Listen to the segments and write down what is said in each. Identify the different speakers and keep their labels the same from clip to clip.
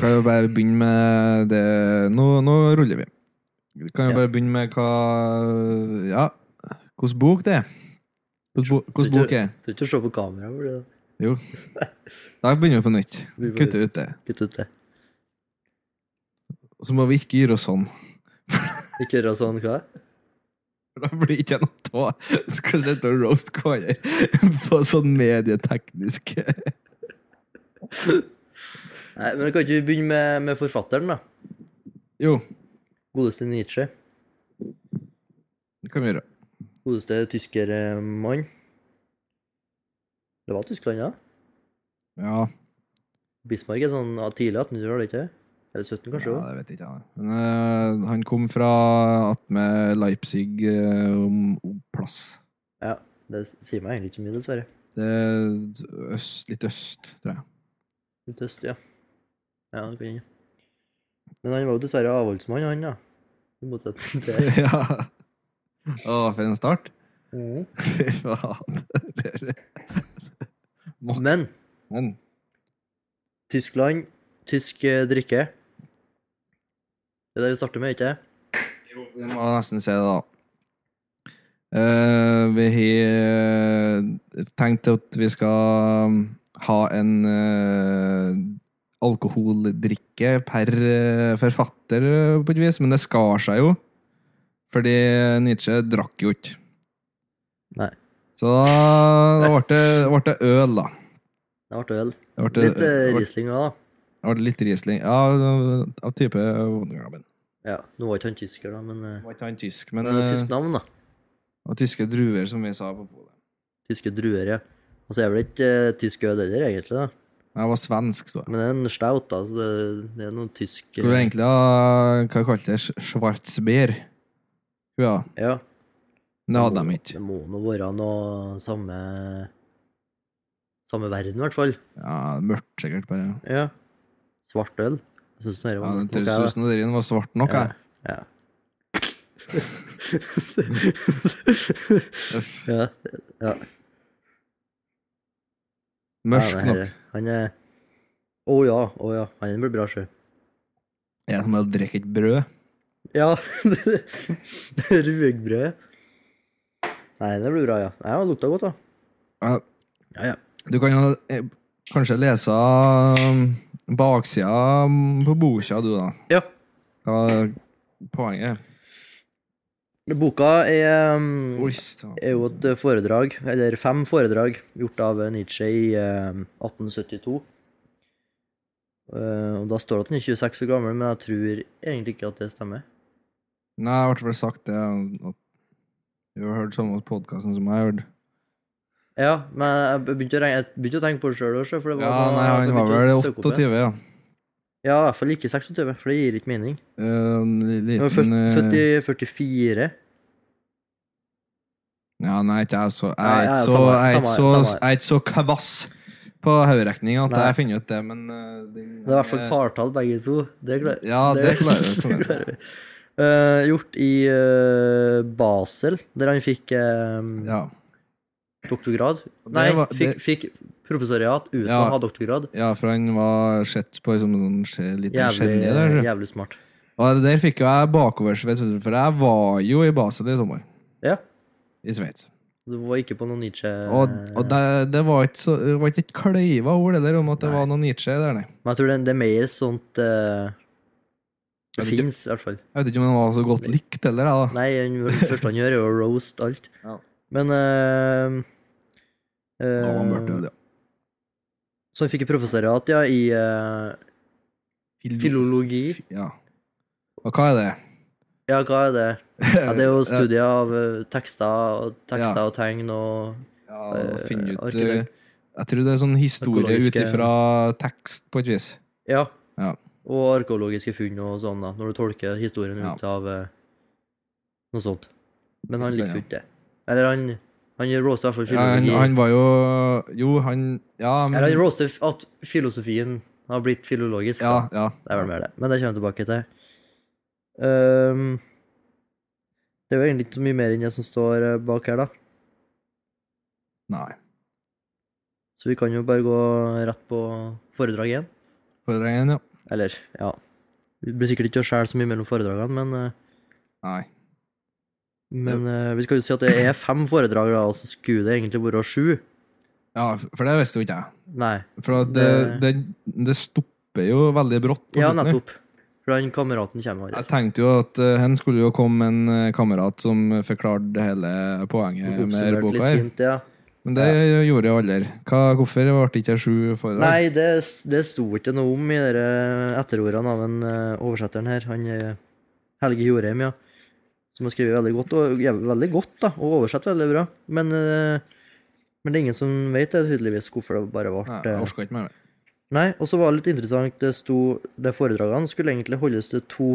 Speaker 1: jo bare begynne med det Nå, nå ruller vi. Vi kan jo bare begynne med hva Ja, hvilken bok det er. Hvilken bok er det?
Speaker 2: Du er ikke å se på kamera, for det
Speaker 1: Jo. Da begynner vi på nytt.
Speaker 2: Vi bare-
Speaker 1: Kutte ut det.
Speaker 2: kutt ut det.
Speaker 1: Og så må vi ikke gjøre oss sånn.
Speaker 2: Ikke gjøre sånn hva?
Speaker 1: For Da blir det ikke noe av. Skal sitte og roast hverandre på sånn medieteknisk
Speaker 2: Nei, men kan ikke vi begynne med, med forfatteren, da?
Speaker 1: Jo,
Speaker 2: Godeste Nietzsche.
Speaker 1: det kan vi gjøre.
Speaker 2: Godeste tyskermann. Det var Tyskland, ja?
Speaker 1: Ja,
Speaker 2: Bismarck er sånn ja, tidlig 1800-tall, ikke det? Eller 17, kanskje?
Speaker 1: ja
Speaker 2: også?
Speaker 1: det vet jeg ikke. jeg. Men eh, han kom fra attmed Leipzig eh, om om plass.
Speaker 2: Ja, det s- sier meg egentlig ikke så mye, dessverre.
Speaker 1: Det er øst, litt øst, tror jeg.
Speaker 2: Litt øst, ja. Ja, det kan hende. Men han var jo dessverre avholdsmann, han, da. I motsetning til
Speaker 1: ja. Å, for en start.
Speaker 2: Mhm.
Speaker 1: Fy faen.
Speaker 2: Men
Speaker 1: Men
Speaker 2: Tyskland, tysk eh, drikke. Det er det vi starter med, ikke det?
Speaker 1: jo, vi må nesten se det, da. Eh, vi har eh, tenkt at vi skal um, ha en eh, alkoholdrikke per eh, forfatter, eh, på et vis, men det skar seg jo. Fordi Nietzsche drakk jo ikke.
Speaker 2: Nei.
Speaker 1: Så da da ble det- ble det øl, da.
Speaker 2: Det ble vel
Speaker 1: Det ble,
Speaker 2: litt eh,
Speaker 1: det ble,
Speaker 2: Riesling òg, da.
Speaker 1: det ble litt Riesling. Ja, av type Wondergraben.
Speaker 2: Ja, nå var ikke han tysker, da, men eh,
Speaker 1: Det var ikke han tysk,
Speaker 2: Men
Speaker 1: men
Speaker 2: det er et
Speaker 1: eh,
Speaker 2: tysk navn, da.
Speaker 1: og tyske druer, som vi sa på polet.
Speaker 2: Tyske druer, ja. Og så er vel ikke eh, tysk øl heller, egentlig, da.
Speaker 1: Jeg var svensk, så jeg.
Speaker 2: Men det er en stout, da, så det, det er noe tysk eh,
Speaker 1: Skulle egentlig ha Hva kalte det? Schwarzbier? Ja,
Speaker 2: Ja.
Speaker 1: men det hadde de ikke.
Speaker 2: Det må nå være noe samme Samme verden, i hvert fall.
Speaker 1: Ja, Mørkt, sikkert, bare.
Speaker 2: Ja. Svart øl. Jeg syns den her
Speaker 1: Ja,
Speaker 2: var nok,
Speaker 1: det
Speaker 2: jeg, da.
Speaker 1: synes dere den var svart nok, jeg.
Speaker 2: Ja.
Speaker 1: Uff.
Speaker 2: ja. ja.
Speaker 1: Mørk
Speaker 2: Ja, det her
Speaker 1: nok.
Speaker 2: er- Han er Å ja, å ja. Han blir bra, sjø.
Speaker 1: Jeg er som å drikke et brød.
Speaker 2: Ja. Rugbrød. Nei, det blir bra, ja. Nei, det lukta godt, da.
Speaker 1: Ja.
Speaker 2: Ja, ja.
Speaker 1: Du kan jo eh, kanskje lese um, baksida um, på boka, du, da.
Speaker 2: Ja.
Speaker 1: Hva er poenget?
Speaker 2: Boka er, um,
Speaker 1: Oi, ta-
Speaker 2: er jo et foredrag, eller fem foredrag, gjort av Nietzsche i um, 1872. Eh, og Da står det at han er 26 år gammel, men jeg tror egentlig ikke at det stemmer.
Speaker 1: Nei, jeg ble vel sagt det. At du har hørt samme podkasten som jeg har hørt.
Speaker 2: Ja, men jeg begynte å, regne, jeg begynte å tenke på det sjøl òg, for det var sånn
Speaker 1: Ja, nei, han var vel 28, ja.
Speaker 2: Ja, i hvert fall ikke 26, for det gir ikke mening.
Speaker 1: Eh, En
Speaker 2: Han var født,
Speaker 1: liten eh,
Speaker 2: født i 44.
Speaker 1: Ja, nei, ikke jeg så Jeg
Speaker 2: Nei,
Speaker 1: er ikke
Speaker 2: ja,
Speaker 1: så,
Speaker 2: samme-
Speaker 1: jeg er ikke
Speaker 2: samme-
Speaker 1: så,
Speaker 2: samme.
Speaker 1: jeg er ikke så kvass på hoderegninga at
Speaker 2: Nei.
Speaker 1: jeg finner ut det, men eh, den,
Speaker 2: Det er i hvert fall partall, begge to. Det er klart.
Speaker 1: Ja, det klarer jeg.
Speaker 2: det klarer vi. Eh, gjort i eh, Basel, der han fikk eh,
Speaker 1: Ja,
Speaker 2: doktorgrad. Nei,
Speaker 1: var-
Speaker 2: fikk, fikk professoriat uten
Speaker 1: Ja.
Speaker 2: å ha doktorgrad.
Speaker 1: ja, for han var sett på som en sånn litt
Speaker 2: Jævlig,
Speaker 1: geni der. tror jeg.
Speaker 2: jævlig smart.
Speaker 1: Og det der fikk jo jeg bakoversveis, vet du, for jeg var jo i Basel i sommer.
Speaker 2: Ja.
Speaker 1: I Sveits.
Speaker 2: Du var ikke på noen Nietzsche
Speaker 1: Og, og det, det var ikke så- det var ikke et kløyva ord det der om at det
Speaker 2: Nei.
Speaker 1: var noe Nietzsche der, nei.
Speaker 2: Men jeg tror det, det er mer sånt eh,
Speaker 1: Ja,
Speaker 2: Det
Speaker 1: det-
Speaker 2: fins, i hvert fall.
Speaker 1: Jeg vet ikke om det var så godt likt heller, jeg, da.
Speaker 2: Nei, han- det første han gjør, er å roast alt.
Speaker 1: Ja.
Speaker 2: Men eh,
Speaker 1: Det var
Speaker 2: eh,
Speaker 1: mørkt, ja, det.
Speaker 2: Så han fikk professoriat, ja, i eh, filologi.
Speaker 1: Ja. Og hva er det?
Speaker 2: Ja, hva er det? Ja, det er jo
Speaker 1: studier
Speaker 2: studier av eh, tekster, og, tekster
Speaker 1: Ja.
Speaker 2: og tegn og
Speaker 1: Ja,
Speaker 2: eh,
Speaker 1: å finne ut
Speaker 2: arkitekt-
Speaker 1: eh, Jeg tror det er sånn historie ut
Speaker 2: Økologiske-
Speaker 1: ifra tekst, på et vis.
Speaker 2: Ja.
Speaker 1: Ja.
Speaker 2: Og arkeologiske funn og sånn, da, når du tolker historien
Speaker 1: Ja.
Speaker 2: ut av eh, noe sånt. Men han liker
Speaker 1: Ja.
Speaker 2: jo ikke det. Eller han Han roaster i hvert fall
Speaker 1: Ja, han,
Speaker 2: filologi.
Speaker 1: han var jo Jo, han Ja, men
Speaker 2: Eller han roaster f- at filosofien har blitt filologisk.
Speaker 1: Ja,
Speaker 2: da.
Speaker 1: ja.
Speaker 2: Det er vel mer det. Men det kommer jeg tilbake til. Ehm, det er jo egentlig ikke så mye mer enn det som står eh, bak her, da.
Speaker 1: Nei.
Speaker 2: Så vi kan jo bare gå rett på foredrag igjen.
Speaker 1: Foredraget, ja.
Speaker 2: Eller, ja Det blir sikkert ikke å skjære så mye mellom foredragene, men, eh,
Speaker 1: Nei.
Speaker 2: men eh, vi skal jo si at det er fem foredrag, da, og så skulle det egentlig vært sju.
Speaker 1: Ja, for det visste jo ikke jeg.
Speaker 2: Nei.
Speaker 1: For at det, det, det stopper jo veldig brått. på
Speaker 2: Ja,
Speaker 1: slutten her.
Speaker 2: nettopp. For den kameraten kommer jo
Speaker 1: Jeg
Speaker 2: aldri.
Speaker 1: tenkte jo at eh, hen skulle jo komme en eh, kamerat som forklarte hele poenget med
Speaker 2: Oppsummert
Speaker 1: boka
Speaker 2: litt
Speaker 1: her.
Speaker 2: fint, ja.
Speaker 1: Men det gjorde jeg aldri. Hva, hvorfor ble det ikke sju foredrag?
Speaker 2: Nei, det, det sto ikke noe om i dere etterordene av en eh, oversetteren her. Han eh, Helge Jorheim, ja. Som har skrevet veldig godt, og ja, veldig godt, da, og oversett veldig bra. Men, eh, men det er ingen som vet det, tydeligvis, hvorfor det bare ble
Speaker 1: Nei, jeg
Speaker 2: eh,
Speaker 1: orka ikke mer.
Speaker 2: Nei, og så var det litt interessant, det sto De foredragene skulle egentlig holdes til to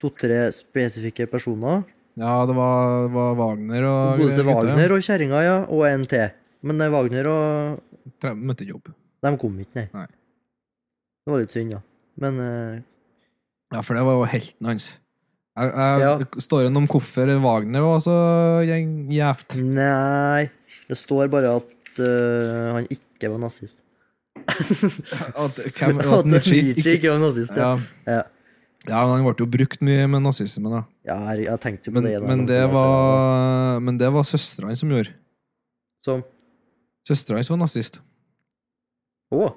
Speaker 2: to-tre spesifikke personer.
Speaker 1: Ja, det var, var Wagner og
Speaker 2: Godeste
Speaker 1: gutta.
Speaker 2: Wagner og kjerringa, ja, og en til. Men eh, Wagner og,
Speaker 1: Tre- Møtte ikke opp.
Speaker 2: De kom ikke, nei.
Speaker 1: Nei.
Speaker 2: Det var litt synd, da. Men eh,
Speaker 1: Ja, for det var jo helten hans. Jeg, jeg,
Speaker 2: Ja.
Speaker 1: Står det noe om hvorfor Wagner var så gjeng- gjevt?
Speaker 2: Nei. Det står bare at eh, han ikke var nazist.
Speaker 1: At, hvem, at Nietzsche ikke
Speaker 2: var nazist, ja.
Speaker 1: ja.
Speaker 2: Ja.
Speaker 1: ja, men han ble jo brukt mye med nazismen, da.
Speaker 2: ja jeg, jeg tenkte jo på
Speaker 1: Men,
Speaker 2: det. da.
Speaker 1: men det var, men det var søstera hans som gjorde.
Speaker 2: Som
Speaker 1: Søstera hans var nazist.
Speaker 2: Å!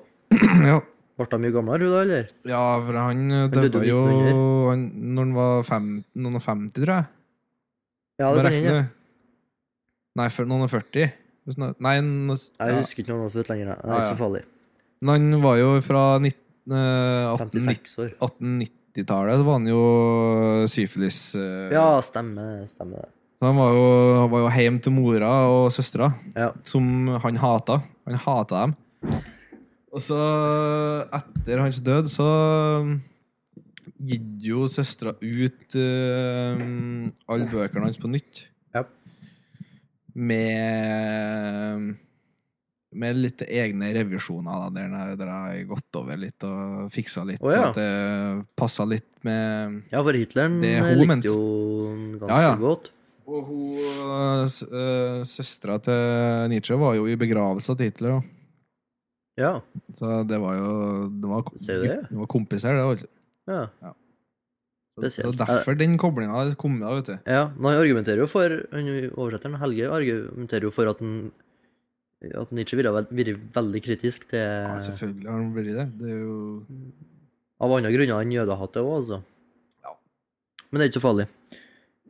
Speaker 1: ja.
Speaker 2: Ble hun mye gamlere, hun da, eller?
Speaker 1: ja, for han eh,
Speaker 2: døde
Speaker 1: døde jo
Speaker 2: jo 1900.
Speaker 1: han, når han var fem, noen og 50, tror jeg.
Speaker 2: Ja,
Speaker 1: Bare
Speaker 2: det kan
Speaker 1: rekne.
Speaker 2: hende.
Speaker 1: Nei, for noen og 40. Hvis nå- Nei, nå-
Speaker 2: Jeg
Speaker 1: ja.
Speaker 2: husker ikke noe om det var født lenger. nei. Det
Speaker 1: Ah,
Speaker 2: er ikke
Speaker 1: ja.
Speaker 2: så farlig.
Speaker 1: Men han var jo fra 19, eh, 1890
Speaker 2: 56 år.
Speaker 1: 1890-tallet så var han jo syfilis. eh,
Speaker 2: Ja, stemmer det. Stemmer det.
Speaker 1: så Han var jo, han var jo hjem til mora og søstera,
Speaker 2: Ja.
Speaker 1: som han hata. Han hata dem. Og så, etter hans død, så gikk jo søstera ut eh, alle bøkene hans på nytt.
Speaker 2: Ja.
Speaker 1: Med med litt egne revisjoner, da, der jeg- der jeg har gått over litt og fiksa litt,
Speaker 2: Å, ja.
Speaker 1: så at det passa litt med
Speaker 2: ja, for Hitleren
Speaker 1: Det er
Speaker 2: eh,
Speaker 1: hun ment.
Speaker 2: likte jo den ganske
Speaker 1: Ja, ja.
Speaker 2: godt.
Speaker 1: Og hun s- øh, Søstera til Nietzsche var jo i begravelse til Hitler, da.
Speaker 2: Ja.
Speaker 1: så det var jo Det var, kom-
Speaker 2: Ser du det?
Speaker 1: det var kompiser, det. Også.
Speaker 2: ja.
Speaker 1: Det
Speaker 2: Spesielt.
Speaker 1: var derfor den koblinga kom da, vet du.
Speaker 2: Ja, men han argumenterer jo for han Oversetteren Helge argumenterer jo for at, han, at Nietzsche ville ha vært vært veldig kritisk til
Speaker 1: Ja, selvfølgelig har han vært det. Det er jo
Speaker 2: Av andre grunner enn jødehatet òg, altså.
Speaker 1: Ja.
Speaker 2: Men det er ikke så farlig.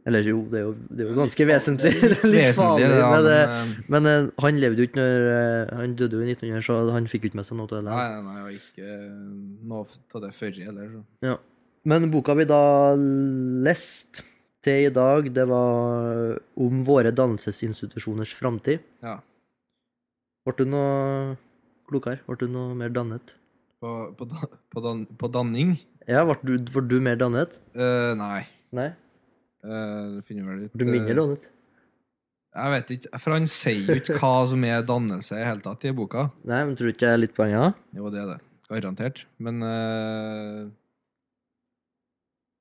Speaker 2: Eller jo, det er jo, det er jo ganske vesentlig. Det er litt farlig,
Speaker 1: vesentlig, det,
Speaker 2: men,
Speaker 1: da,
Speaker 2: eh,
Speaker 1: men, eh,
Speaker 2: men eh, han levde jo ikke når eh, Han døde jo i 1900, så han fikk jo ikke med seg noe av det.
Speaker 1: Nei, nei, nei, jeg har ikke eh, noe av det førre heller. så.
Speaker 2: Men boka vi da leste til i dag, det var om våre dannelsesinstitusjoners framtid.
Speaker 1: Ja.
Speaker 2: Ble du noe klokere? Ble du noe mer dannet?
Speaker 1: På, på, da- på, dan, på danning?
Speaker 2: Ja, ble du, ble du mer dannet?
Speaker 1: Eh, nei.
Speaker 2: Nei.
Speaker 1: Eh, det finner vel litt
Speaker 2: Ble du mindre
Speaker 1: eh,
Speaker 2: dannet?
Speaker 1: Jeg vet ikke, for han sier jo ikke hva som er dannelse i det hele tatt i boka.
Speaker 2: Nei, men tror du ikke det er litt poenget? da?
Speaker 1: Jo, det er det. Garantert. Men eh,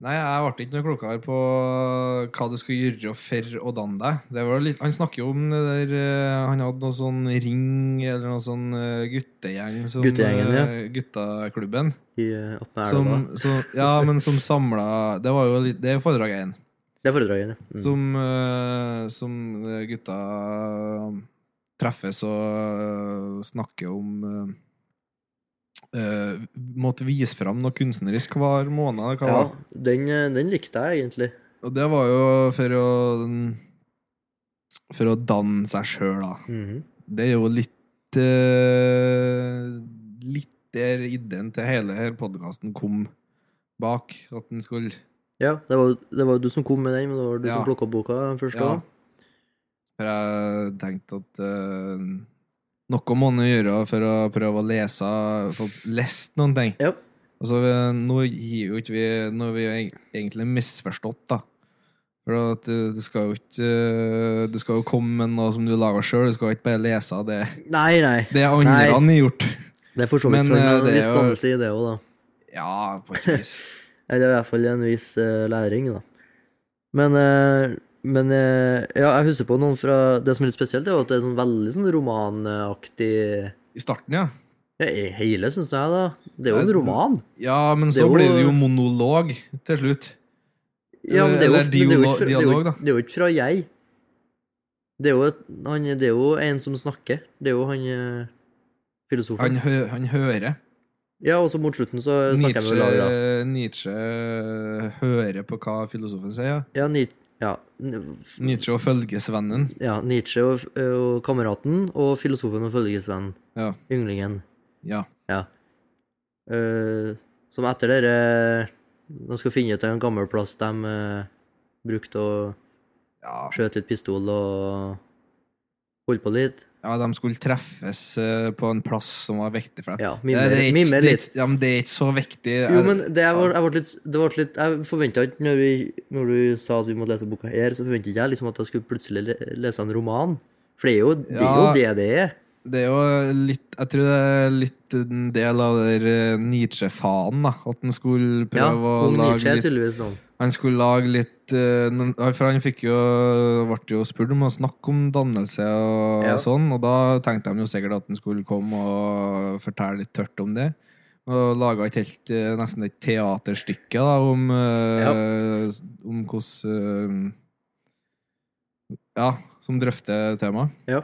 Speaker 1: Nei, jeg ble ikke noe klokere på hva du skal gjøre for å danne deg. Det var litt, han snakker jo om det der eh, Han hadde noe sånn ring, eller noe sånn eh, guttegjeng som
Speaker 2: Guttegjengen, ja.
Speaker 1: eh, Guttaklubben.
Speaker 2: I eh, opp med
Speaker 1: Som,
Speaker 2: elva?
Speaker 1: som, ja, men som samla Det var jo litt, det er foredrag én.
Speaker 2: Det er foredraget, ja. Mm.
Speaker 1: Som, eh, som eh, gutta treffes og eh, snakker om eh, eh, Måtte vise fram noe kunstnerisk hver måned. eller Hva
Speaker 2: Ja,
Speaker 1: var. det?
Speaker 2: den, eh, den likte jeg egentlig.
Speaker 1: Og det var jo for å For å danne seg sjøl, da.
Speaker 2: Mhm.
Speaker 1: Det er jo litt eh, Litt der ideen til hele her podkasten kom bak. At den skulle
Speaker 2: Ja, det var, det var du som kom med den, men det var du
Speaker 1: Ja.
Speaker 2: som plukka opp boka først.
Speaker 1: Ja.
Speaker 2: Ja.
Speaker 1: For jeg tenkte at eh, noe må man gjøre for å prøve å lese, få lest noen ting.
Speaker 2: Ja.
Speaker 1: Og så eh, nå gir jo ikke vi Nå er vi jo eg- egentlig misforstått, da. For at eh, du skal jo ikke eh, Du skal jo komme med noe som du lager sjøl, du skal jo ikke bare lese det
Speaker 2: Nei, nei.
Speaker 1: det andre
Speaker 2: Nei.
Speaker 1: har gjort.
Speaker 2: Det er for så
Speaker 1: Men,
Speaker 2: vidt sånn
Speaker 1: eh,
Speaker 2: en
Speaker 1: det er
Speaker 2: viss
Speaker 1: jo-
Speaker 2: dannelse i det òg, da.
Speaker 1: Ja, på et vis.
Speaker 2: Eller i hvert fall en viss eh, læring, da. Men, eh, men eh, ja, jeg husker på noen fra Det som er litt spesielt, er jo at det er sånn veldig sånn romanaktig
Speaker 1: I starten, ja.
Speaker 2: He- Hele, syns jeg, da. Det er jo
Speaker 1: Ja,
Speaker 2: en roman.
Speaker 1: Ja, men
Speaker 2: Det er
Speaker 1: så
Speaker 2: jo-
Speaker 1: blir det jo monolog til slutt.
Speaker 2: Ja, men det er
Speaker 1: Eller
Speaker 2: jo, men det er jo
Speaker 1: dialog-
Speaker 2: ikke fra, det er jo,
Speaker 1: dialog,
Speaker 2: ikke-
Speaker 1: da.
Speaker 2: det er jo ikke fra jeg. Det er, jo et, han, det er jo en som snakker. Det er jo han eh, filosofen.
Speaker 1: Han, hø han hører.
Speaker 2: Ja, og så mot slutten så snakker jeg
Speaker 1: Nietzsche,
Speaker 2: med Laura.
Speaker 1: Nietzsche eh, hører på hva filosofen sier.
Speaker 2: Ja, ni, ja, n-
Speaker 1: Nietzsche og følgesvennen.
Speaker 2: ja, Nietzsche og, og kameraten og filosofen og følgesvennen.
Speaker 1: Ja.
Speaker 2: Ynglingen.
Speaker 1: Ja.
Speaker 2: Ja. Eh, som etter dere De skal finne til en gammel plass de eh, brukte å
Speaker 1: ja.
Speaker 2: skjøte litt pistol og holde på litt.
Speaker 1: Ja, de skulle treffes eh, på en plass som var viktig for dem.
Speaker 2: Ja,
Speaker 1: Ja,
Speaker 2: mimre,
Speaker 1: det er ikke- det
Speaker 2: mimre
Speaker 1: er
Speaker 2: litt.
Speaker 1: ikke- Ja, men det er ikke så viktig.
Speaker 2: Jo, men det jeg var, jeg ble litt, det ble litt Jeg forventa ikke, når, vi, når du sa at vi måtte lese boka her, så forventa ikke jeg liksom at jeg skulle plutselig le- lese en roman. For det er jo det er, jo
Speaker 1: Ja.
Speaker 2: det, det er.
Speaker 1: Det er jo litt Jeg tror det er litt en del av det der, eh, Nietzsche-fanen, da. At han skulle prøve
Speaker 2: Ja,
Speaker 1: å
Speaker 2: Ung
Speaker 1: lage
Speaker 2: Nietzsche er
Speaker 1: litt
Speaker 2: tydeligvis sånn.
Speaker 1: Han skulle lage litt eh, noen- For han fikk jo ble jo spurt om å snakke om dannelse og
Speaker 2: Ja.
Speaker 1: sånn, og da tenkte de jo sikkert at han skulle komme og fortelle litt tørt om det. Og laga et helt, eh, nesten et teaterstykke da, om eh, Om hvordan eh, Ja, som drøfter temaet.
Speaker 2: Ja.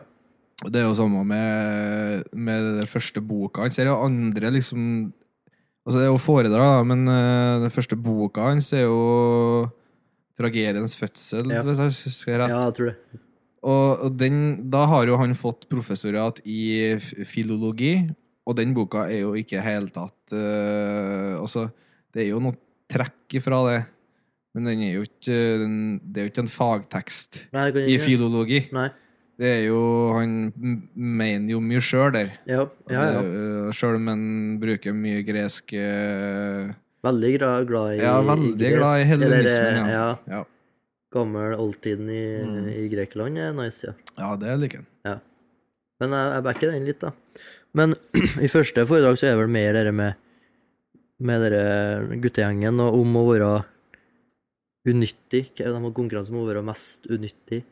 Speaker 1: Og Det er jo samme med, med det der første boka hans. Det er jo andre liksom Altså, det er jo foredrag, da, men eh, den første boka hans er jo tragediens fødsel,
Speaker 2: Ja.
Speaker 1: hvis jeg husker rett.
Speaker 2: ja, jeg tror det.
Speaker 1: Og, og den, da har jo han fått professorat i f- filologi, og den boka er jo ikke i hele tatt eh, Altså, det er jo noe trekk ifra det, men den er jo ikke, den, det er jo ikke en fagtekst
Speaker 2: Nei, jeg kan
Speaker 1: i
Speaker 2: ikke-
Speaker 1: filologi.
Speaker 2: Nei.
Speaker 1: Det er jo Han m- mener jo mye sjøl der.
Speaker 2: Ja, ja, ja.
Speaker 1: Eh, Sjøl om han bruker mye gresk eh,
Speaker 2: Veldig gra- glad i
Speaker 1: Ja, veldig
Speaker 2: Gres-
Speaker 1: glad i hellenismen,
Speaker 2: eller, eh,
Speaker 1: ja.
Speaker 2: ja.
Speaker 1: Ja,
Speaker 2: Gammel oldtiden i,
Speaker 1: Mm.
Speaker 2: i Grekland er nice, ja.
Speaker 1: ja det liker han.
Speaker 2: Men jeg, jeg backer den litt, da. Men i første foredrag så er det vel mer det med med dere guttegjengen og om å være unyttig. Hva er det De har konkurranse om å være mest unyttig.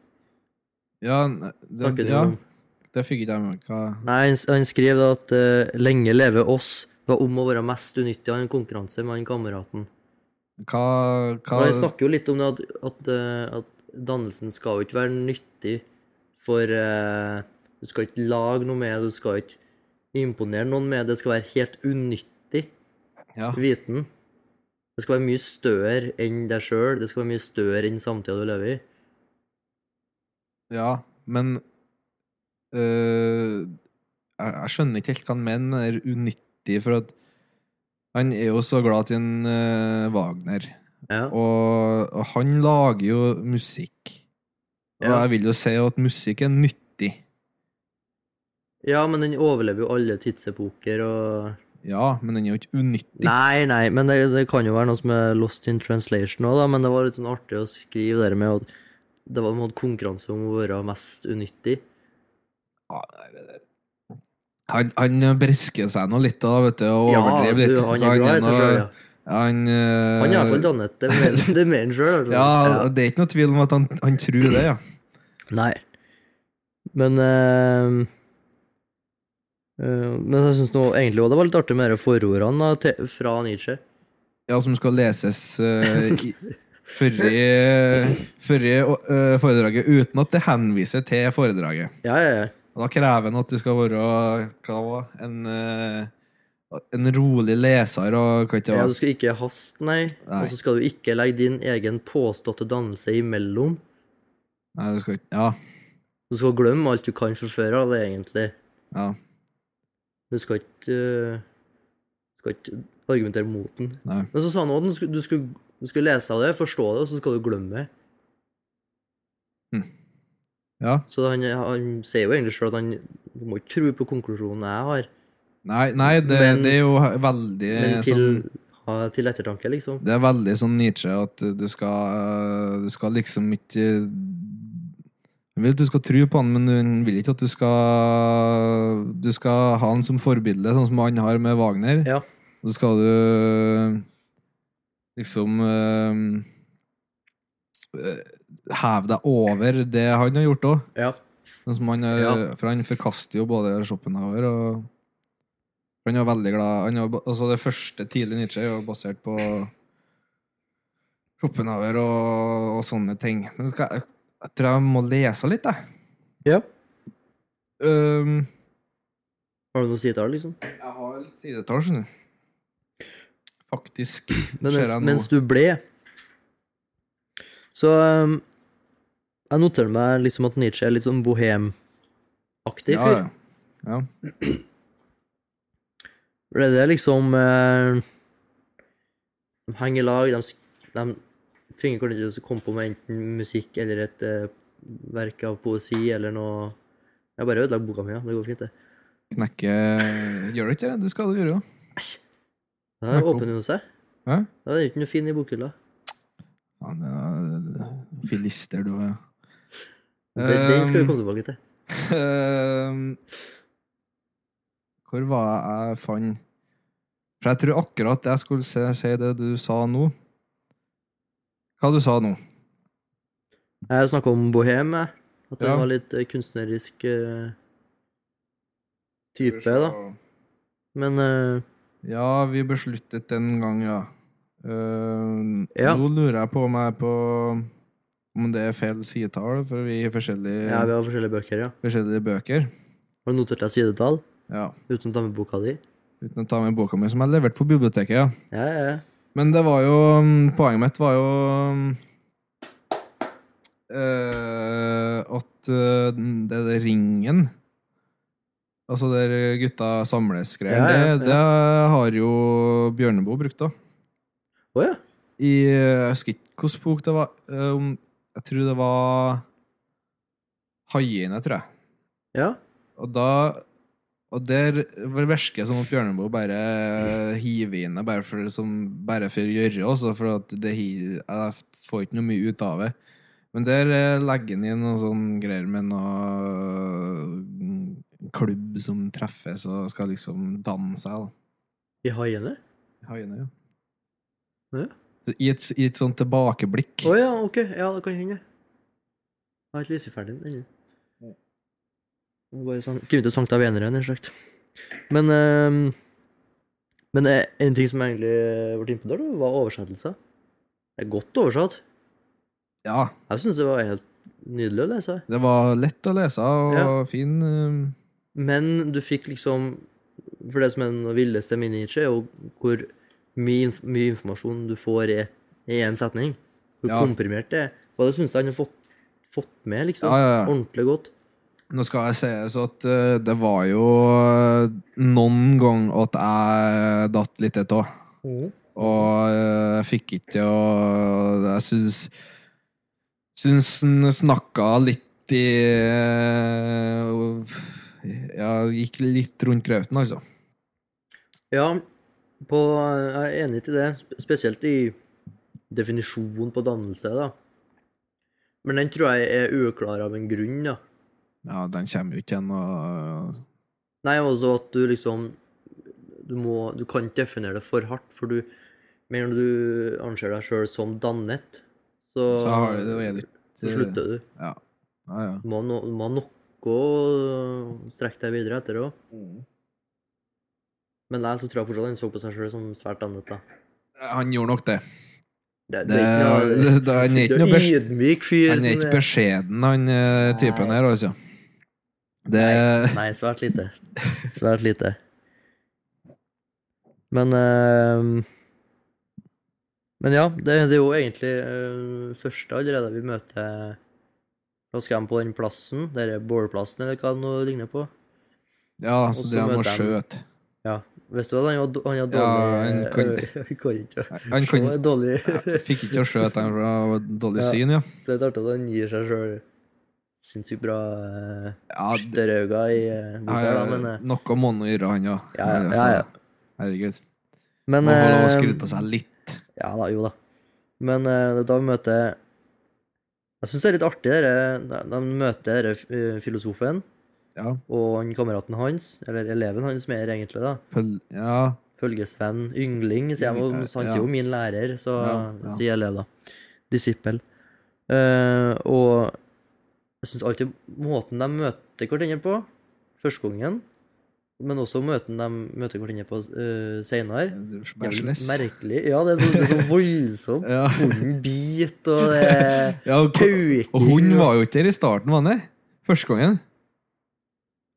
Speaker 1: Ja, ne-
Speaker 2: Snakker
Speaker 1: det,
Speaker 2: du
Speaker 1: ja,
Speaker 2: om?
Speaker 1: det fikk ikke jeg med meg. Hva-
Speaker 2: Nei, han, han skriver da at eh, 'Lenge leve oss' var om å være mest unyttig. Han har en konkurranse med han kameraten.
Speaker 1: Hva, hva
Speaker 2: Og han snakker jo litt om det at, at, eh, at dannelsen skal jo ikke være nyttig for eh, Du skal ikke lage noe med, du skal ikke imponere noen med. Det skal være helt unyttig.
Speaker 1: ja,
Speaker 2: viten. Det skal være mye større enn deg sjøl. Det skal være mye større enn samtida du lever i.
Speaker 1: ja, men øh, jeg, jeg skjønner ikke helt hva han mener med det der unyttig, for at han er jo så glad i en øh, Wagner.
Speaker 2: Ja.
Speaker 1: Og, og han lager jo musikk. Og
Speaker 2: Ja.
Speaker 1: jeg vil jo si at musikk er nyttig.
Speaker 2: ja, men den overlever jo alle tidsepoker og
Speaker 1: Ja, men den er jo ikke unyttig.
Speaker 2: Nei, nei, men det, det kan jo være noe som er lost in translation òg, da. Men det var litt sånn artig å skrive det der med at det var en måte konkurranse om å være mest unyttig.
Speaker 1: Ja, det er det. Han, han brisker seg nå litt da, vet du, og overdriver litt.
Speaker 2: du, han er glad i seg sjøl, ja.
Speaker 1: Han, eh,
Speaker 2: Han er iallfall dannet. Det er mer- det er mer enn sjøl.
Speaker 1: ja, det er ikke noe tvil om at han, han tror det, ja.
Speaker 2: Nei. Men eh, eh, Men jeg syns egentlig også det var litt artig med de forordene da, til, fra Nietzsche.
Speaker 1: Ja, som skal leses eh, i førre førre, eh, foredraget, uten at det henviser til foredraget.
Speaker 2: Ja, ja, ja.
Speaker 1: Og da krever han at du skal være hva var, det, en, eh, en rolig leser og hva ikke det
Speaker 2: ja
Speaker 1: var.
Speaker 2: du skal ikke haste, nei.
Speaker 1: Nei.
Speaker 2: Og så skal du ikke legge din egen påståtte dannelse imellom.
Speaker 1: Nei, du skal ikke Ja.
Speaker 2: Du skal glemme alt du kan fra før av, det, egentlig.
Speaker 1: ja.
Speaker 2: Du skal ikke eh, Du skal ikke argumentere mot den.
Speaker 1: Nei.
Speaker 2: Men så sa han òg at du skulle, du, skulle, du skulle lese av det, forstå det, og så skal du glemme det.
Speaker 1: ja.
Speaker 2: Så han, han sier jo egentlig sjøl at han du må ikke tro på konklusjonen jeg har.
Speaker 1: Nei, nei det,
Speaker 2: Men-
Speaker 1: det er jo veldig
Speaker 2: Men til,
Speaker 1: sånn
Speaker 2: ha, til ettertanke, liksom.
Speaker 1: Det er veldig sånn Nietzsche at du skal Du skal liksom ikke Han vil at du skal tro på han, men han vil ikke at du skal Du skal ha han som forbilde, sånn som han har med Wagner.
Speaker 2: Ja.
Speaker 1: Og så skal du liksom eh, Heve deg over det han har gjort òg.
Speaker 2: Ja.
Speaker 1: Sånn som han, eh,
Speaker 2: Ja.
Speaker 1: For han forkaster jo både Schopenhauer og For han var veldig glad han var, ba- altså Det første tidlige Nietzsche er jo basert på Schopenhauer og, og sånne ting. Men skal, jeg, jeg tror jeg må lese litt, jeg.
Speaker 2: Ja.
Speaker 1: Um,
Speaker 2: Har du noe å si til det, liksom?
Speaker 1: jeg har litt sidetall, skjønner du. Faktisk.
Speaker 2: Men
Speaker 1: ser
Speaker 2: mens,
Speaker 1: jeg nå.
Speaker 2: mens du ble Så um, jeg noterer meg litt som at Nietzsche er litt sånn bohemaktig
Speaker 1: Ja,
Speaker 2: fyr.
Speaker 1: ja. ja.
Speaker 2: For Det er liksom eh, De henger i lag, de, sk- de tvinger hverandre til å komme på med enten musikk eller et eh, verk av poesi eller noe Jeg bare ødela boka mi, ja. Det går fint, det.
Speaker 1: Knekke Gjør du ikke det? Du skal jo gjøre det.
Speaker 2: Det her
Speaker 1: Snakker om-
Speaker 2: åpner jo seg.
Speaker 1: Hæ?
Speaker 2: Da er det ikke noe fin i bokhylla.
Speaker 1: Faen, det er- Filister, du er.
Speaker 2: Det, den skal vi
Speaker 1: Um,
Speaker 2: komme tilbake til.
Speaker 1: Ehm, Hvor var jeg jeg fant For jeg tror akkurat jeg skulle se- si det du sa nå. Hva du sa nå?
Speaker 2: Jeg snakka om bohem, jeg. At det
Speaker 1: Ja.
Speaker 2: var litt eh, kunstnerisk eh, type, da. Men eh,
Speaker 1: Ja, vi besluttet den gang, ja. Ehm,
Speaker 2: Ja.
Speaker 1: Nå lurer jeg på om jeg er på om det er feil sidetall, for vi har forskjellige,
Speaker 2: ja, vi har forskjellige bøker, ja.
Speaker 1: forskjellige bøker.
Speaker 2: Har du notert deg sidetall
Speaker 1: Ja.
Speaker 2: uten å ta med boka di?
Speaker 1: Uten å ta med boka mi, som jeg leverte på biblioteket. ja.
Speaker 2: Ja, ja, ja.
Speaker 1: Men det var jo mm, Poenget mitt var jo mm, eh, At eh, den- det der ringen Altså der gutta samles greier
Speaker 2: Ja, ja, ja.
Speaker 1: det, det har jo Bjørneboe brukt da
Speaker 2: Å ja.
Speaker 1: I, eh, jeg husker ikke hvilken bok det var eh, om, Jeg tror det var Haiene, tror jeg
Speaker 2: Ja.
Speaker 1: Og da og der virker det som at Bjørneboe bare hiver inn det bare for, som, bare for å gjøre også, for at det, hi- jeg får ikke noe mye ut av det. Men der eh, legger han inn noe sånn greier med noe mm, klubb som treffes og skal liksom danne seg. da.
Speaker 2: I haiene?
Speaker 1: Haiene, ja.
Speaker 2: Ja.
Speaker 1: Så I et, I et sånt tilbakeblikk.
Speaker 2: Å ja, ok. Ja, det kan hende. Jeg har ikke lest ferdig den ennå. Det var Bare sånn Kunne ikke sankt av enere, nær sagt. Men eh, Men eh, en ting som egentlig ble imponert over, var oversettelser. Det er godt oversatt.
Speaker 1: Ja,
Speaker 2: Jeg syns det var helt nydelig å lese.
Speaker 1: det var lett å lese og
Speaker 2: Ja.
Speaker 1: fin. eh,
Speaker 2: Men du fikk liksom For det som er den villeste med Nietzsche, er jo hvor mye, inf- mye informasjon du får i én setning. Hvor
Speaker 1: Ja.
Speaker 2: komprimert det er. Og det syns jeg han har fått, fått med, liksom.
Speaker 1: Ja, ja, ja.
Speaker 2: Ordentlig godt.
Speaker 1: Nå skal jeg sies at eh, det var jo eh, noen gang at jeg datt litt av. Mm. Og eh, jeg fikk ikke til å Jeg syns Syns han snakka litt i eh, og- Ja, gikk litt rundt grauten, altså.
Speaker 2: Ja, på, jeg er enig til det. sp- Spesielt i definisjonen på dannelse, da. Men den tror jeg er uklar av en grunn, da.
Speaker 1: Ja, den kommer jo ikke igjen, og eh,
Speaker 2: Nei, også at du liksom Du, må, du kan ikke definere det for hardt, for du Med en gang du anser deg sjøl som dannet, så,
Speaker 1: Så har du- da er du
Speaker 2: så slutter du.
Speaker 1: Ja. ja, ja.
Speaker 2: Du må, no, du må ha noe å strekke deg videre etter òg. Men nei, så tror jeg fortsatt han så på seg sjøl som svært dannet, da.
Speaker 1: Han gjorde nok det. det,
Speaker 2: Det,
Speaker 1: det, det han er
Speaker 2: det
Speaker 1: ikke
Speaker 2: er
Speaker 1: noe bes-
Speaker 2: ydmyk fyr.
Speaker 1: Han er
Speaker 2: som
Speaker 1: ikke beskjeden, han eh, typen her, altså. Det
Speaker 2: Nei, svært lite. Svært lite. Men eh, Men ja, det, det er jo egentlig eh, første allerede vi møter Da skal de på den plassen, denne bålplassen eller hva det nå ligner på.
Speaker 1: Ja,
Speaker 2: Og
Speaker 1: så
Speaker 2: så
Speaker 1: drev han og
Speaker 2: møter han-
Speaker 1: skjøt.
Speaker 2: Ja. Visste du at han hadde han hadde
Speaker 1: Ja,
Speaker 2: dårlig
Speaker 1: han kunne-
Speaker 2: ø- Han kunne ikke
Speaker 1: Nei, Han
Speaker 2: se,
Speaker 1: kan,
Speaker 2: dårlig
Speaker 1: fikk ikke til å skjøte, han var dårlig
Speaker 2: Ja.
Speaker 1: syn, ja.
Speaker 2: Så det er artig at han gir seg sjøl sinnssykt bra eh,
Speaker 1: ja det,
Speaker 2: større øyne i eh, boka, da, men eh,
Speaker 1: noe må han gjøre, han, ja.
Speaker 2: Ja, ja,
Speaker 1: Altså,
Speaker 2: ja, ja.
Speaker 1: Herregud.
Speaker 2: Men
Speaker 1: Må få lov å
Speaker 2: eh,
Speaker 1: skru på seg litt.
Speaker 2: Ja da, jo da. Men eh, det er da vi møter Jeg syns det er litt artig, dere. da- da vi møter dere eh, filosofen
Speaker 1: Ja.
Speaker 2: og han kameraten hans, eller eleven hans mer egentlig, da.
Speaker 1: Føl, ja.
Speaker 2: Følgesvenn, yngling, sier jeg. men Han sier jo
Speaker 1: Ja.
Speaker 2: min lærer, så
Speaker 1: Ja, ja.
Speaker 2: sier elev, da. Disippel. Eh, og jeg syns alltid måten de møter hverandre på, første gangen, Men også møten de møter hverandre på uh, seinere.
Speaker 1: Bachelors.
Speaker 2: Merkelig. Ja, det er så, det er så voldsomt.
Speaker 1: Ja.
Speaker 2: Hunden biter, og eh, det er
Speaker 1: Ja, og,
Speaker 2: kauking.
Speaker 1: og hun var jo ikke der i starten, var han det? Første gangen.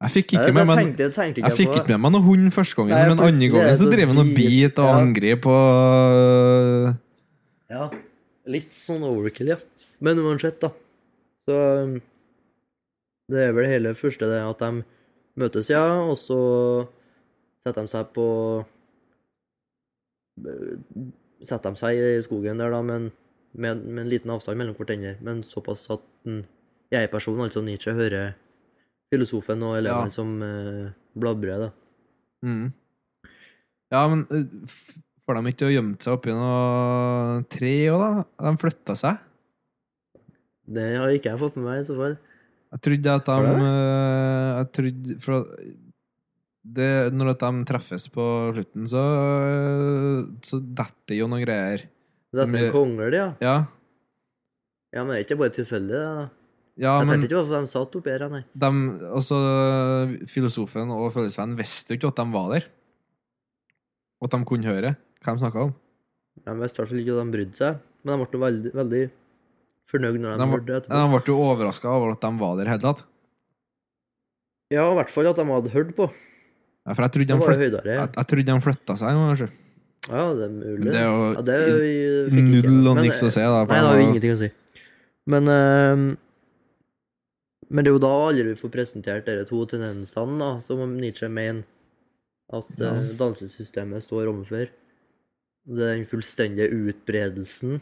Speaker 1: Jeg fikk
Speaker 2: Nei,
Speaker 1: ikke
Speaker 2: det-
Speaker 1: med
Speaker 2: det
Speaker 1: meg
Speaker 2: tenkte, det tenkte
Speaker 1: jeg fikk
Speaker 2: på.
Speaker 1: ikke med meg noe hund første gangen,
Speaker 2: Nei,
Speaker 1: men andre
Speaker 2: plutselig er
Speaker 1: gangen
Speaker 2: det
Speaker 1: så
Speaker 2: så
Speaker 1: drev han og
Speaker 2: bit,
Speaker 1: bit og
Speaker 2: ja.
Speaker 1: angrep øh, og
Speaker 2: Ja, litt sånn overkill, ja. Men uansett, da. Så um, det er vel hele første det at de møtes, ja, og så setter de seg på eh, Setter de seg i skogen der, da, men med, med en liten avstand mellom hverandre. Men såpass at en jeg-person, altså Nietzsche, hører filosofen og
Speaker 1: Ja.
Speaker 2: elevene som eh, blabrer, da.
Speaker 1: Mm. Ja, men eh, f- får de ikke gjemt seg oppi noe tre òg, da? De flytta seg?
Speaker 2: Det har ikke jeg fått med meg, i så fall.
Speaker 1: Jeg trodde at
Speaker 2: Var
Speaker 1: de
Speaker 2: det det?
Speaker 1: eh, Jeg trodde For at det, når at de treffes på slutten, så eh, Så detter jo noen greier.
Speaker 2: Det er
Speaker 1: Men-
Speaker 2: en kongle, ja.
Speaker 1: Ja,
Speaker 2: Ja, men det er ikke bare tilfeldig, det. da.
Speaker 1: ja
Speaker 2: Jeg
Speaker 1: men
Speaker 2: tenkte ikke hvorfor de satt oppi her, nei.
Speaker 1: de, altså, filosofen og følelsesvennen visste jo ikke at de var der. Og at de kunne høre hva de snakka om.
Speaker 2: De visste i hvert fall ikke at de brydde seg, men de ble veldig, veldig fornøyd når
Speaker 1: De
Speaker 2: de,
Speaker 1: var-
Speaker 2: hørte det etterpå.
Speaker 1: De ble jo overraska over at de var der i det hele tatt.
Speaker 2: Ja, i hvert fall at de hadde hørt på.
Speaker 1: Ja, For jeg trodde
Speaker 2: Da
Speaker 1: de
Speaker 2: var det
Speaker 1: flytta
Speaker 2: høydere.
Speaker 1: Jeg, jeg trodde de flytta seg. men kanskje.
Speaker 2: Ja, det er
Speaker 1: Men
Speaker 2: mulig.
Speaker 1: det er jo liksom,
Speaker 2: ja, det er jo- fikk ikke-
Speaker 1: null og
Speaker 2: men- eh,
Speaker 1: niks å si. Da, for
Speaker 2: Nei, det har jo
Speaker 1: de-
Speaker 2: ingenting å si. Men eh, Men det er jo da aldri vi får presentert dere to tendensene, da, som om Nietzsche mener at
Speaker 1: Ja.
Speaker 2: eh, dansesystemet står overfor. Det er den fullstendige utbredelsen.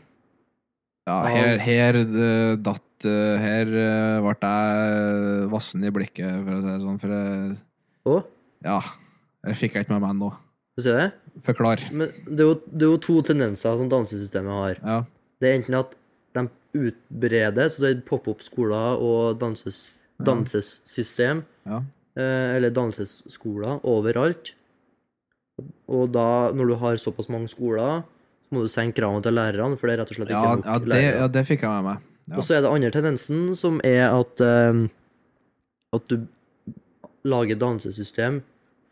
Speaker 1: ja, her, her eh, datt eh, Her eh, ble jeg eh, vassen i blikket, for å si det sånn. For jeg-
Speaker 2: Å,
Speaker 1: ja, det fikk jeg ikke med meg nå.
Speaker 2: får du se det?
Speaker 1: Forklar.
Speaker 2: Men det er, jo, det er jo to tendenser som dansesystemet har.
Speaker 1: Ja.
Speaker 2: Det er enten at de utbreder, så det er pop-opp-skoler og danses,
Speaker 1: Ja.
Speaker 2: dansesystem,
Speaker 1: Ja.
Speaker 2: eh, eller dansesskoler overalt. Og da, når du har såpass mange skoler, så må du senke kravene til lærerne, for det er rett og slett ikke
Speaker 1: Ja,
Speaker 2: nok
Speaker 1: ja, det,
Speaker 2: lærere.
Speaker 1: ja, det fikk jeg med meg. Ja.
Speaker 2: Og så er det andre tendensen, som er at, eh, at du lager dansesystem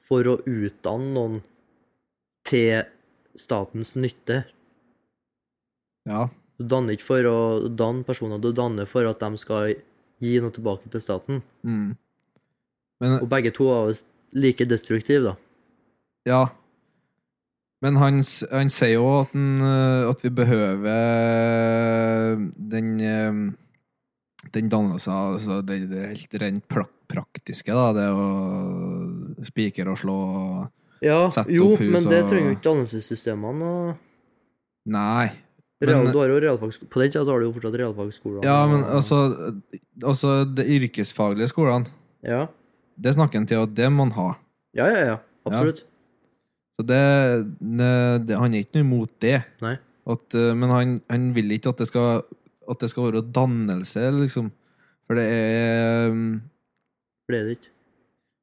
Speaker 2: for å utdanne noen til statens nytte.
Speaker 1: Ja.
Speaker 2: Du danner ikke for å danne personer, du danner for at de skal gi noe tilbake til staten.
Speaker 1: Mm. Men
Speaker 2: Og begge to er jo like destruktive, da.
Speaker 1: Ja. Men han, s- han sier jo at, han, eh, at vi behøver den eh, Den dannelsen, altså det, det helt rent pra- praktiske, da. Det å spikre og slå og
Speaker 2: Ja,
Speaker 1: Sette
Speaker 2: jo,
Speaker 1: opp hus
Speaker 2: men det
Speaker 1: og-
Speaker 2: trenger jo ikke dannelsessystemene og
Speaker 1: Nei.
Speaker 2: Real,
Speaker 1: Men- eh,
Speaker 2: Du har jo realfagsskoler På den tida så har du jo fortsatt realfagsskoler.
Speaker 1: Ja, men
Speaker 2: og-
Speaker 1: altså Altså, de yrkesfaglige skolene,
Speaker 2: Ja,
Speaker 1: det snakker han til at det må han ha.
Speaker 2: ja, ja. ja absolutt.
Speaker 1: Så det, ne- det Han er ikke noe imot det.
Speaker 2: Nei.
Speaker 1: At, eh, men han, han vil ikke at det skal At det skal være dannelse, liksom. For det er mm,
Speaker 2: Ble det ikke.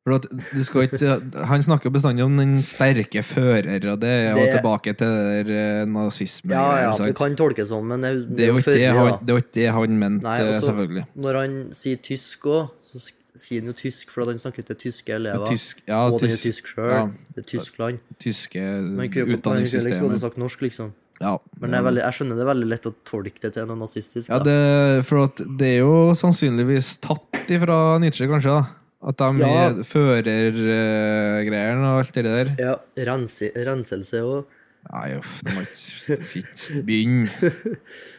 Speaker 1: For at du skal ikke Han snakker bestandig om den sterke fører, og det er jo
Speaker 2: Det-
Speaker 1: tilbake til det der eh, nazisme.
Speaker 2: Ja, ja,
Speaker 1: ikke sant?
Speaker 2: det kan tolkes sånn, men det,
Speaker 1: det er jo ikke det
Speaker 2: førre,
Speaker 1: han,
Speaker 2: da.
Speaker 1: det er jo ikke det han mente,
Speaker 2: Nei, og
Speaker 1: eh,
Speaker 2: så-
Speaker 1: selvfølgelig.
Speaker 2: Når han sier tysk òg, så sk- sier han jo tysk fordi han snakker til tyske elever.
Speaker 1: Tysk, ja,
Speaker 2: og han er
Speaker 1: tysk,
Speaker 2: tysk sjøl.
Speaker 1: ja.
Speaker 2: Det er Tyskland.
Speaker 1: tyske
Speaker 2: Men kunne- man kunne liksom hadde
Speaker 1: utdanningssystemet.
Speaker 2: sagt norsk, liksom.
Speaker 1: Ja,
Speaker 2: Men det er veldig, jeg skjønner det er veldig lett å tolke det til noe nazistisk.
Speaker 1: ja
Speaker 2: da.
Speaker 1: det, for at det er jo sannsynligvis tatt ifra Nietzsche, kanskje. da At de
Speaker 2: Ja.
Speaker 1: er førergreiene og alt det der.
Speaker 2: ja rense, renselse òg.
Speaker 1: Nei, uff, det må ikke ikke begynne.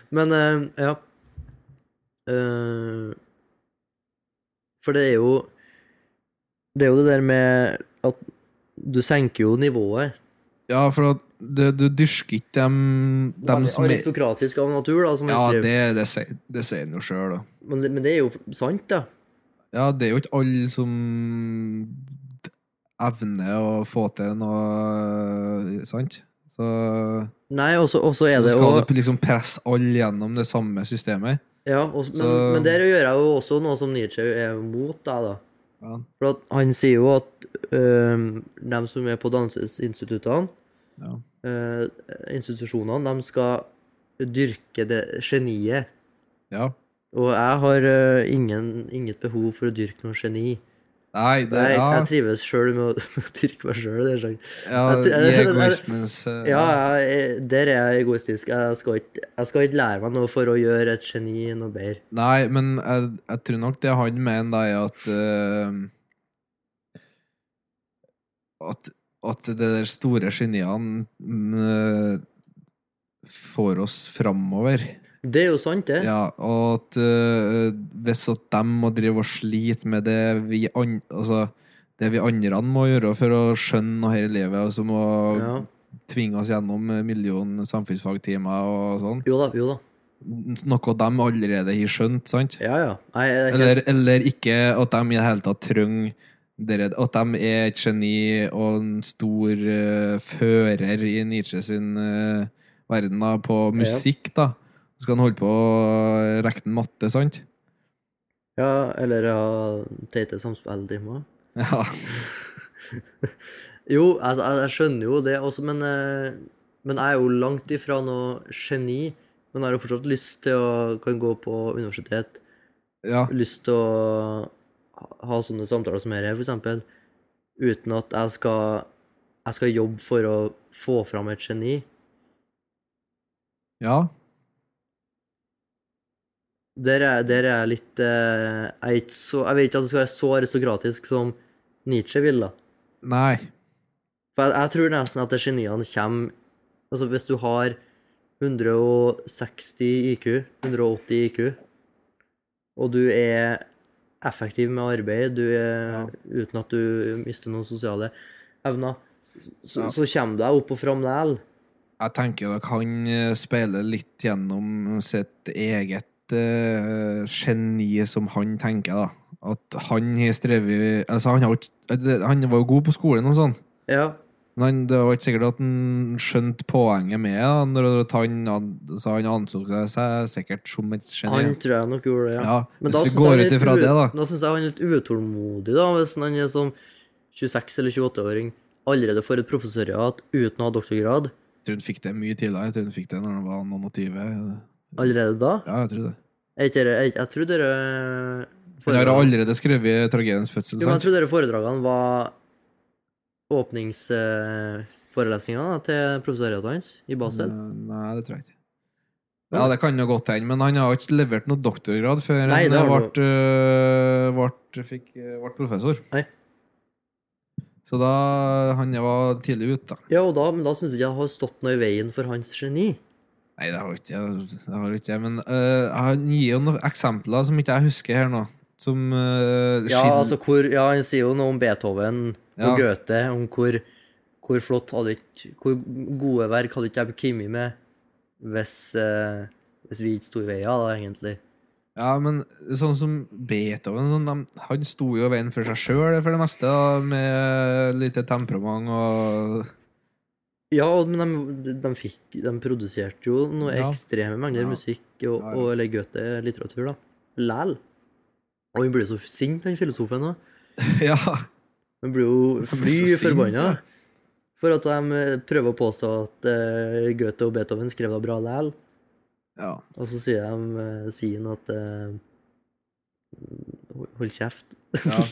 Speaker 2: Men eh, ja Eh, For det er jo Det er jo det der med at du senker jo nivået.
Speaker 1: Ja, for at det, du dyrker ikke dem, dem
Speaker 2: Veldig
Speaker 1: som er
Speaker 2: aristokratisk av natur, da, som han
Speaker 1: Ja,
Speaker 2: skriver.
Speaker 1: det, det, sier, det sier han jo sjøl, da.
Speaker 2: Men, det- men det er jo sant, da.
Speaker 1: Ja, det er jo ikke alle som evner å få til noe, sant? Så,
Speaker 2: Nei, og så og så er
Speaker 1: så
Speaker 2: det
Speaker 1: skal
Speaker 2: jo
Speaker 1: du liksom presse alle gjennom det samme systemet.
Speaker 2: ja, og, men,
Speaker 1: så-
Speaker 2: men der gjør jeg jo også noe som Nietzsche er mot, da. da.
Speaker 1: Ja,
Speaker 2: For at han sier jo at øhm, dem som er på danseinstituttene,
Speaker 1: ja.
Speaker 2: øh, institusjonene, dem skal dyrke det geniet.
Speaker 1: ja.
Speaker 2: eh, Og jeg har øh, ingen, inget behov for å dyrke noe geni.
Speaker 1: Nei, det,
Speaker 2: Jeg,
Speaker 1: ja,
Speaker 2: jeg trives sjøl med å med å dyrke meg sjøl. Sånn.
Speaker 1: ja,
Speaker 2: jeg- jeg-
Speaker 1: i
Speaker 2: jeg-
Speaker 1: egoismens eh,
Speaker 2: Ja, jeg, der er jeg egoistisk. Jeg skal, ikke, jeg skal ikke lære meg noe for å gjøre et geni noe bedre.
Speaker 1: Nei, men jeg, jeg tror nok det han mener, da, er at eh, At, at det der store geniene mm, eh, får oss framover.
Speaker 2: Det er jo sant, det.
Speaker 1: Ja, og at eh, hvis at de må drive og slite med det vi, an, altså, det vi andre må gjøre for å skjønne noe her i livet, og så må
Speaker 2: Ja.
Speaker 1: tvinge oss gjennom en million samfunnsfagtimer og sånn,
Speaker 2: Jo da, jo da.
Speaker 1: noe de allerede har skjønt, sant?
Speaker 2: Ja, ja. Nei, jeg, er helt-
Speaker 1: Eller, eller ikke at de i det hele tatt trenger dere, at de er et geni og en stor eh, fører i Nietzsche sin eh, verden da, på musikk, da. Så skal han holde på å regne matte, sant?
Speaker 2: ja, eller ha teite samspilltimer.
Speaker 1: Ja.
Speaker 2: Jo, altså, jeg, jeg skjønner jo det også, men, eh, men jeg er jo langt ifra noe geni. Men jeg har jo fortsatt lyst til å kan gå på universitet.
Speaker 1: ja.
Speaker 2: Lyst til å ha- ha sånne samtaler som her, for eksempel. Uten at jeg skal, jeg skal jobbe for å få fram et geni.
Speaker 1: Ja.
Speaker 2: Der er, der er jeg litt eh, Jeg er ikke så Jeg vet ikke at det skal være så aristokratisk som Nietzsche vil, da.
Speaker 1: Nei.
Speaker 2: For jeg, jeg tror nesten at det geniene kommer Altså, hvis du har 160 IQ, 180 IQ, og du er effektiv med arbeid, du er, uten at du mister noen sosiale evner, så,
Speaker 1: Ja.
Speaker 2: så kommer du deg opp og fram likevel.
Speaker 1: Jeg tenker dere han eh, speiler litt gjennom sitt eget eh, geni som han tenker, da. At han har strevet Altså, han, har jo ikke- det- han var jo god på skolen og sånn.
Speaker 2: Ja.
Speaker 1: Men han, det var ikke sikkert at han skjønte poenget med det. da, Når at han, an- så han anså seg, seg sikkert som et geni.
Speaker 2: Han tror jeg nok gjorde det, ja.
Speaker 1: ja,
Speaker 2: Men
Speaker 1: hvis vi
Speaker 2: da synes jeg han
Speaker 1: går
Speaker 2: er
Speaker 1: ut
Speaker 2: litt
Speaker 1: ifra
Speaker 2: ut-
Speaker 1: det, da.
Speaker 2: Da syns jeg han er litt utålmodig, da, hvis han er som 26- eller 28-åring allerede får et professorat uten å ha doktorgrad.
Speaker 1: Jeg tror han fikk det mye tidligere. Jeg tror han fikk det når han var noen og tyve.
Speaker 2: Allerede da?
Speaker 1: Ja, jeg tror det.
Speaker 2: Jeg, jeg, jeg, jeg tror dere
Speaker 1: Men jeg har
Speaker 2: foredragene-
Speaker 1: allerede skrevet 'Tragediens fødsel'.
Speaker 2: Jo, men jeg
Speaker 1: sant?
Speaker 2: tror dere foredragene var åpningsforelesningene til professoratet hans i
Speaker 1: Mm.
Speaker 2: Basel.
Speaker 1: Nei, det tror jeg ikke. Ja, det kan jo godt hende, men han har jo ikke levert noe doktorgrad før eh,
Speaker 2: Nei, det
Speaker 1: han
Speaker 2: har
Speaker 1: ble,
Speaker 2: han
Speaker 1: øh, ble, fikk, øh, ble professor.
Speaker 2: Nei.
Speaker 1: Så da Han var tidlig ute, da.
Speaker 2: Ja, og da, men da syns jeg ikke det har stått noe i veien for hans geni.
Speaker 1: Nei, det har jo ikke det har jo ikke jeg. Men øh, han gir jo noen eksempler som ikke jeg husker her nå. Som øh,
Speaker 2: Ja,
Speaker 1: skil-
Speaker 2: altså, hvor, ja, han sier jo noe om Beethoven og
Speaker 1: Ja.
Speaker 2: Goethe, om hvor, hvor flott hadde ikke Hvor gode verk hadde ikke de kommet med hvis, eh, hvis vi ikke sto i veien, da, egentlig.
Speaker 1: Ja, men sånn som Beethoven sånn, de, Han sto jo i veien for seg sjøl for det meste, da, med lite temperament og
Speaker 2: Ja, og- men de, de, fikk, de produserte jo noe
Speaker 1: Ja.
Speaker 2: ekstreme mengder
Speaker 1: Ja.
Speaker 2: musikk
Speaker 1: Ja,
Speaker 2: og,
Speaker 1: ja.
Speaker 2: og eller Goethe-litteratur, da. Læl. Og han blir jo så sint, den filosofen òg.
Speaker 1: Ja.
Speaker 2: Han blir jo
Speaker 1: Han blir
Speaker 2: fly
Speaker 1: så sint,
Speaker 2: forbanna
Speaker 1: ja.
Speaker 2: for at de eh, prøver å påstå at eh, Goethe og Beethoven skrev da bra læl.
Speaker 1: ja.
Speaker 2: Og så sier de, eh, sier han at eh, hold- Hold kjeft.
Speaker 1: Ja.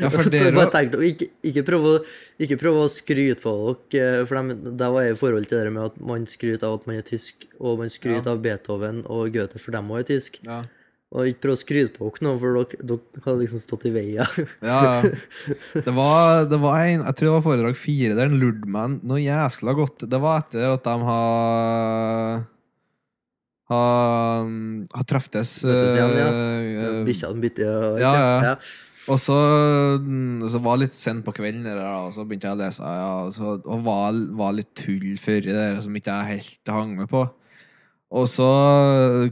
Speaker 1: Ja, for
Speaker 2: Så
Speaker 1: dere-
Speaker 2: bare tenkte, jeg, ikke, ikke, prøv å, ikke prøv å skryte på dere, eh, for dem- det var jeg i forhold til det der med at man skryter av at man er tysk, og man skryter av Beethoven og Goethe, for dem også er tysk.
Speaker 1: ja.
Speaker 2: Og ikke prøv å skryte på dere nå, for dere, dere har liksom stått i veien.
Speaker 1: Ja, ja. det var, det var en, jeg tror det var foredrag fire der han lurte meg noe jæsla godt. Det var etter at de har har ha treftes.
Speaker 2: Møttes igjen, ja.
Speaker 1: eh,
Speaker 2: Bikkja den bitte og
Speaker 1: ja, ja.
Speaker 2: ja.
Speaker 1: Og så, mm, så var det litt sent på kvelden, det der, da, og så begynte jeg å lese. Ja, og, så, og var, var litt tull før i det der, som ikke jeg helt hang med på. Og så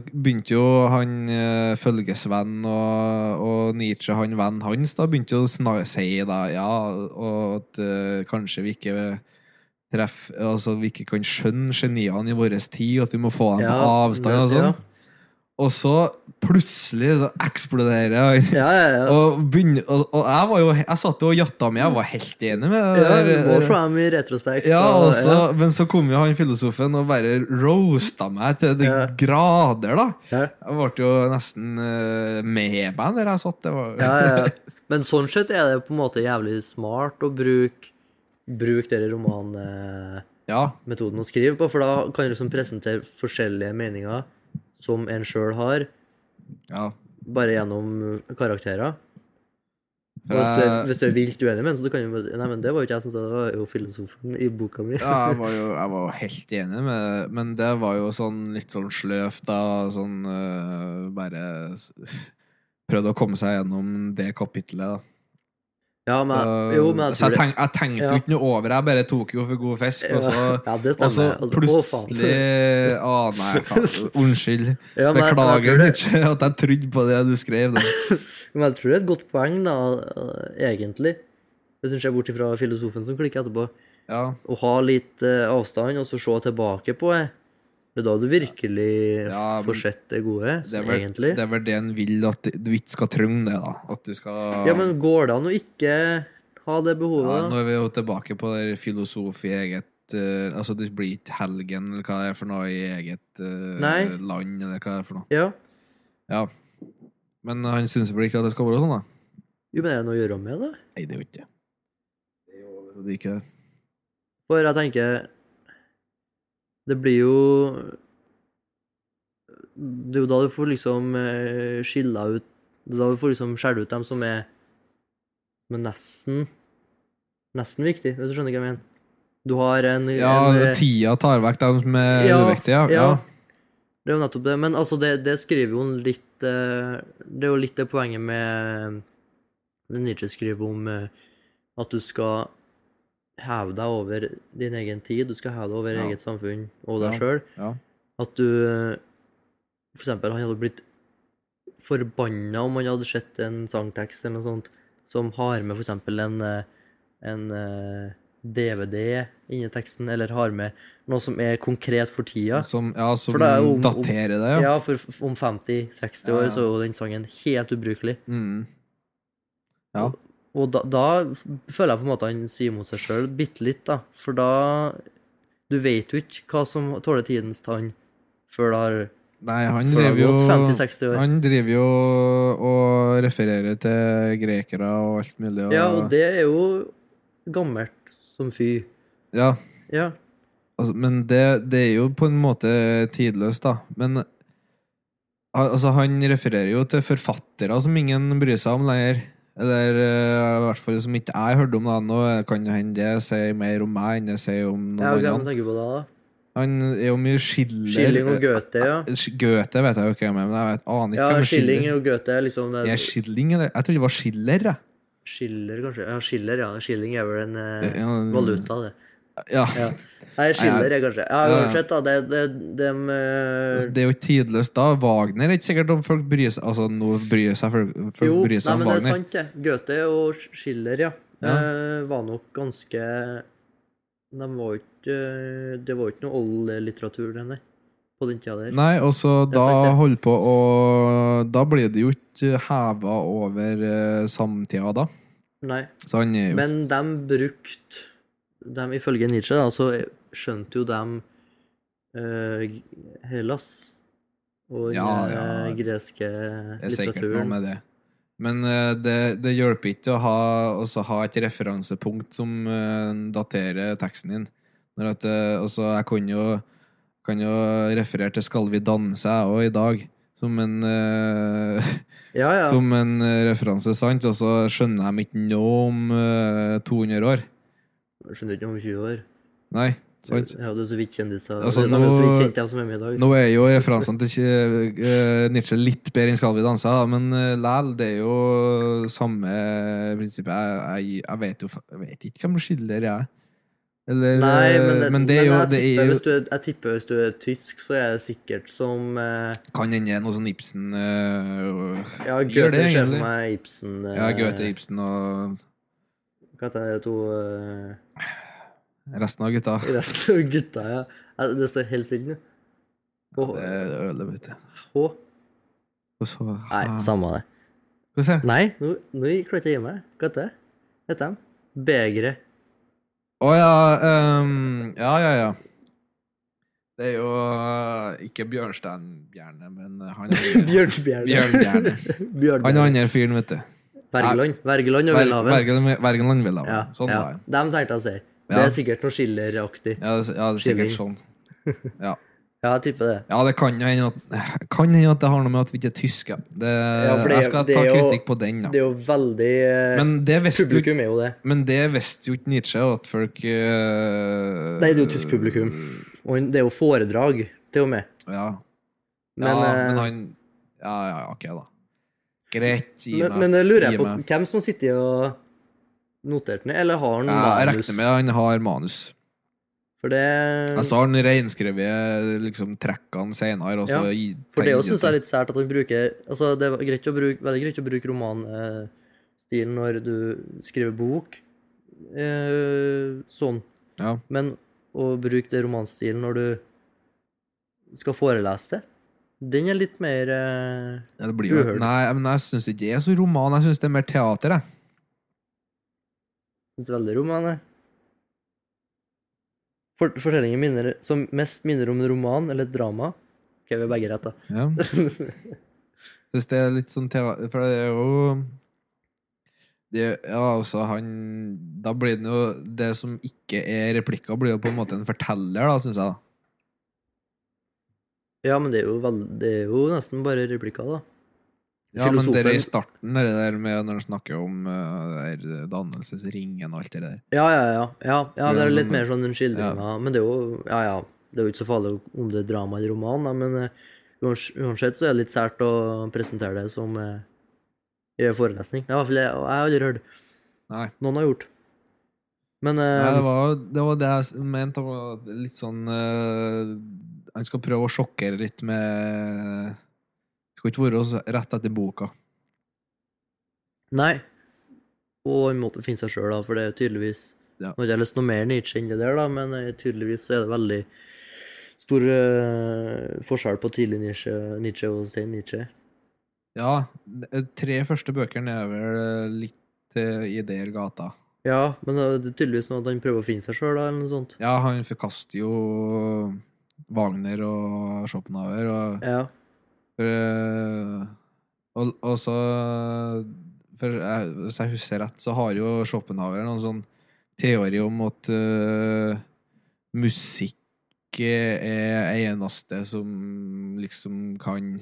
Speaker 1: begynte jo han eh, følgesvenn og, og Nietzsche, han vennen hans, da begynte jo å sna- si da, ja, og at eh, kanskje vi ikke treff, altså vi ikke kan skjønne geniene i vår tid, og at vi må få dem på avstand og
Speaker 2: ja.
Speaker 1: sånn. Og så plutselig så eksploderer han.
Speaker 2: Ja, ja, ja.
Speaker 1: Og, begynne, og, og jeg var jo Jeg satt jo og jatta med, jeg var helt enig med det.
Speaker 2: ja, vi må
Speaker 1: der. eh,
Speaker 2: se dem i retrospekt.
Speaker 1: Ja,
Speaker 2: og-
Speaker 1: og så- Men så kom jo han filosofen og bare roasta meg til de
Speaker 2: Ja.
Speaker 1: grader, da.
Speaker 2: ja.
Speaker 1: Jeg ble jo nesten eh, med meg der jeg satt. Det var,
Speaker 2: Ja, ja. Men sånn sett er det på en måte jævlig smart å bruke bruk denne romanmetoden
Speaker 1: Ja,
Speaker 2: å skrive på, for da kan du liksom presentere forskjellige meninger som en sjøl har,
Speaker 1: ja.
Speaker 2: bare gjennom karakterer. Og
Speaker 1: For
Speaker 2: hvis, du er,
Speaker 1: jeg,
Speaker 2: hvis du er vilt uenig med den, så kan du bare Nei, men det var jo ikke jeg som sa det, det var jo filosofen i boka mi.
Speaker 1: ja, jeg var jo jeg var jo helt enig med det, men det var jo sånn litt sånn sløvt, da. Sånn øh, bare s- Prøvde å komme seg gjennom det kapitlet, da.
Speaker 2: Ja, men,
Speaker 1: Så-
Speaker 2: jo, men jeg
Speaker 1: Eh, så
Speaker 2: tror
Speaker 1: jeg, tenk, jeg
Speaker 2: det
Speaker 1: tenkte jo
Speaker 2: Ja.
Speaker 1: ikke noe over, jeg bare tok jo for god fisk, og så
Speaker 2: Ja, det
Speaker 1: Og så
Speaker 2: stemmer. Altså, å, faen.
Speaker 1: plutselig Å, nei, faen. Unnskyld.
Speaker 2: Ja, men jeg- men jeg tror
Speaker 1: Beklager
Speaker 2: det-
Speaker 1: ikke at jeg trodde på det du skrev. Da.
Speaker 2: Men jeg tror det er et godt poeng, da, eh, egentlig. Hvis en ser bort ifra filosofen som klikker etterpå.
Speaker 1: Ja.
Speaker 2: Å ha litt eh, avstand, og så se tilbake på det. Det er da du virkelig
Speaker 1: Ja, men-
Speaker 2: får sett det gode,
Speaker 1: Det er, vel,
Speaker 2: egentlig.
Speaker 1: det er vel det en vil, at du ikke skal trenge det. da At du skal
Speaker 2: Ja, men går det an å ikke ha det
Speaker 1: Ja,
Speaker 2: behovet,
Speaker 1: Nå
Speaker 2: da?
Speaker 1: er vi jo tilbake på der filosof i eget eh, Altså, det blir ikke helgen, eller hva det er for noe, i eget eh,
Speaker 2: Nei.
Speaker 1: land, eller hva det er for noe.
Speaker 2: Ja.
Speaker 1: Ja. Men han syns vel ikke at det skal være sånn, da?
Speaker 2: Jo, men er det noe å gjøre med det?
Speaker 1: Nei, det er jo ikke det. Det er jo overhodet ikke det.
Speaker 2: For jeg tenker Det blir jo Det er jo da du får liksom eh, skilla ut Det er da du får liksom skjelle ut dem som er Men nesten Nesten viktig, hvis du skjønner hva jeg mener. Du har en,
Speaker 1: Ja,
Speaker 2: en eh,
Speaker 1: tida tar vekk dem som er
Speaker 2: Ja,
Speaker 1: uviktige.
Speaker 2: ja.
Speaker 1: Ja. Ja.
Speaker 2: Det er jo nettopp det. Men altså, det, det skriver jo litt eh, Det er jo litt det poenget med det Nietzsche skriver om eh, at du skal heve deg over din egen tid, du skal heve deg over
Speaker 1: Ja.
Speaker 2: eget samfunn og deg
Speaker 1: Ja,
Speaker 2: sjøl.
Speaker 1: ja.
Speaker 2: At du eh, For eksempel, han hadde blitt forbanna om han hadde sett en sangtekst eller noe sånt som har med for eksempel en, eh, en eh, DVD inni teksten, eller har med noe som er konkret for tida.
Speaker 1: Som, ja, som
Speaker 2: For det er jo om-
Speaker 1: daterer det, ja.
Speaker 2: Ja, for f- om 50-60
Speaker 1: Ja,
Speaker 2: år
Speaker 1: ja.
Speaker 2: så er jo den sangen helt ubrukelig.
Speaker 1: Mm. Ja.
Speaker 2: Og da, da f- føler jeg på en måte han sier mot seg sjøl bitte litt, da. For da Du vet jo ikke hva som tåler tidens tann før det har,
Speaker 1: Nei, han
Speaker 2: før det har
Speaker 1: driver jo
Speaker 2: gått 50-60 år.
Speaker 1: Han driver jo og refererer til grekere og alt mulig. Og,
Speaker 2: Ja, og det er jo gammelt som fy.
Speaker 1: Ja,
Speaker 2: Ja.
Speaker 1: altså, men det, det er jo på en måte tidløst, da. Men al- altså, han refererer jo til forfattere som ingen bryr seg om lenger. Eller eh, i hvert fall som ikke jeg hørte om. da Nå kan jo hende det sier mer om meg enn det sier om noen
Speaker 2: ja ok,
Speaker 1: andre.
Speaker 2: men tenker på det, da.
Speaker 1: Han er jo mye Schiller
Speaker 2: Schilling og Goethe, ja.
Speaker 1: Sch- Goethe vet jeg jo ikke hvem er, men jeg vet, aner ikke
Speaker 2: Ja,
Speaker 1: hvem er
Speaker 2: Schilling
Speaker 1: Schiller.
Speaker 2: og Goethe er liksom det,
Speaker 1: Er Schilling, eller? Jeg trodde det var Schiller, jeg.
Speaker 2: Schiller, kanskje? Ja, Schiller, ja. Schilling er vel en eh,
Speaker 1: Ja, ja.
Speaker 2: valuta, det.
Speaker 1: Ja.
Speaker 2: Ja. Nei, Schiller er kanskje
Speaker 1: Ja,
Speaker 2: Ja,
Speaker 1: ja.
Speaker 2: uansett, da. Det, det, dem, eh,
Speaker 1: Altså, Det er jo ikke tidløst da. Wagner er ikke sikkert om folk bryr seg Altså, nå bryr seg folk, folk
Speaker 2: eh, Jo,
Speaker 1: bryr seg
Speaker 2: nei,
Speaker 1: om
Speaker 2: men det er
Speaker 1: Wagner.
Speaker 2: sant, det. Goethe og Schiller, ja,
Speaker 1: Ja.
Speaker 2: eh, var nok ganske De var jo ikke eh, Det var jo ikke noe oldlitteratur, det, nei, på den tida der.
Speaker 1: Nei, og så
Speaker 2: Det er
Speaker 1: da
Speaker 2: sant, det.
Speaker 1: holder på å Da blir det jo ikke heva over eh, samtida da.
Speaker 2: Nei.
Speaker 1: Så han er jo
Speaker 2: Men de brukte dem Ifølge Nietzsche, da, så skjønte jo dem eh, Hellas og den
Speaker 1: Ja,
Speaker 2: eh,
Speaker 1: ja.
Speaker 2: greske
Speaker 1: Det er sikkert noe
Speaker 2: litteraturen.
Speaker 1: med det. Men eh, det, det hjelper ikke å ha, også ha et referansepunkt som eh, daterer teksten din. Når at, eh, altså, jeg kan jo, kan jo referere til 'Skal vi danse' jeg òg i dag, som en, eh,
Speaker 2: Ja, ja.
Speaker 1: som en eh, referanse, sant? Og så skjønner de ikke noe om eh, 200 år.
Speaker 2: Skjønner ikke om 20 år.
Speaker 1: Nei, sant?
Speaker 2: Ja, det er så vidt kjendiser.
Speaker 1: Altså,
Speaker 2: det er jo så vidt
Speaker 1: nå-
Speaker 2: kjent dem som er med i dag.
Speaker 1: Nå er jo referansene til eh, Nietzsche litt bedre enn 'Skal vi danse', da, men uh, læl, det er jo samme prinsippet. Jeg, jeg, jeg vet jo fa- jeg vet ikke hvem Schiller er. Eller,
Speaker 2: Nei, men det,
Speaker 1: eh, men det er jo,
Speaker 2: jeg,
Speaker 1: det
Speaker 2: tipper,
Speaker 1: er jo
Speaker 2: hvis du er, jeg tipper hvis du er tysk, så er det sikkert som eh,
Speaker 1: Kan hende det er noe sånn Ibsen eh,
Speaker 2: Ja,
Speaker 1: Gjør
Speaker 2: Goethe
Speaker 1: det,
Speaker 2: ser for
Speaker 1: egentlig.
Speaker 2: meg Ibsen eh,
Speaker 1: Ja, Goethe, Ibsen og
Speaker 2: Hva heter de to eh,
Speaker 1: resten av gutta.
Speaker 2: resten av gutta? Ja. Ja, Det står helt stille nå. På
Speaker 1: Det
Speaker 2: H.
Speaker 1: er ølet, vet du.
Speaker 2: H.
Speaker 1: Og så
Speaker 2: Nei, samme det.
Speaker 1: Skal vi se.
Speaker 2: Nei, nå, nå klarte jeg å gi meg. Hva heter det? Heter de? Begeret.
Speaker 1: Å ja, ehm, ja, ja, ja. Det er jo eh, ikke Bjørnstein Bjerne, men han er
Speaker 2: Bjørnbjerne.
Speaker 1: Bjørnbjerne.
Speaker 2: Bjørnbjerne.
Speaker 1: Han andre fyren, vet du.
Speaker 2: Wergeland. Wergeland og
Speaker 1: Ver-
Speaker 2: Welhaven.
Speaker 1: Wergeland Wergeland Welhaven.
Speaker 2: Ja,
Speaker 1: Sånn
Speaker 2: ja.
Speaker 1: var det.
Speaker 2: Dem tenkte jeg å si.
Speaker 1: Ja.
Speaker 2: Det er sikkert noe Schiller-aktig.
Speaker 1: Ja, det, ja, det er sikkert sånn. Ja.
Speaker 2: Ja, jeg tipper det.
Speaker 1: ja, det kan jo hende at, kan hende at det har noe med at vi ikke er tyske. Det,
Speaker 2: for det-
Speaker 1: jeg skal
Speaker 2: det
Speaker 1: ta
Speaker 2: er jo-
Speaker 1: kritikk på den,
Speaker 2: Det
Speaker 1: da.
Speaker 2: er jo veldig eh,
Speaker 1: Men det visste jo
Speaker 2: Publikum er jo det.
Speaker 1: Men det visste jo ikke Nietzsche, at folk eh,
Speaker 2: Nei, det er jo tysk publikum. Og det er jo foredrag, til og med.
Speaker 1: Ja. Men,
Speaker 2: Men,
Speaker 1: ja,
Speaker 2: eh,
Speaker 1: men han Ja, ja, ok, da. Greit, gi
Speaker 2: Men,
Speaker 1: meg.
Speaker 2: men jeg lurer
Speaker 1: gi
Speaker 2: jeg på
Speaker 1: meg.
Speaker 2: hvem som sitter og noterte ned, eller har han
Speaker 1: ja, Jeg
Speaker 2: manus?
Speaker 1: regner
Speaker 2: Mm.
Speaker 1: med Altså, han har manus.
Speaker 2: For det,
Speaker 1: Jeg sa han reinskrevet liksom, trekkene senere. Og så
Speaker 2: Ja,
Speaker 1: gi-
Speaker 2: for det
Speaker 1: tegnet
Speaker 2: også synes jeg
Speaker 1: til.
Speaker 2: er litt sært at han bruker Altså, det er greit å bruke, veldig greit å bruke romanstilen når du skriver bok, eh, sånn,
Speaker 1: ja.
Speaker 2: men å bruke det romanstilen når du skal forelese det, den er litt mer eh,
Speaker 1: Ja, det blir jo
Speaker 2: Uhørt.
Speaker 1: Nei, men jeg syns ikke det er så roman. Jeg syns det er mer teater, jeg.
Speaker 2: synes veldig roman, jeg. Fort- Fortellingen minner, som mest minner om en roman eller et drama. Ok, vi er begge rett, da.
Speaker 1: Ja. Syns det er litt sånn teater For det er jo det, Ja, altså, han Da blir det jo Det som ikke er replikker, blir jo på en måte en forteller, da, syns jeg. da.
Speaker 2: Ja, men det er jo, veld- det er jo nesten bare replikker, da.
Speaker 1: Ja, men det er i
Speaker 2: Filosofen-
Speaker 1: starten, det der med når han snakker om eh, det der dannelsesringen og alt det der.
Speaker 2: Ja, ja, ja. ja, ja
Speaker 1: Det
Speaker 2: det
Speaker 1: er
Speaker 2: er
Speaker 1: jo
Speaker 2: litt
Speaker 1: sånn-
Speaker 2: mer sånn en skildring, ja. men det er jo Ja, ja. Det er jo ikke så farlig om det er drama eller roman, da, men eh, uans- uansett så er det litt sært å presentere det som eh, i en forelesning. Det er i hvert fall det jeg har aldri hørt
Speaker 1: Nei.
Speaker 2: noen har gjort. Men eh,
Speaker 1: Nei, det var, det var det jeg mente. Det var litt sånn eh, Han skal prøve å sjokkere litt med Skal ikke være så rett etter boka.
Speaker 2: Nei. Og han måtte finne seg sjøl, da, for det er tydeligvis
Speaker 1: Ja.
Speaker 2: Nå har ikke jeg lyst noe mer Nietzsche enn det der, da, men eh, tydeligvis så er det veldig stor eh, forskjell på tidlig Nietzsche, Nietzsche og sen Nietzsche.
Speaker 1: Ja, de tre første bøkene er vel eh, litt eh, i der gata.
Speaker 2: Ja, men eh, det er tydeligvis noe at han prøver å finne seg sjøl, da, eller noe sånt.
Speaker 1: Ja, han forkaster jo Wagner og Schopenhauer, og,
Speaker 2: Ja.
Speaker 1: eh, og, og så for jeg, Hvis jeg husker rett, så har jo Schopenhauer noen sånn teori om at eh, musikk er eneste som liksom kan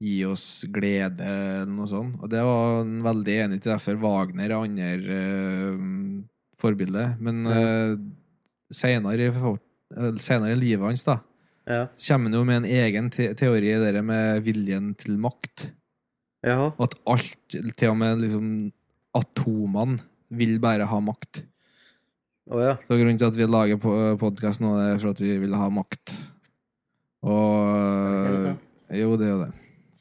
Speaker 1: gi oss glede, eller noe sånt. Og det var han veldig enig til, derfor Wagner er andre uh, forbilde. Men
Speaker 2: Ja.
Speaker 1: eh, senere, i forfol- eller senere i livet hans, da,
Speaker 2: Ja.
Speaker 1: kommer han jo med en egen te teori, det der med viljen til makt.
Speaker 2: Jaha.
Speaker 1: Og at alt, til og med liksom atomene, vil bare ha makt.
Speaker 2: Å ja.
Speaker 1: Så grunnen til at vi lager podkast nå, det er for at vi vil ha makt. Og Jo, det er jo det.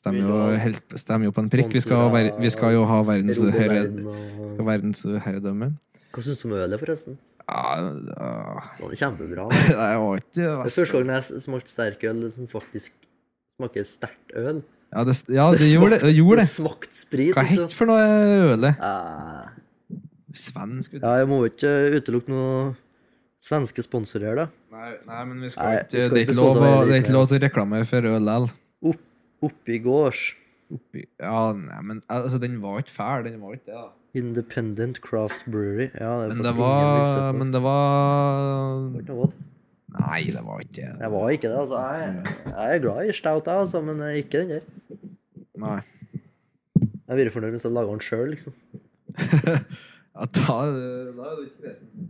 Speaker 1: Stemmer
Speaker 2: Vil du
Speaker 1: jo,
Speaker 2: ha-
Speaker 1: helt, stemmer jo på en prikk. Vi skal, ha ver vi skal jo ha verdens herre-
Speaker 2: Romerverden og-
Speaker 1: verdensherredømme.
Speaker 2: Hva syns du om ølet, forresten?
Speaker 1: Ja, ja.
Speaker 2: Det var kjempebra.
Speaker 1: Nei, jeg var ikke det
Speaker 2: Det er
Speaker 1: verste.
Speaker 2: første gangen jeg smakte sterkøl som faktisk smaker sterkt øl.
Speaker 1: Ja, det, ja, det gjorde det. det, gjorde det.
Speaker 2: smakte sprit.
Speaker 1: Hva
Speaker 2: liksom.
Speaker 1: het for noe ølet?
Speaker 2: Eh,
Speaker 1: Svensk? vet du.
Speaker 2: Ja, jeg må jo ikke eh, utelukke noen svenske sponsorer, da.
Speaker 1: Nei, nei, men vi
Speaker 2: Nei,
Speaker 1: skal
Speaker 2: vi
Speaker 1: ikke
Speaker 2: skal
Speaker 1: Det er
Speaker 2: ikke
Speaker 1: ikke lov å-
Speaker 2: sponse
Speaker 1: det er ikke lov til å
Speaker 2: Henrik
Speaker 1: reklame for øl likevel.
Speaker 2: Opp, oppi gårds.
Speaker 1: Ja, nei, men altså, den var ikke fæl. Den var ikke det, da.
Speaker 2: Independent Craft Brewery. Ja, det er
Speaker 1: Men
Speaker 2: for
Speaker 1: det
Speaker 2: ingen
Speaker 1: var
Speaker 2: virksomhet.
Speaker 1: Men det var
Speaker 2: Det var ikke noe godt.
Speaker 1: Nei, det var ikke det.
Speaker 2: Jeg var ikke det, altså. Jeg, jeg er glad i stout, jeg, altså, men jeg er ikke den der.
Speaker 1: Nei.
Speaker 2: Jeg hadde vært fornøyd hvis jeg laga den sjøl, liksom.
Speaker 1: Ja, da, da er du ikke kresen.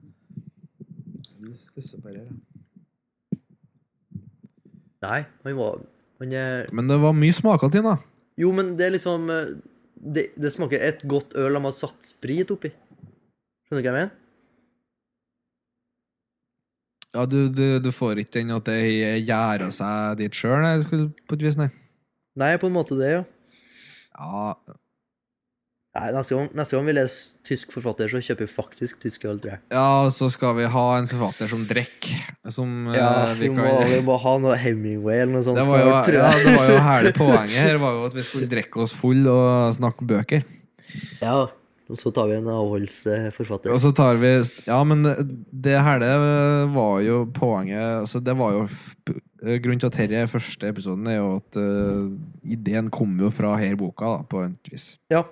Speaker 1: Du stusser bare her, ja.
Speaker 2: Nei, han var Han er
Speaker 1: Men det var mye smaker til den, da.
Speaker 2: Jo, men det er liksom eh, Det, det smaker et godt øl de har satt sprit oppi. Skjønner du hva jeg mener?
Speaker 1: Ja, du, du, du får ikke den at det gjærer seg dit sjøl, nei, skulle- på et vis, nei.
Speaker 2: Nei, på en måte det, ja.
Speaker 1: Ja,
Speaker 2: Nei, neste gang, neste gang vi leser tysk forfatter, så kjøper vi faktisk tysk øl, tror jeg.
Speaker 1: ja så skal vi ha en forfatter som drikker, som eh,
Speaker 2: Ja,
Speaker 1: vi
Speaker 2: vi må,
Speaker 1: kan
Speaker 2: vi må ha noe Hemingway eller noe sånt.
Speaker 1: det var, jo,
Speaker 2: snart, tror
Speaker 1: ja,
Speaker 2: jeg.
Speaker 1: det var jo hele poenget her, var jo at vi skulle drikke oss full og snakke bøker.
Speaker 2: ja. Og så tar vi en eh, avholdsforfatter.
Speaker 1: Og så tar vi Ja, men det her det var jo poenget altså Det var jo f- eh, grunnen til at dette er første episoden, er jo at eh, ideen kom jo fra her boka, da, på et vis.
Speaker 2: Ja.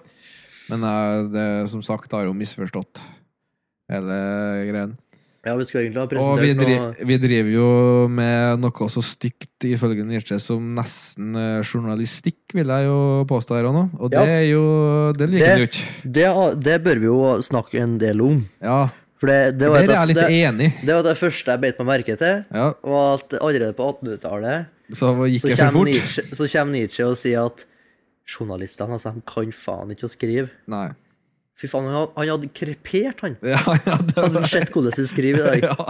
Speaker 1: Men jeg, det, som sagt, har jo misforstått hele greien.
Speaker 2: Ja, vi skulle egentlig ha
Speaker 1: Og vi,
Speaker 2: presentert
Speaker 1: dri
Speaker 2: noe
Speaker 1: vi driver jo med noe så stygt ifølge Nietzsche som nesten eh, journalistikk, vil jeg jo påstå her og nå. Og
Speaker 2: Ja.
Speaker 1: det er jo Det liker
Speaker 2: Det-
Speaker 1: han jo ikke.
Speaker 2: det, det bør vi jo snakke en del om.
Speaker 1: Ja.
Speaker 2: For det, det,
Speaker 1: Der
Speaker 2: var
Speaker 1: er
Speaker 2: et, av-
Speaker 1: jeg litt
Speaker 2: det,
Speaker 1: enig.
Speaker 2: det var det første jeg beit meg merke til,
Speaker 1: Ja,
Speaker 2: var at allerede på 1800-tallet
Speaker 1: så gikk
Speaker 2: så,
Speaker 1: jeg for
Speaker 2: kommer
Speaker 1: fort.
Speaker 2: Nietzsche- så kommer Nietzsche og sier at journalistene altså, de kan faen ikke å skrive.
Speaker 1: Nei.
Speaker 2: Fy faen, han, had- han hadde krepert, han.
Speaker 1: Ja, ja, det
Speaker 2: Altså,
Speaker 1: var
Speaker 2: Sett hvordan de skriver i dag.
Speaker 1: ja.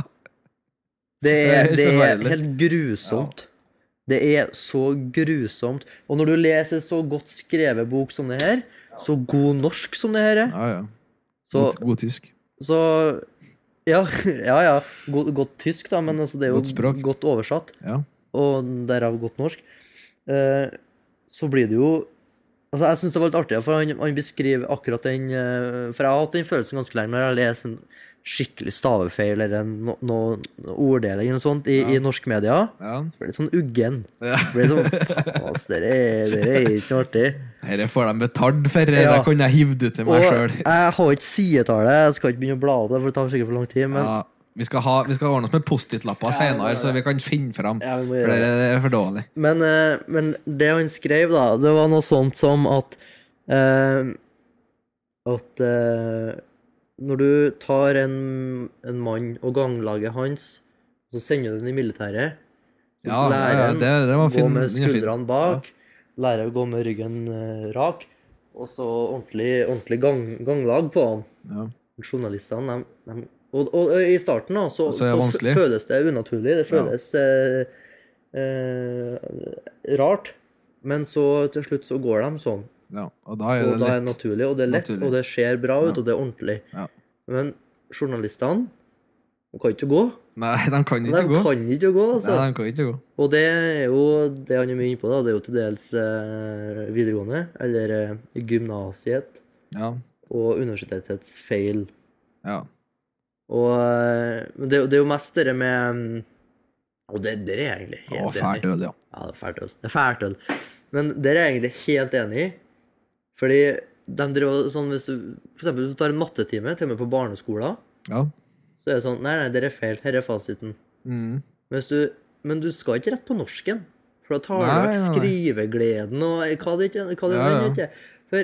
Speaker 2: Det er,
Speaker 1: Det
Speaker 2: det
Speaker 1: er
Speaker 2: er
Speaker 1: forferdelig.
Speaker 2: helt grusomt. Det er så grusomt. Og når du leser så godt skrevet bok som det her, så god norsk som det her er,
Speaker 1: ja, ja.
Speaker 2: så,
Speaker 1: God, god tysk.
Speaker 2: så Ja, ja. ja. Godt, godt tysk, da, men altså, det er jo
Speaker 1: Godt språk.
Speaker 2: godt oversatt.
Speaker 1: Ja.
Speaker 2: og derav godt norsk, eh, så blir det jo Altså, jeg syns det var litt artig, for han, han beskriver akkurat den eh, For jeg har hatt den følelsen ganske lenge når jeg leser en skikkelig stavefeil eller en no, no, orddeling eller noe sånt i, i norsk media.
Speaker 1: Ja.
Speaker 2: Så blir det sånn uggen.
Speaker 1: Ja.
Speaker 2: Det Blir sånn Faen, ass, det er, det er ikke noe artig.
Speaker 1: Dette får de betalt for, det
Speaker 2: Ja.
Speaker 1: kan jeg hive det ut til
Speaker 2: Og
Speaker 1: meg sjøl.
Speaker 2: jeg har ikke sidetallet, jeg skal ikke begynne å bla opp det, for det tar sikkert for lang tid, men
Speaker 1: Ja, vi, skal ha- vi skal ordne oss med Post-It-lapper
Speaker 2: Ja, det må
Speaker 1: senere,
Speaker 2: vi
Speaker 1: så vi kan finne fram.
Speaker 2: Ja, vi må
Speaker 1: For
Speaker 2: gjøre
Speaker 1: det er for dårlig.
Speaker 2: Men, eh, men det han skrev, da, det var noe sånt som at eh, At eh, når du tar en, en mann og ganglaget hans, så sender du den i militæret så
Speaker 1: Ja, ja, ja,
Speaker 2: han
Speaker 1: det, det var
Speaker 2: å gå
Speaker 1: fin.
Speaker 2: med
Speaker 1: den er fin.
Speaker 2: skuldrene bak, lærer å gå med ryggen eh, rak, og så ordentlig, ordentlig gang, ganglag på han.
Speaker 1: Ja.
Speaker 2: Journalistene, de, de og, og, og i starten, da, så,
Speaker 1: Så
Speaker 2: så,
Speaker 1: er det
Speaker 2: fø-
Speaker 1: vanskelig.
Speaker 2: føles det unaturlig. Det føles eh, eh, rart. Men så til slutt så går de sånn.
Speaker 1: Ja, og da er
Speaker 2: Og da
Speaker 1: det
Speaker 2: er det
Speaker 1: lett.
Speaker 2: naturlig, og det er lett,
Speaker 1: Naturlig.
Speaker 2: og det ser bra ut,
Speaker 1: Ja.
Speaker 2: og det er ordentlig.
Speaker 1: Ja.
Speaker 2: Men journalistene de kan ikke gå.
Speaker 1: Nei, de kan
Speaker 2: De
Speaker 1: ikke gå.
Speaker 2: kan ikke gå, altså.
Speaker 1: Nei, de kan ikke gå.
Speaker 2: Og det er jo det han er mye inne på, da. Det er jo til dels eh, videregående, eller eh, gymnasiet,
Speaker 1: Ja.
Speaker 2: og universitetets feil.
Speaker 1: ja.
Speaker 2: Og eh, men det, er jo- det er jo mest det med mm, Og det, det er jeg egentlig
Speaker 1: Og
Speaker 2: helt
Speaker 1: fælt
Speaker 2: enig i.
Speaker 1: øl, ja.
Speaker 2: Ja, det er fælt øl. Det er fælt øl. Men det er jeg egentlig helt enig i. Fordi de driver sånn hvis du For eksempel hvis du tar en mattetime, til og med på barneskolen,
Speaker 1: ja.
Speaker 2: så er det sånn Nei, nei, det er feil. Her er fasiten.
Speaker 1: Mm.
Speaker 2: Men Hvis du, men du skal ikke rett på norsken. For da tar du
Speaker 1: Nei,
Speaker 2: vekk
Speaker 1: nei, nei.
Speaker 2: skrivegleden og hva det ikke hva det
Speaker 1: Ja, ja.
Speaker 2: ikke. For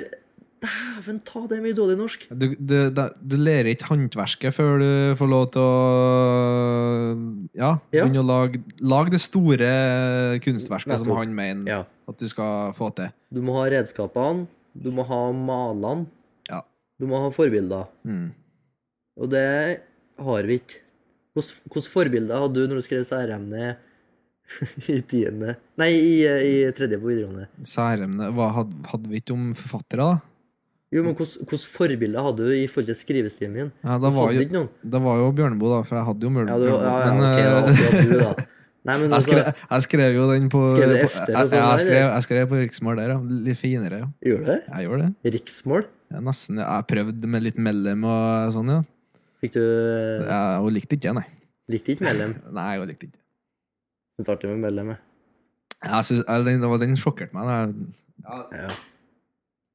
Speaker 2: dæven ta, det er mye dårlig norsk.
Speaker 1: Du, du, da- du lærer ikke håndverket før du får lov til å Ja,
Speaker 2: Ja.
Speaker 1: begynne å lage, lage det store kunstverket som
Speaker 2: Nettopp.
Speaker 1: han mener
Speaker 2: Ja.
Speaker 1: at du skal få til.
Speaker 2: Du må ha redskapene, du må ha malene,
Speaker 1: Ja.
Speaker 2: du må ha forbilder.
Speaker 1: Mm.
Speaker 2: Og det har vi ikke. Hvordan hvordan forbilder hadde du når du skrev særemne i tiende Nei, i, i tredje på videregående.
Speaker 1: Særemne hva, had, Hadde vi ikke om forfattere, da?
Speaker 2: Jo, men hvordan hvordan forbilder hadde du i forhold til skrivestilen din?
Speaker 1: Ja, da, var
Speaker 2: hadde
Speaker 1: jo,
Speaker 2: ikke noen.
Speaker 1: da var jo Bjørneboe, da, for jeg hadde jo Mjøl-
Speaker 2: Ja, du, ja,
Speaker 1: Bjørneboe.
Speaker 2: ja,
Speaker 1: men,
Speaker 2: ok, det var
Speaker 1: eh,
Speaker 2: akkurat du, da. Nei, men
Speaker 1: jeg,
Speaker 2: altså,
Speaker 1: skrev, jeg skrev jo den på
Speaker 2: Skrev du
Speaker 1: på-
Speaker 2: efter og
Speaker 1: jeg,
Speaker 2: sånn
Speaker 1: jeg,
Speaker 2: der,
Speaker 1: skrev,
Speaker 2: eller?
Speaker 1: jeg skrev på riksmål der, ja. Litt finere, ja.
Speaker 2: gjør du det?
Speaker 1: Jeg gjorde det.
Speaker 2: Riksmål?
Speaker 1: Jeg nesten Jeg prøvde med litt mellom og sånn, ja.
Speaker 2: Fikk du
Speaker 1: Jeg, hun likte ikke det, nei.
Speaker 2: Likte ikke mellom?
Speaker 1: Nei, hun likte ikke
Speaker 2: Syns det er artig med mellom. jeg.
Speaker 1: Jeg synes, eller, den, det var- den sjokkerte meg. da.
Speaker 2: Ja.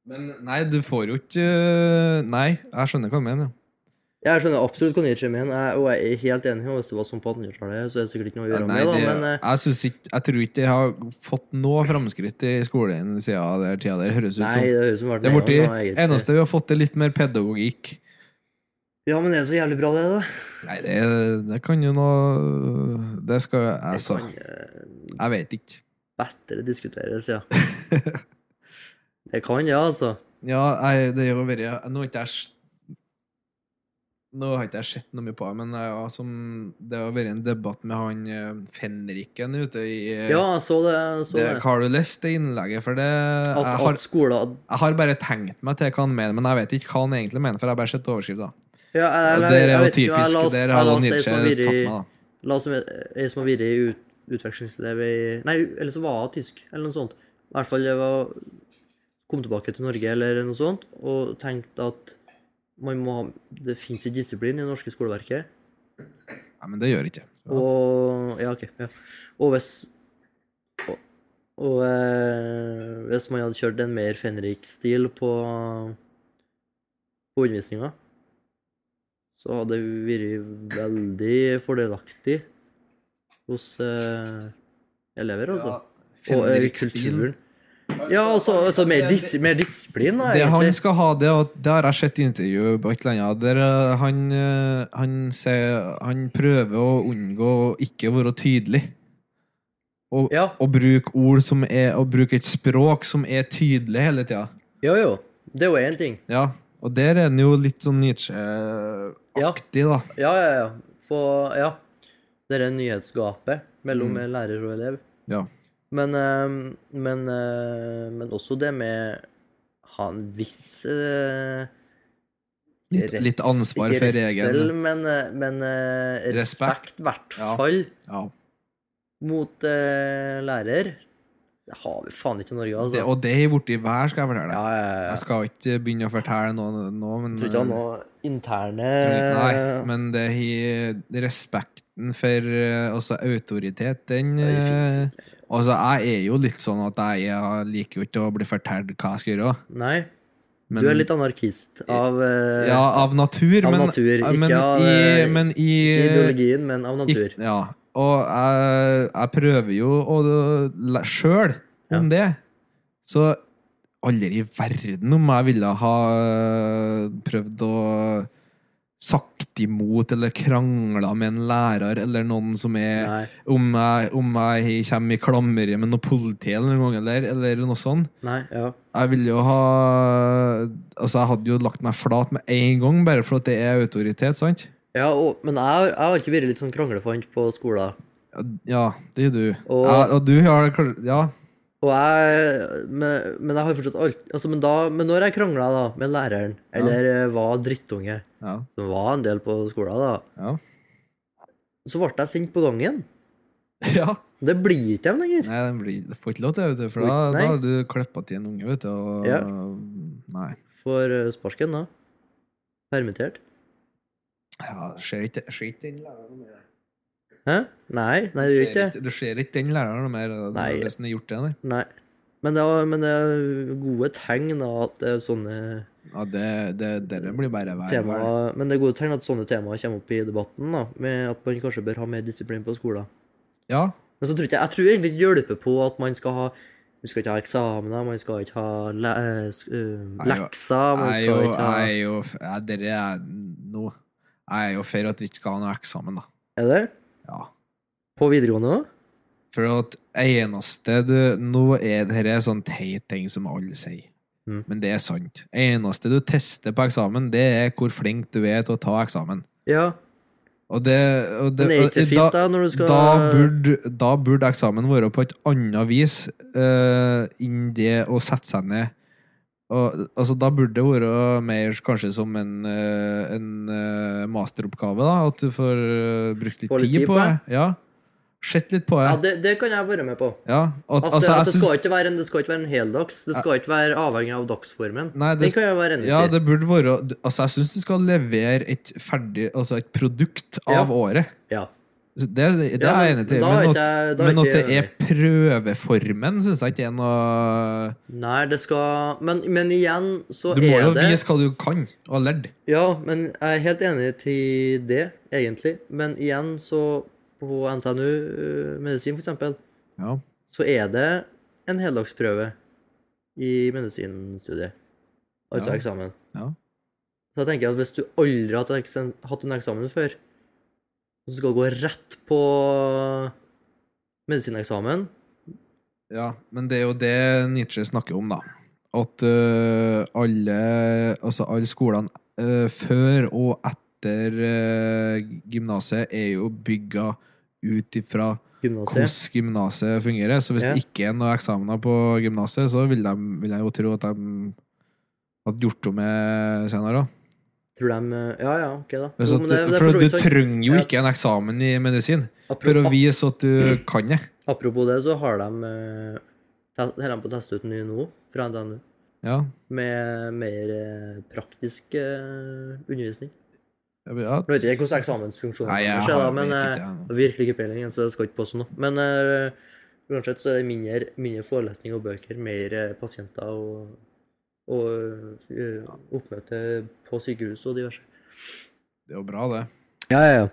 Speaker 1: Men nei, du får jo ikke Nei, jeg skjønner hva du mener. ja.
Speaker 2: Jeg skjønner absolutt hva Nietzsche mener, jeg- og jeg er helt enig. og Hvis det var sånn på 1800-tallet, så er det sikkert ikke noe å gjøre
Speaker 1: Nei,
Speaker 2: med,
Speaker 1: det,
Speaker 2: da, men eh,
Speaker 1: jeg, synes ikke, jeg tror ikke de har fått noe framskritt i skolen siden den tida der. Høres ut
Speaker 2: Nei,
Speaker 1: som
Speaker 2: det høres ut som
Speaker 1: sånn. det er borti,
Speaker 2: nedgang, da, egentlig.
Speaker 1: eneste vi har fått til litt mer pedagogikk.
Speaker 2: Ja, men det er så jævlig bra, det, da.
Speaker 1: Nei, det, det kan jo noe Det skal jo jeg sa.
Speaker 2: Det kan eh,
Speaker 1: Jeg vet ikke.
Speaker 2: bedre diskuteres, ja. Det kan, ja, altså.
Speaker 1: Ja, nei, det har jo vært Nå har ikke jeg s- Nå har ikke jeg sett noe mye på det, men ja, som, det har vært en debatt med han eh, fenriken ute i eh,
Speaker 2: Ja, jeg så det. jeg Så
Speaker 1: det,
Speaker 2: det.
Speaker 1: Har du lest det innlegget? For det
Speaker 2: At,
Speaker 1: jeg har,
Speaker 2: at skoler
Speaker 1: jeg har bare tenkt meg til hva han mener, men jeg vet ikke hva han egentlig mener, for jeg har bare sett overskrifta.
Speaker 2: ja, jeg, jeg,
Speaker 1: Der
Speaker 2: jeg,
Speaker 1: er jo
Speaker 2: vet ikke, jeg
Speaker 1: typisk
Speaker 2: las-
Speaker 1: Der
Speaker 2: jeg
Speaker 1: har
Speaker 2: las ei
Speaker 1: Nietzsche
Speaker 2: som har vært
Speaker 1: tatt
Speaker 2: i-
Speaker 1: meg, da.
Speaker 2: La oss ei som har vært i ut, utvekslingselev i Nei, eller som var tysk, eller noe sånt. I hvert fall det var Kom tilbake til Norge eller noe sånt og tenkte at man må ha Det fins ikke disiplin i det norske skoleverket.
Speaker 1: Nei, men det gjør ikke
Speaker 2: Og Ja, OK. Ja. Og hvis Og, og eh, hvis man hadde kjørt en mer Fenrik-stil på, på undervisninga, så hadde det vært veldig fordelaktig hos eh, elever, altså. og eh, kulturen. Ja, altså, altså mer, dis mer disiplin, da,
Speaker 1: Det han
Speaker 2: egentlig.
Speaker 1: skal ha, det, og det har jeg sett i intervju på et eller annet, der eh, han, eh, han, sier- han prøver å unngå å ikke være tydelig. Og,
Speaker 2: Ja.
Speaker 1: og bruke ord som er Og bruke et språk som er tydelig hele tida.
Speaker 2: Jo, jo. Det er jo én ting.
Speaker 1: Ja. Og der er han jo litt sånn Nietzsche-aktig, da.
Speaker 2: Ja, ja, ja. For, ja. Det er nyhetsgapet mellom lærer og elev.
Speaker 1: Ja.
Speaker 2: Men, eh, men, eh, men også det med ha en viss eh,
Speaker 1: Litt,
Speaker 2: rets-
Speaker 1: litt ansvar
Speaker 2: ikke
Speaker 1: for
Speaker 2: redsel,
Speaker 1: egen
Speaker 2: Men, eh, men eh, respekt,
Speaker 1: Respekt.
Speaker 2: i hvert
Speaker 1: Ja.
Speaker 2: fall,
Speaker 1: ja.
Speaker 2: mot eh, lærer. Det har vi faen ikke i Norge,
Speaker 1: det,
Speaker 2: altså.
Speaker 1: Og det har borti hver, skal jeg fortelle deg.
Speaker 2: ja, ja, ja.
Speaker 1: Jeg
Speaker 2: Jeg
Speaker 1: skal ikke begynne å fortelle noe nå, men
Speaker 2: tror ikke han har interne
Speaker 1: Nei, men det har respekten for eh, altså autoritet, den
Speaker 2: Ja, det
Speaker 1: eh,
Speaker 2: finnes ikke.
Speaker 1: Altså, jeg er jo litt sånn at jeg, jeg liker jo ikke å bli fortalt hva jeg skal gjøre.
Speaker 2: Nei,
Speaker 1: Men,
Speaker 2: du er litt anarkist av eh,
Speaker 1: Ja, av natur,
Speaker 2: Av
Speaker 1: men,
Speaker 2: natur,
Speaker 1: eh,
Speaker 2: ikke
Speaker 1: men,
Speaker 2: av, eh,
Speaker 1: i, men i
Speaker 2: ideologien, men av natur.
Speaker 1: ikk- ja. Og jeg, jeg prøver jo å læ- sjøl om det. Så aldri i verden om jeg ville ha eh, prøvd å sagt imot eller krangla med en lærer eller noen som er
Speaker 2: Nei.
Speaker 1: om jeg, om jeg kommer i klammer med noe politi eller noen gang, eller, eller noe sånt.
Speaker 2: Nei, ja.
Speaker 1: Jeg ville jo ha Altså, jeg hadde jo lagt meg flat med en gang, bare for at det er autoritet, sant?
Speaker 2: ja og, men jeg, jeg har alltid vært litt sånn kranglefant på skolen.
Speaker 1: Ja, det gjør du.
Speaker 2: Og-
Speaker 1: ja, og du har kl- Ja.
Speaker 2: Og jeg, men, men jeg har fortsatt alt altså, men, da, men når jeg krangla da, med læreren, eller eh, var drittunge,
Speaker 1: Ja.
Speaker 2: som var en del på skolen, da,
Speaker 1: Ja.
Speaker 2: så ble jeg sint på gangen.
Speaker 1: ja.
Speaker 2: Det blir ikke de lenger.
Speaker 1: Nei, den blir, det får ikke lov til, vet du, for da,
Speaker 2: Nei.
Speaker 1: da har du klippa til en unge, vet du, og
Speaker 2: Ja.
Speaker 1: Nei.
Speaker 2: For eh, sparken, da. Permittert.
Speaker 1: Ja, du ser ikke, ser ikke den læreren noe mer.
Speaker 2: Hæ? Nei, nei, det
Speaker 1: Du
Speaker 2: gjør
Speaker 1: ser
Speaker 2: ikke det.
Speaker 1: ikke- Du ser ikke den læreren noe mer
Speaker 2: Nei.
Speaker 1: hvis den har gjort det, nei.
Speaker 2: Nei. Men det, er, men det er gode tegn da, at det er sånne
Speaker 1: Ja, det, det, det blir bare verre.
Speaker 2: tema, men det er gode tegn at sånne temaer kommer opp i debatten, da, med at man kanskje bør ha mer disiplin på skolen.
Speaker 1: Ja.
Speaker 2: Men så tror jeg ikke, jeg tror egentlig det hjelper på at man skal ha man skal ikke ha eksamener, man skal ikke ha le, eh, sk- eh,
Speaker 1: Nei, jo.
Speaker 2: lekser man
Speaker 1: Jeg er
Speaker 2: skal
Speaker 1: jo,
Speaker 2: ikke ha,
Speaker 1: jeg er jo jeg, dere er nå Jeg er jo for at vi ikke skal ha noe eksamen, da.
Speaker 2: Er det?
Speaker 1: Ja.
Speaker 2: På videregående òg?
Speaker 1: For at eneste du Nå er dette en sånn teit ting som alle sier.
Speaker 2: Mm.
Speaker 1: Men det er sant. Eneste du tester på eksamen, det er hvor flink du er til å ta eksamen.
Speaker 2: Ja.
Speaker 1: Og det, og det
Speaker 2: Men er ikke det
Speaker 1: og
Speaker 2: fint, da, når du skal
Speaker 1: da burde, da burde eksamen være på et annet vis eh, enn det å sette seg ned. Og, altså, da burde det være mer kanskje som en, eh, en eh, masteroppgave, da. At du får eh, brukt litt,
Speaker 2: Får litt
Speaker 1: tid på det.
Speaker 2: det.
Speaker 1: Ja. Sett litt på det.
Speaker 2: Ja,
Speaker 1: Ja,
Speaker 2: det, det kan jeg være med på.
Speaker 1: At,
Speaker 2: At,
Speaker 1: altså,
Speaker 2: at det,
Speaker 1: jeg syns
Speaker 2: skal ikke være en, det skal ikke være en heldags. Det skal ikke være avhengig av dagsformen.
Speaker 1: Nei,
Speaker 2: det
Speaker 1: det,
Speaker 2: kan jeg være enig
Speaker 1: ja,
Speaker 2: i.
Speaker 1: det burde være Altså, jeg syns du skal levere et ferdig Altså et produkt
Speaker 2: Ja.
Speaker 1: av året.
Speaker 2: Ja.
Speaker 1: Så Det, det
Speaker 2: Ja,
Speaker 1: er jeg
Speaker 2: men
Speaker 1: enig til.
Speaker 2: da er
Speaker 1: Men,
Speaker 2: ikke jeg-
Speaker 1: at,
Speaker 2: da er
Speaker 1: men E.
Speaker 2: ikke
Speaker 1: at det
Speaker 2: jeg
Speaker 1: er prøveformen, syns jeg ikke er noe
Speaker 2: Nei, det skal Men, men igjen så
Speaker 1: Du må
Speaker 2: er
Speaker 1: jo
Speaker 2: det
Speaker 1: vise hva du kan og har lært.
Speaker 2: Ja, men jeg er helt enig til det, egentlig. Men igjen, så på NTNU eh, medisin, for eksempel,
Speaker 1: Ja.
Speaker 2: så er det en heldagsprøve i medisinstudiet. Altså
Speaker 1: Ja.
Speaker 2: eksamen.
Speaker 1: Ja.
Speaker 2: Så jeg tenker at hvis du aldri har hatt en eksen- hatt en eksamen før, og så skal gå rett på medisineksamen
Speaker 1: Men det er jo det Nietzsche snakker om, da. At øh, alle Altså alle skolene øh, før og etter øh, gymnaset er jo bygga ut ifra hvordan
Speaker 2: gymnaset
Speaker 1: gymnaset fungerer. Så hvis
Speaker 2: Ja.
Speaker 1: det ikke er noen eksamener på gymnaset, så vil, de, vil jeg jo tro at de hadde gjort om det senere òg.
Speaker 2: Tror de eh, Ja, ja, OK, da. Jo, men det- det er for
Speaker 1: For
Speaker 2: så
Speaker 1: du
Speaker 2: vidt sant.
Speaker 1: trenger jo
Speaker 2: Ja.
Speaker 1: ikke en eksamen i medisin for
Speaker 2: Apro-
Speaker 1: å vise at du kan det.
Speaker 2: Apropos det, så har de eh, te- holder de på å teste ut en ny nå, fra NTNU,
Speaker 1: Ja.
Speaker 2: med mer eh, praktisk eh, undervisning.
Speaker 1: Jeg blir- ja,
Speaker 2: Jeg vet ikke hvordan eksamensfunksjonen
Speaker 1: Nei, jeg
Speaker 2: er, da,
Speaker 1: har-
Speaker 2: men
Speaker 1: vet
Speaker 2: eh,
Speaker 1: ikke, jeg.
Speaker 2: jeg har virkelig ikke peiling, så det skal ikke påstå noe. Men eh, uansett så er det mindre, mindre forelesning og bøker, mer eh, pasienter og, og eh, oppmøte på sykehus og diverse.
Speaker 1: Det er jo bra, det.
Speaker 2: Ja, ja, ja.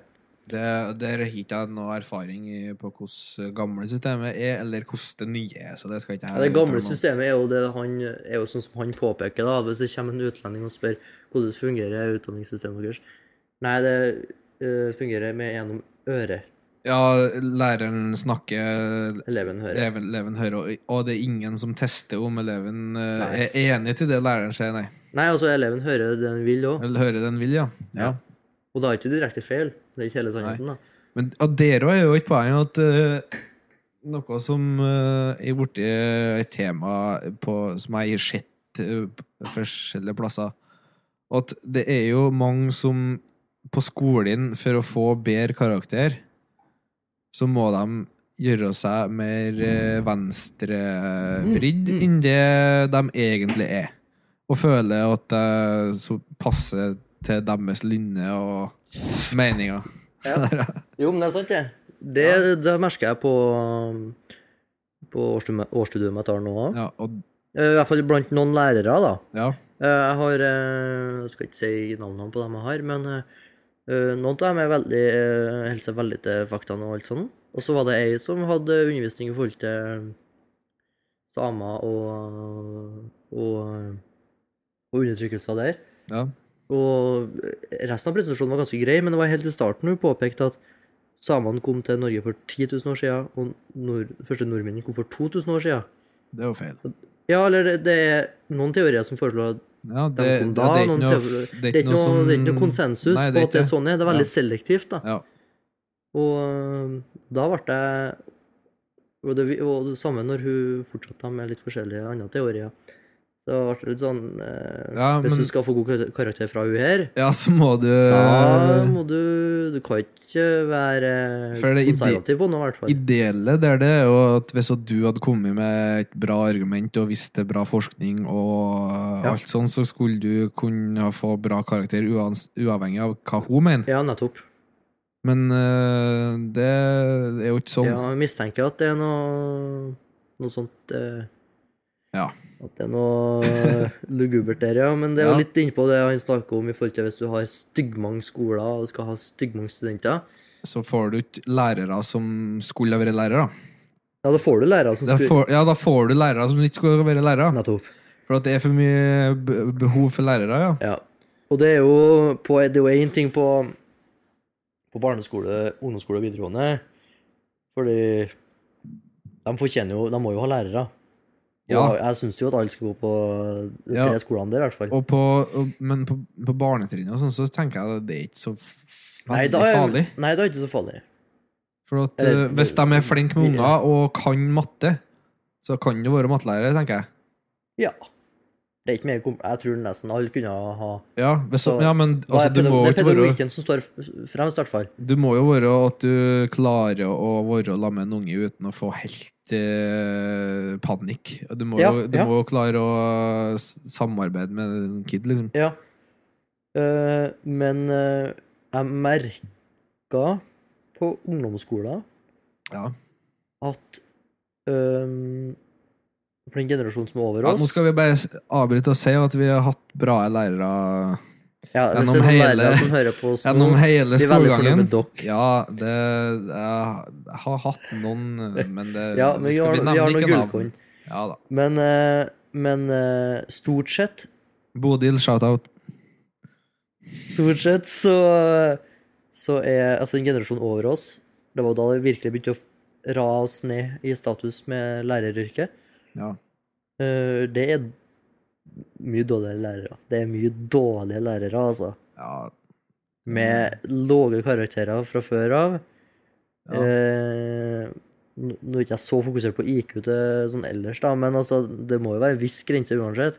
Speaker 1: Det, Der har ikke jeg noe erfaring i på hvordan gamle systemet er, eller hvordan det nye er. så det skal ikke jeg...
Speaker 2: Ja, det gamle
Speaker 1: uttale meg om.
Speaker 2: systemet er jo, det han, er jo sånn som han påpeker, da. Hvis det kommer en utlending og spør hvordan fungerer utdanningssystemet deres Nei, det eh, fungerer med gjennom øret.
Speaker 1: Ja, læreren snakker,
Speaker 2: Eleven hører.
Speaker 1: eleven, eleven hører, og, og det er ingen som tester om eleven eh,
Speaker 2: Nei.
Speaker 1: er enig til det læreren sier, nei.
Speaker 2: Nei, altså, eleven hører det den vil òg.
Speaker 1: Eller hører den vil, ja. ja.
Speaker 2: Og da er ikke direkte feil. Det er ikke hele sannheten, da.
Speaker 1: Men at dere er jo et poeng at eh, noe som eh, er borti et tema på, som jeg har sett eh, på forskjellige plasser, at det er jo mange som på skolen, for å få bedre karakter, så må de gjøre seg mer eh, venstrevridd enn det de egentlig er. Og føle at det så passer til deres lynne og meninger.
Speaker 2: Ja. Jo, men det er sant, det. Det, det merker jeg på, på årsstudiet, årsstudiet mitt nå òg.
Speaker 1: Ja, og
Speaker 2: I hvert fall blant noen lærere, da.
Speaker 1: ja.
Speaker 2: Eh, Jeg har eh, Jeg skal ikke si navnene på dem jeg har, men eh, eh, noen av dem er veldig, eh, holder seg veldig til faktaene og alt sånt. Og så var det ei som hadde undervisning i forhold til eh, samer og, og, eh, og undertrykkelser der.
Speaker 1: Ja.
Speaker 2: Og resten av presentasjonen var ganske grei, men det var helt i starten hun påpekte at samene kom til Norge for 10 000 år siden, og nord, første nordmennene kom for 2000 år siden.
Speaker 1: Det er jo feil.
Speaker 2: Ja, eller det, det er noen teorier som foreslår at
Speaker 1: Ja,
Speaker 2: det,
Speaker 1: det, det
Speaker 2: da,
Speaker 1: er ikke
Speaker 2: noen
Speaker 1: noe,
Speaker 2: teori-
Speaker 1: f-
Speaker 2: det er ikke noe,
Speaker 1: som-
Speaker 2: det er ikke noe konsensus
Speaker 1: Nei, det er
Speaker 2: på at det er
Speaker 1: ikke
Speaker 2: sånn. er. Det er veldig selektivt. da.
Speaker 1: Ja.
Speaker 2: Og øhm, da ble jeg og det, og det samme når hun fortsatte med litt forskjellige andre teorier. Så ble det litt sånn eh,
Speaker 1: Ja,
Speaker 2: Hvis
Speaker 1: men-
Speaker 2: du skal få god kar- karakter fra hun her,
Speaker 1: Ja, så må du
Speaker 2: da må du Du kan ikke være
Speaker 1: Eh. For det er ide-
Speaker 2: konservativ på noe, i hvert fall.
Speaker 1: Ideelle der det er jo at hvis at du hadde kommet med et bra argument og visst til bra forskning og
Speaker 2: Ja.
Speaker 1: alt sånn, så skulle du kunne ha få bra karakter uans, uavhengig av hva hun mener.
Speaker 2: Ja, nettopp.
Speaker 1: Men eh, det er jo ikke sånn.
Speaker 2: Ja, jeg mistenker at det er noe, noe sånt eh,
Speaker 1: Ja.
Speaker 2: At det er noe eh, lugubert der, ja. Men det er jo
Speaker 1: Ja.
Speaker 2: litt innpå det han snakker om i forhold til hvis du har styggmange skoler og skal ha styggmange studenter.
Speaker 1: Så får du ikke lærere som skulle ha vært lærere.
Speaker 2: Ja, da får du lærere som
Speaker 1: Da
Speaker 2: skulle
Speaker 1: får, ja, da får du lærere som ikke skulle ha vært lærere.
Speaker 2: Nettopp.
Speaker 1: For at det er for mye be- behov for lærere, ja.
Speaker 2: Ja. Og det er jo på, det er jo én ting på, på barneskole, ungdomsskole og videregående. Fordi de fortjener jo De må jo ha lærere. Og
Speaker 1: Ja.
Speaker 2: jeg syns jo at alle skal gå på de
Speaker 1: Ja.
Speaker 2: tre skolene der, i hvert fall.
Speaker 1: Og på, og, men på, på barnetrinnet og sånn, så tenker jeg at det er ikke så f-
Speaker 2: Nei,
Speaker 1: veldig
Speaker 2: da er,
Speaker 1: farlig.
Speaker 2: Nei, da er det ikke så farlig.
Speaker 1: For at,
Speaker 2: Eller-
Speaker 1: eh, hvis de er flinke med
Speaker 2: Ja.
Speaker 1: unger og kan matte, så kan du være mattelærer, tenker jeg.
Speaker 2: Ja. Det er ikke mer kom- Jeg tror nesten alle kunne ha
Speaker 1: Ja, hvis,
Speaker 2: Så-
Speaker 1: ja men
Speaker 2: Hva
Speaker 1: altså,
Speaker 2: er
Speaker 1: du, må
Speaker 2: pedag-
Speaker 1: jo
Speaker 2: Det er
Speaker 1: ikke være,
Speaker 2: pedagogikken som står f- fremst, i hvert fall.
Speaker 1: du må jo være at du klarer å være sammen med en unge uten å få helt eh, panikk. Du må
Speaker 2: Ja,
Speaker 1: jo du
Speaker 2: ja.
Speaker 1: må jo klare å s- samarbeide med en kid, liksom.
Speaker 2: Ja. Eh, men eh, jeg merka på ungdomsskolen
Speaker 1: Ja.
Speaker 2: at ehm, For den generasjonen som er over
Speaker 1: Ja,
Speaker 2: oss
Speaker 1: nå skal vi bare s- avbryte og si at vi har hatt bra lærere
Speaker 2: ja, Hvis det
Speaker 1: gjennom
Speaker 2: er noen
Speaker 1: hele-
Speaker 2: lærere som hører på oss nå,
Speaker 1: gjennom hele
Speaker 2: vi er veldig fornøyd
Speaker 1: skolegangen.
Speaker 2: med dere.
Speaker 1: Ja, det Jeg har hatt noen, men det
Speaker 2: Ja, men vi har, vi har noen gullkorn.
Speaker 1: Ja da.
Speaker 2: Men, eh, men eh, stort sett
Speaker 1: Bodil, shout-out.
Speaker 2: Stort sett så, så er altså en generasjon over oss Det var da det virkelig begynte å rase ned i status med læreryrket.
Speaker 1: Ja.
Speaker 2: Eh, Det er mye dårligere lærere. Det er mye dårlige lærere, altså.
Speaker 1: ja.
Speaker 2: Med lave karakterer fra før av.
Speaker 1: Ja.
Speaker 2: Eh, Nå nå er ikke jeg så fokusert på IQ til sånn ellers, da, men altså, det må jo være en viss grense uansett.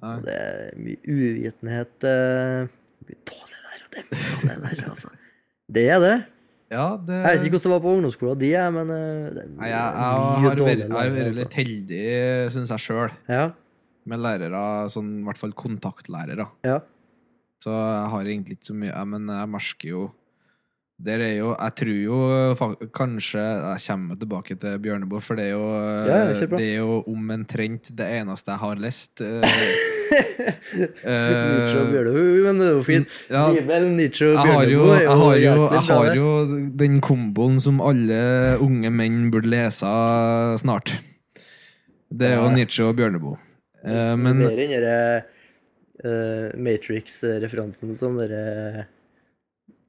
Speaker 1: Nei.
Speaker 2: Og Det er mye uvitenhet eh, Mye dårlig der, og det er mye dårlig der, altså. Det er det.
Speaker 1: ja, det
Speaker 2: Jeg vet ikke hvordan det var på ungdomsskolen de er, men eh, det er
Speaker 1: Nei, jeg, jeg har vært- jeg har vært litt heldig, syns jeg sjøl,
Speaker 2: altså. Ja,
Speaker 1: med lærere, sånn, i hvert fall kontaktlærere,
Speaker 2: ja.
Speaker 1: Så jeg har egentlig ikke så mye ja, Men jeg merker jo Der er jo Jeg tror jo fa- kanskje Jeg kommer tilbake til Bjørneboe, for det er jo
Speaker 2: Ja, ja, kjør på.
Speaker 1: Det er jo omtrent det eneste jeg har lest. eh,
Speaker 2: Nietzsche og Bjørneboe, men det er jo fint.
Speaker 1: ja,
Speaker 2: Bibel, Nietzsche og
Speaker 1: jeg har, jo,
Speaker 2: Bjørneboe er
Speaker 1: jeg, har jo, jeg
Speaker 2: hjertelig bra,
Speaker 1: har
Speaker 2: det.
Speaker 1: jo den komboen som alle unge menn burde lese snart. Det er jo
Speaker 2: Ja.
Speaker 1: Nietzsche og Bjørneboe. Eh, Men
Speaker 2: Mer enn dere eh, Matrix-referansen som dere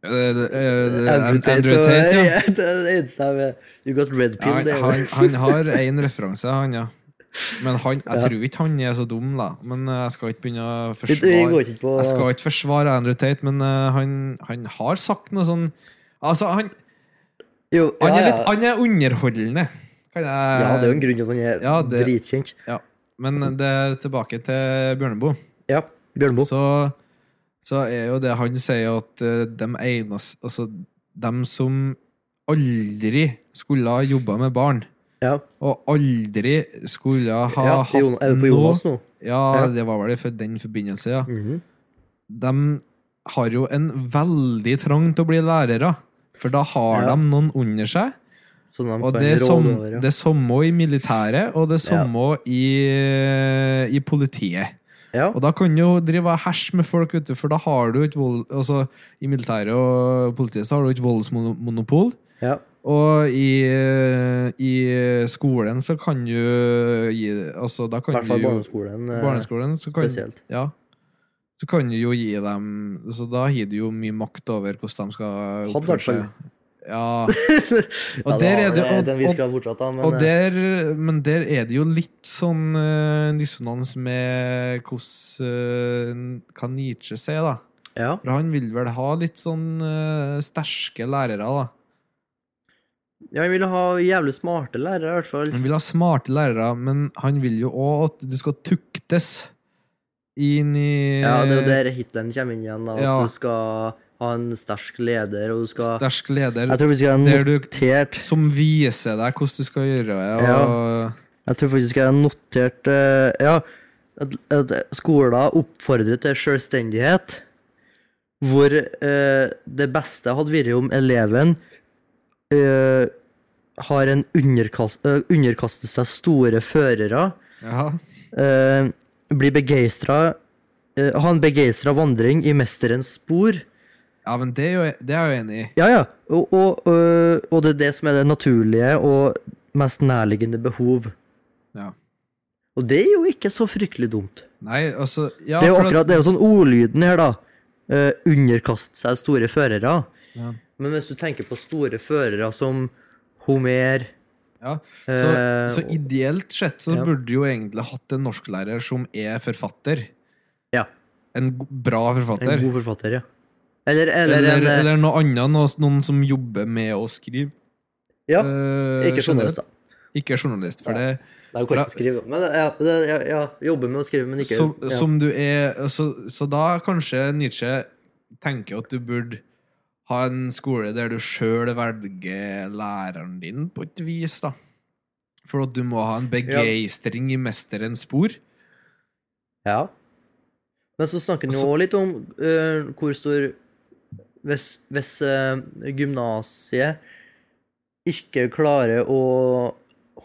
Speaker 1: Eh, eh,
Speaker 2: Andrew Tate,
Speaker 1: Andrew Tate, ja.
Speaker 2: det er det eneste jeg vet. You got red
Speaker 1: Ja,
Speaker 2: pill,
Speaker 1: han,
Speaker 2: det er jo-
Speaker 1: han, han har én referanse, han, ja. Men han, jeg
Speaker 2: Ja.
Speaker 1: tror ikke han er så dum, da. Men eh, jeg skal ikke begynne å
Speaker 2: Vi vi går
Speaker 1: forsvare
Speaker 2: ikke på
Speaker 1: Jeg skal ikke forsvare Andrew Tate, men eh, han, han har sagt noe sånn Altså, han,
Speaker 2: jo, ja,
Speaker 1: han, er,
Speaker 2: ja.
Speaker 1: litt, han er underholdende, kan jeg
Speaker 2: ja, det er jo en grunn til at han er
Speaker 1: Ja, det-
Speaker 2: dritkjent.
Speaker 1: Men det er tilbake til Bjørneboe.
Speaker 2: Ja, Bjørneboe.
Speaker 1: Så, så er jo det han sier, at eh, dem egnes Altså, dem som aldri skulle ha jobba med barn
Speaker 2: Ja.
Speaker 1: og aldri skulle ha
Speaker 2: ja,
Speaker 1: hatt
Speaker 2: Jon- er det på
Speaker 1: noe-
Speaker 2: Jonas nå?
Speaker 1: Ja,
Speaker 2: Ja.
Speaker 1: det var vel i for- den forbindelse, ja.
Speaker 2: Mhm.
Speaker 1: De har jo en veldig trang til å bli lærere, for da har
Speaker 2: Ja.
Speaker 1: de noen under seg.
Speaker 2: Sånn at de
Speaker 1: Og
Speaker 2: kan
Speaker 1: det er
Speaker 2: råde
Speaker 1: som,
Speaker 2: over, ja.
Speaker 1: det er samme i militæret, og det er samme i, i politiet.
Speaker 2: ja.
Speaker 1: Og da kan du jo drive og herse med folk, vet du, for da har du ikke vold... Altså, i militæret og politiet så har du ikke voldsmonopol.
Speaker 2: ja.
Speaker 1: Og i, i skolen så kan du gi Altså, da
Speaker 2: I
Speaker 1: kan
Speaker 2: hvert fall
Speaker 1: du jo
Speaker 2: barneskolen. eh,
Speaker 1: Barneskolen så kan,
Speaker 2: spesielt.
Speaker 1: ja, så kan du jo gi dem Så da gir du jo mye makt over hvordan de skal
Speaker 2: Hadde
Speaker 1: oppføre
Speaker 2: vært
Speaker 1: seg.
Speaker 2: sånn.
Speaker 1: Ja. Og
Speaker 2: Ja,
Speaker 1: der er
Speaker 2: har
Speaker 1: det
Speaker 2: vel til en
Speaker 1: og,
Speaker 2: viss
Speaker 1: og,
Speaker 2: grad fortsatt, da, men
Speaker 1: og
Speaker 2: eh,
Speaker 1: der, Men der er det jo litt sånn eh, dissonans med hvordan uh, Kan Nietzsche si, da?
Speaker 2: ja.
Speaker 1: For han vil vel ha litt sånn eh, sterke lærere, da.
Speaker 2: ja, han ville ha jævlig smarte lærere, i hvert fall.
Speaker 1: Han vil ha smarte lærere, men han vil jo òg at du skal tuktes inn i
Speaker 2: Ja, det er jo der Hitleren kommer inn igjen, da, at
Speaker 1: Ja.
Speaker 2: du skal ha en sterk leder, og du skal
Speaker 1: sterk leder.
Speaker 2: Jeg tror vi skal ha en
Speaker 1: Der du-
Speaker 2: notert
Speaker 1: Som viser deg hvordan du skal gjøre det. Og,
Speaker 2: Jeg tror faktisk jeg har notert eh, Ja, at, at skoler oppfordrer til selvstendighet, hvor eh, det beste hadde vært om eleven eh, har en underkast, eh, underkaster seg store førere,
Speaker 1: ja.
Speaker 2: eh, blir begeistra eh, Ha en begeistra vandring i mesterens spor.
Speaker 1: ja, men det er, jo, det er jeg jo enig i.
Speaker 2: Ja, ja. Og, og, øh, og det er det som er det naturlige og mest nærliggende behov.
Speaker 1: Ja.
Speaker 2: Og det er jo ikke så fryktelig dumt.
Speaker 1: Nei, altså ja,
Speaker 2: det er jo
Speaker 1: for at-
Speaker 2: akkurat, det er jo sånn ordlyden her, da. Eh, underkaste seg store førere.
Speaker 1: Ja.
Speaker 2: Men hvis du tenker på store førere som Homer
Speaker 1: ja.
Speaker 2: eh,
Speaker 1: Så, så ideelt sett så
Speaker 2: ja.
Speaker 1: burde du jo egentlig hatt en norsklærer som er forfatter.
Speaker 2: Ja.
Speaker 1: En go- bra
Speaker 2: En
Speaker 1: forfatter.
Speaker 2: god forfatter, ja. Eller, eller,
Speaker 1: Eller,
Speaker 2: en
Speaker 1: eller,
Speaker 2: eh,
Speaker 1: noe annet, noe, noen som jobber med å skrive.
Speaker 2: Ja,
Speaker 1: Eh,
Speaker 2: ikke journalist, da.
Speaker 1: generelt. Ikke journalist, for det
Speaker 2: Nei, hun kan
Speaker 1: Bra.
Speaker 2: ikke skrive. Men eh, ja, det, ja, ja, jobber med å skrive, men ikke
Speaker 1: som,
Speaker 2: ja.
Speaker 1: som du er så, så da kanskje Nietzsche tenker at du burde ha en skole der du sjøl velger læreren din, på et vis, da. For at du må ha en begeistring i mesterens spor.
Speaker 2: Ja. Men så snakker han jo
Speaker 1: Så-
Speaker 2: også litt om eh, hvor stor Hvis, hvis eh, gymnasiet ikke klarer å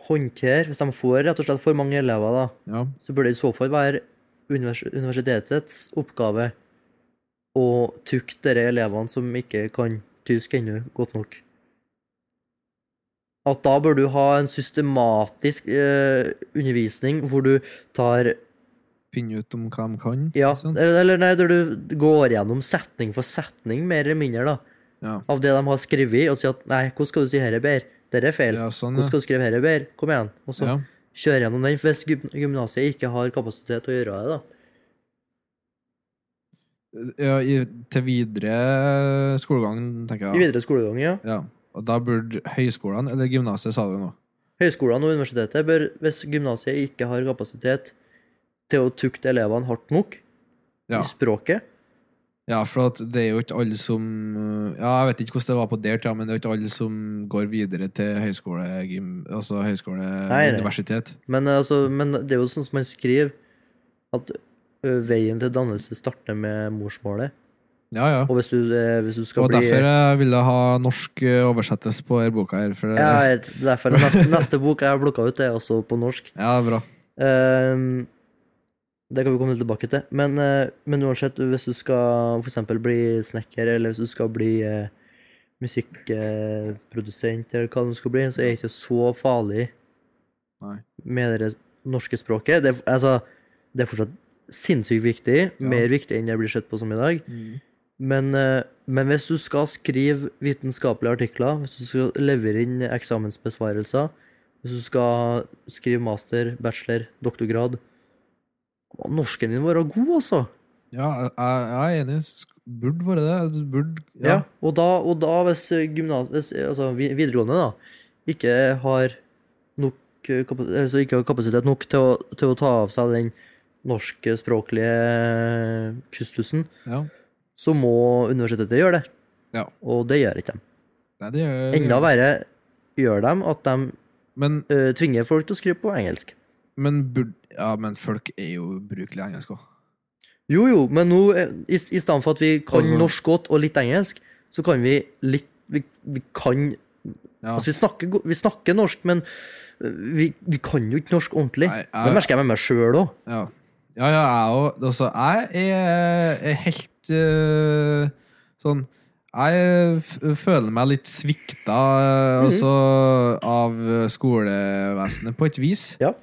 Speaker 2: håndtere Hvis de får rett og slett for mange elever, da,
Speaker 1: Ja.
Speaker 2: så burde det i så fall være univers universitetets oppgave å tukte de elevene som ikke kan tysk ennå godt nok. At da bør du ha en systematisk eh, undervisning hvor du tar
Speaker 1: Finne ut om hva de kan.
Speaker 2: ja,
Speaker 1: sånn.
Speaker 2: eller, eller nei, der du går gjennom setning for setning, mer eller mindre, da,
Speaker 1: Ja.
Speaker 2: av det de har skrevet, og sier at nei, hvordan skal du si dette bedre? Dette er feil.
Speaker 1: ja, sånn,
Speaker 2: Hvordan
Speaker 1: ja.
Speaker 2: skal du skrive dette bedre? Kom igjen. Og så
Speaker 1: ja.
Speaker 2: kjøre gjennom den, for hvis gym- gymnasiet ikke har kapasitet til å gjøre det, da.
Speaker 1: ja i, til videre skolegang, tenker
Speaker 2: I
Speaker 1: jeg.
Speaker 2: videre skolegang, ja.
Speaker 1: Ja. Og da burde høyskolene eller gymnaset, sa du nå.
Speaker 2: Høyskolene og universitetet bør, hvis gymnasiet ikke har kapasitet til å tukte elevene hardt nok
Speaker 1: Ja.
Speaker 2: i språket
Speaker 1: Ja, for at det er jo ikke alle som eh, Ja, jeg vet ikke hvordan det var på der tida, men det er jo ikke alle som går videre til høyskole, gym, altså høyskole
Speaker 2: Nei, nei.
Speaker 1: universitet.
Speaker 2: Men, eh, altså, men det er jo sånn som man skriver, at ø, veien til dannelse starter med morsmålet.
Speaker 1: Ja, ja.
Speaker 2: Og hvis du, eh, hvis du
Speaker 1: Det
Speaker 2: skal
Speaker 1: var
Speaker 2: bli
Speaker 1: derfor eh, jeg ville ha norsk eh, oversettes på denne boka her. For det,
Speaker 2: Ja, jeg vet, derfor er neste, neste bok jeg har plukka ut, det er også på norsk.
Speaker 1: ja, bra.
Speaker 2: Ehm, det kan vi komme tilbake til. Men, eh, men uansett, hvis du skal f.eks. bli snekker, eller hvis du skal bli eh, musikkprodusent, eller hva du skal bli, så er det ikke så farlig
Speaker 1: Nei.
Speaker 2: med det norske språket. Det, er f- altså, det er fortsatt sinnssykt viktig. Mer viktig enn det blir sett på som i dag. Men, eh, men hvis du skal skrive vitenskapelige artikler, hvis du skal levere inn eksamensbesvarelser, hvis du skal skrive master, bachelor, doktorgrad må Norsken din være god, altså!
Speaker 1: Ja, jeg, jeg er enig. Sk- Burde vært det. Burde
Speaker 2: Ja. Og, da, og da, hvis, gymnas, hvis altså, vi- videregående da, ikke har nok eh, kapa- altså, ikke har kapasitet nok til å, til å ta av seg den norskspråklige kustusen,
Speaker 1: ja.
Speaker 2: så må universitetet gjøre det.
Speaker 1: Ja.
Speaker 2: Og det gjør ikke de.
Speaker 1: Nei, det gjør
Speaker 2: Enda verre gjør dem at de
Speaker 1: Men,
Speaker 2: eh, tvinger folk til å skrive på engelsk.
Speaker 1: men burde Ja, men folk er jo ubrukelige i engelsk òg.
Speaker 2: Jo, jo, men nå, eh, i, i stedet for at vi kan
Speaker 1: Altså-
Speaker 2: norsk godt og litt engelsk, så kan vi litt Vi, vi kan
Speaker 1: Ja.
Speaker 2: Altså, vi snakker, go- vi snakker norsk, men eh, vi, vi kan jo ikke norsk ordentlig.
Speaker 1: Nei, jeg-
Speaker 2: Det merker jeg med meg sjøl òg.
Speaker 1: Ja, ja, ja jeg òg. Altså, jeg er, er helt eh, sånn Jeg f føler meg litt svikta eh, altså, av skolevesenet, på et vis.
Speaker 2: Ja.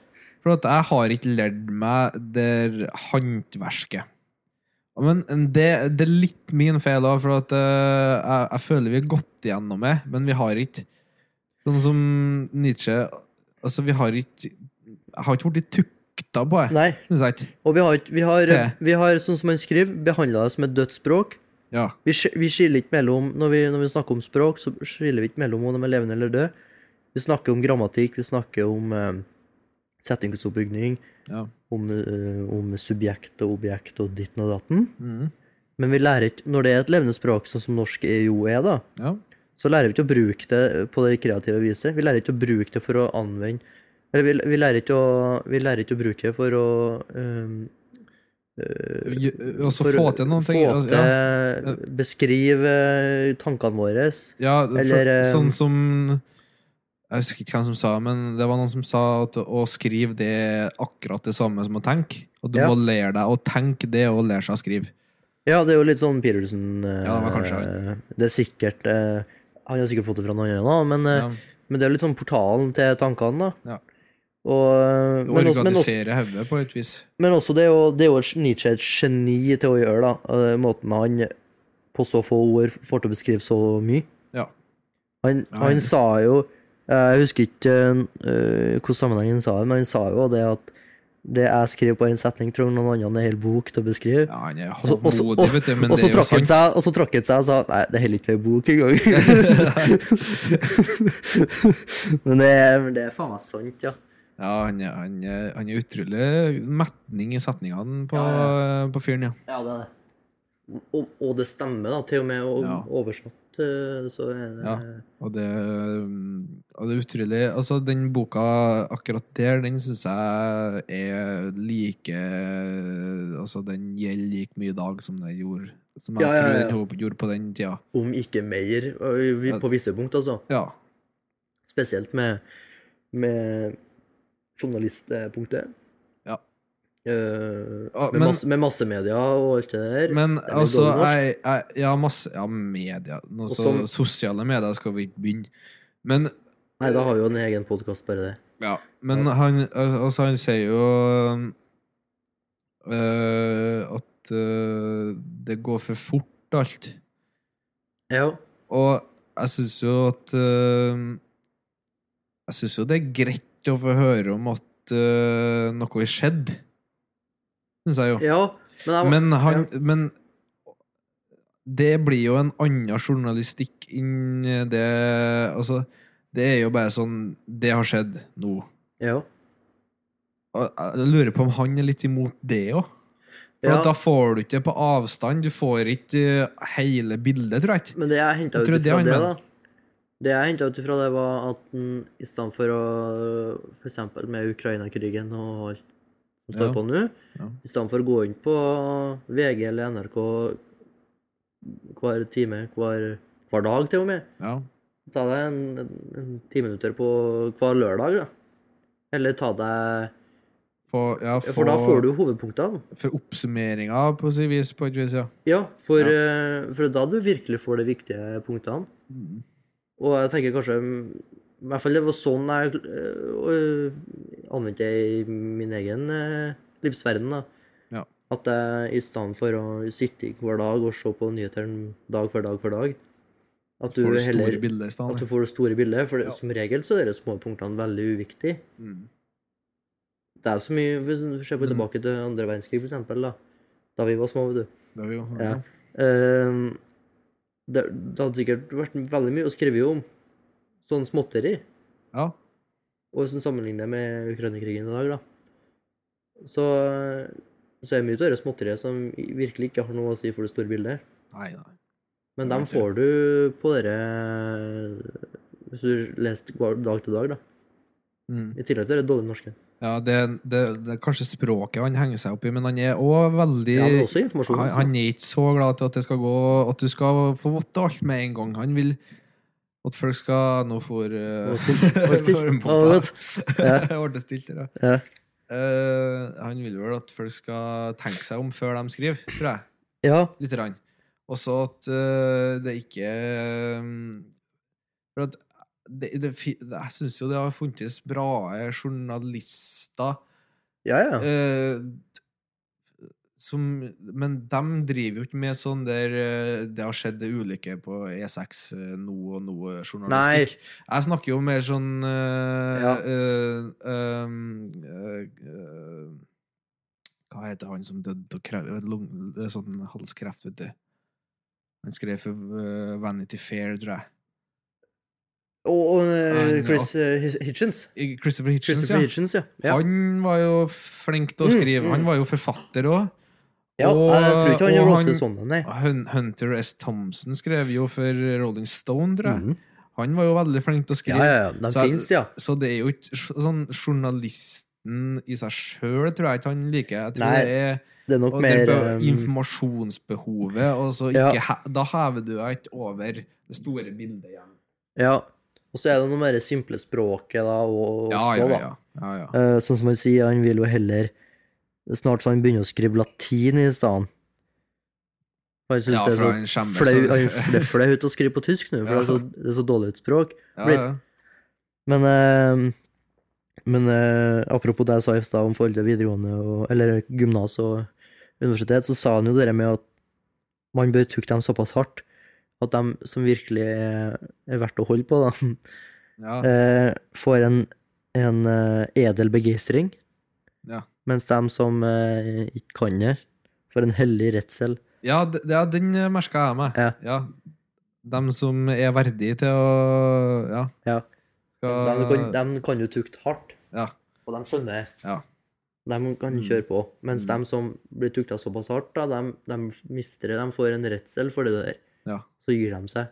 Speaker 1: For at jeg har ikke lært meg det håndverket. Men det, det er litt min feil òg, for at eh, jeg, jeg føler vi har gått igjennom det, men vi har ikke Sånn som Nietzsche Altså, vi har ikke Jeg har ikke blitt tukta på det,
Speaker 2: Nei.
Speaker 1: syns jeg ikke.
Speaker 2: Og vi har, ikke- vi, har,
Speaker 1: Det.
Speaker 2: vi har, sånn som han skriver, behandla det som et dødt språk.
Speaker 1: Ja.
Speaker 2: Vi, sk- vi skiller ikke mellom når vi, når vi snakker om språk, så skiller vi ikke mellom om de er levende eller døde. Vi snakker om grammatikk, vi snakker om eh, setningsoppbygning,
Speaker 1: Ja.
Speaker 2: om, eh, om subjekt og objekt og ditten og datten.
Speaker 1: Mhm.
Speaker 2: Men vi lærer ikke, når det er et levende språk, sånn som norsk er jo er, da,
Speaker 1: ja.
Speaker 2: så lærer vi ikke å bruke det på det kreative viset. Vi lærer ikke å bruke det for å anvende Eller vi, vi, lærer, ikke å, vi lærer ikke å bruke det for å eh, eh,
Speaker 1: Gjø- Altså
Speaker 2: for å
Speaker 1: få til noen ting.
Speaker 2: få
Speaker 1: altså,
Speaker 2: til,
Speaker 1: Ja,
Speaker 2: Beskrive tankene våre.
Speaker 1: ja for,
Speaker 2: eller, eh,
Speaker 1: sånn som Jeg husker ikke hvem som sa men det var noen som sa at å skrive det er akkurat det samme som å tenke. Og du
Speaker 2: Ja.
Speaker 1: må lære deg å tenke det og lære seg å skrive.
Speaker 2: Ja, det er jo litt sånn Peterson eh,
Speaker 1: Ja, det var kanskje han.
Speaker 2: Det er sikkert eh, Han har sikkert fått det fra noen andre, da, men, eh,
Speaker 1: Ja.
Speaker 2: men det er jo litt sånn portalen til tankene, da.
Speaker 1: Ja.
Speaker 2: Og, eh, men, også, men, også,
Speaker 1: Organisere hodet på et vis.
Speaker 2: men også det er jo, det er jo et- Nietzsche er et geni til å gjøre, da. eh, måten han på så få ord får til å beskrive så mye.
Speaker 1: Ja.
Speaker 2: Han,
Speaker 1: Ja,
Speaker 2: han
Speaker 1: ja.
Speaker 2: sa jo Jeg husker ikke eh, hvilken sammenheng han sa det, men han sa jo det at det jeg skriver på en setning, tror noen andre en hel bok til å beskrive.
Speaker 1: ja, han er
Speaker 2: så- og så-
Speaker 1: hovmodig, vet du, men
Speaker 2: og så
Speaker 1: det er jo
Speaker 2: trakk
Speaker 1: sant.
Speaker 2: han seg, og så trakk han seg og sa nei, det holder ikke med bok engang. men, det, er- men det er faen meg sant, ja.
Speaker 1: Ja, han er, han er, han er utrolig metning i setningene på, på fyren, ja.
Speaker 2: Ja, det er det. Og, og det stemmer, da. Til og med og,
Speaker 1: Ja.
Speaker 2: oversatt, eh, så er det
Speaker 1: Ja. Og det, um, og det er utrolig Altså, den boka akkurat der, den syns jeg er like Altså, den gjelder like mye i dag som det gjorde Som jeg
Speaker 2: Ja, ja,
Speaker 1: tror
Speaker 2: ja.
Speaker 1: den ho- gjorde på den tida.
Speaker 2: Om ikke mer, og vi- på visse punkt, altså.
Speaker 1: Ja.
Speaker 2: Spesielt med, med journalistpunktet.
Speaker 1: Ja.
Speaker 2: Eh,
Speaker 1: Ah,
Speaker 2: med,
Speaker 1: men-
Speaker 2: masse, med massemedia og alt det der.
Speaker 1: Men
Speaker 2: Det er jo
Speaker 1: altså,
Speaker 2: dårlig norsk.
Speaker 1: jeg, jeg Ja, masse Ja, media. Nå, så,
Speaker 2: som-
Speaker 1: sosiale medier skal vi ikke begynne. Men
Speaker 2: Nei, da har vi jo en egen podkast, bare det.
Speaker 1: Ja, men
Speaker 2: Ja.
Speaker 1: han al- Altså, han sier jo øh, at øh, det går for fort, alt.
Speaker 2: Ja.
Speaker 1: Og jeg syns jo at øh, Jeg syns jo det er greit å få høre om at øh, noe har skjedd. Syns jeg jo.
Speaker 2: ja men, jeg,
Speaker 1: Men han Men det blir jo en annen journalistikk enn det Altså, det er jo bare sånn Det har skjedd nå.
Speaker 2: ja.
Speaker 1: Og Jeg lurer på om han er litt imot det òg.
Speaker 2: Ja,
Speaker 1: Da får du ikke på avstand. Du får ikke eh, hele bildet, tror jeg. ikke.
Speaker 2: Men det jeg henta
Speaker 1: Jeg
Speaker 2: ut
Speaker 1: tror det
Speaker 2: ifra det,
Speaker 1: han
Speaker 2: da
Speaker 1: mener.
Speaker 2: Det jeg henta ut ifra det, var at den, i stedet for å For eksempel med Ukraina-krigen og alt som står
Speaker 3: Ja.
Speaker 2: på nå,
Speaker 3: Ja.
Speaker 2: i stedet for å gå inn på VG eller NRK hver time, hver, hver dag til og med.
Speaker 3: Ja.
Speaker 2: Ta deg en, en, en ti minutter på hver lørdag, da. Eller ta deg
Speaker 1: Få- ja, få-
Speaker 2: For da får du hovedpunktene.
Speaker 1: For oppsummeringa, på sitt vis. På et vis, ja.
Speaker 2: Ja, for, eh, for da du virkelig får de viktige punktene.
Speaker 3: Mm.
Speaker 2: Og jeg tenker kanskje mm, I hvert fall det var sånn jeg øh, anvendte jeg i min egen øh, livsverden. da.
Speaker 1: Ja.
Speaker 2: At jeg i stedet for å sitte hver dag og se på nyhetene dag for dag for dag At du,
Speaker 1: får du
Speaker 2: heller,
Speaker 1: store bilder i
Speaker 2: at du
Speaker 1: stedet.
Speaker 2: får det store bildet. For det,
Speaker 1: Ja.
Speaker 2: som regel så er de små punktene veldig uviktige.
Speaker 3: Mm.
Speaker 2: Det er så mye Hvis du ser på
Speaker 1: Mm.
Speaker 2: tilbake til andre verdenskrig, for eksempel, da, da vi var små, vet du.
Speaker 1: Det er jo-
Speaker 2: Ja. Ehm, det, det hadde sikkert vært veldig mye å skrive om sånn småtteri.
Speaker 1: ja.
Speaker 2: Og sånn sammenlignet med Ukraina-krigen i dag, da. Så, så er det mye av det småtteriet som virkelig ikke har noe å si for det store bildet.
Speaker 1: Nei, nei.
Speaker 2: Men
Speaker 1: Ja, vet
Speaker 2: dem
Speaker 1: du.
Speaker 2: får du på dere Hvis du leser hver dag til dag, da.
Speaker 1: Mm.
Speaker 2: I tillegg til det dårlige norske.
Speaker 1: Ja, det, det, det er kanskje språket han henger seg opp i, men han er òg veldig
Speaker 2: Ja, men også informasjon. altså.
Speaker 1: han, han er ikke så glad til at det skal gå At du skal få vite alt med en gang. Han vil at folk skal Nå får eh,
Speaker 2: Nå stilt. Nå er det stilt.
Speaker 1: får en
Speaker 2: Ja, det er
Speaker 1: bombe. Det ble stilt her, ja.
Speaker 2: Ja.
Speaker 1: Eh, han vil vel at folk skal tenke seg om før de skriver, tror jeg.
Speaker 2: ja.
Speaker 1: Lite grann. Også at eh, det ikke eh, For at det, det, fi- jeg syns jo det har funnes bra journalister
Speaker 2: ja, ja.
Speaker 1: Eh, som, men de driver jo ikke med sånn der eh, det har skjedd en ulykke på E6 eh, nå og nå, eh, journalistikk. Jeg snakker jo mer sånn eh,
Speaker 2: Ja.
Speaker 1: eh, um, eh, eh, Hva heter han som døde av kre- lung- eh, sånn halskreft, vet du? Han skrev for eh, Vanity Fair, tror jeg.
Speaker 2: Og, og eh,
Speaker 1: Han,
Speaker 2: Chris eh, Hitch- Hitchens.
Speaker 1: I- Christopher Hitchens,
Speaker 2: Christopher
Speaker 1: ja.
Speaker 2: Hitchens, ja. ja.
Speaker 1: Han var jo flink til å
Speaker 2: Mm,
Speaker 1: skrive.
Speaker 2: mm.
Speaker 1: Han var jo forfatter òg.
Speaker 2: ja jeg tror ikke han
Speaker 1: og
Speaker 2: gjør
Speaker 1: han-
Speaker 2: roastet sånn, nei.
Speaker 1: Hun- Hunter S. Thompson skrev jo for Rolling Stone, tror jeg.
Speaker 2: Mhm.
Speaker 1: Han var jo veldig flink til å
Speaker 2: Ja,
Speaker 1: skrive.
Speaker 2: ja, ja. De
Speaker 1: Så jeg-
Speaker 2: fins, ja.
Speaker 1: Så det er jo ikke sj- sånn journalisten i seg sjøl tror jeg ikke han liker. Jeg tror
Speaker 2: Nei,
Speaker 1: det er
Speaker 2: Det er nok
Speaker 1: og det
Speaker 2: mer
Speaker 1: er
Speaker 2: eh,
Speaker 1: på informasjonsbehovet, og så
Speaker 2: Ja.
Speaker 1: ikke he, Da hever du deg ikke over det store bildet igjen.
Speaker 2: Ja. Og så er det noe mer simple språket, da, og, og
Speaker 1: Ja, ja,
Speaker 2: så, da.
Speaker 1: ja. ja, ja.
Speaker 2: Eh, sånn som han sier, han vil jo heller Snart så han begynner å skrive latin i stedet. Han synes
Speaker 1: Ja,
Speaker 2: det er
Speaker 1: for
Speaker 2: så
Speaker 1: han skjemmer
Speaker 2: flau,
Speaker 1: seg.
Speaker 2: han- det er flaut å skrive på tysk nå, for det, er så, det er så dårlig et språk.
Speaker 1: Ja,
Speaker 2: blitt-
Speaker 1: ja.
Speaker 2: Men, eh, men eh, apropos det jeg sa i stad om forhold til videregående, og, eller gymnas og universitet, så sa han jo det der med at man bør tukke dem såpass hardt at de som virkelig er er verdt å holde på, da,
Speaker 1: Ja,
Speaker 2: eh, får en, en eh, edel begeistring.
Speaker 1: Ja.
Speaker 2: Mens de som eh, ikke kan det, får en hellig redsel.
Speaker 1: ja, d- ja, den merka jeg meg.
Speaker 2: Ja.
Speaker 1: Ja. Dem som er verdige til å Ja.
Speaker 2: Ja.
Speaker 1: Skal-
Speaker 2: De kan, de kan jo tukte hardt,
Speaker 1: Ja.
Speaker 2: og de skjønner
Speaker 1: Ja.
Speaker 2: De kan
Speaker 1: Mm.
Speaker 2: kjøre på. Mens
Speaker 1: Mm.
Speaker 2: de som blir tukta såpass hardt, da, de, mister det. De får en redsel for det der.
Speaker 1: Ja.
Speaker 2: Så gir de seg.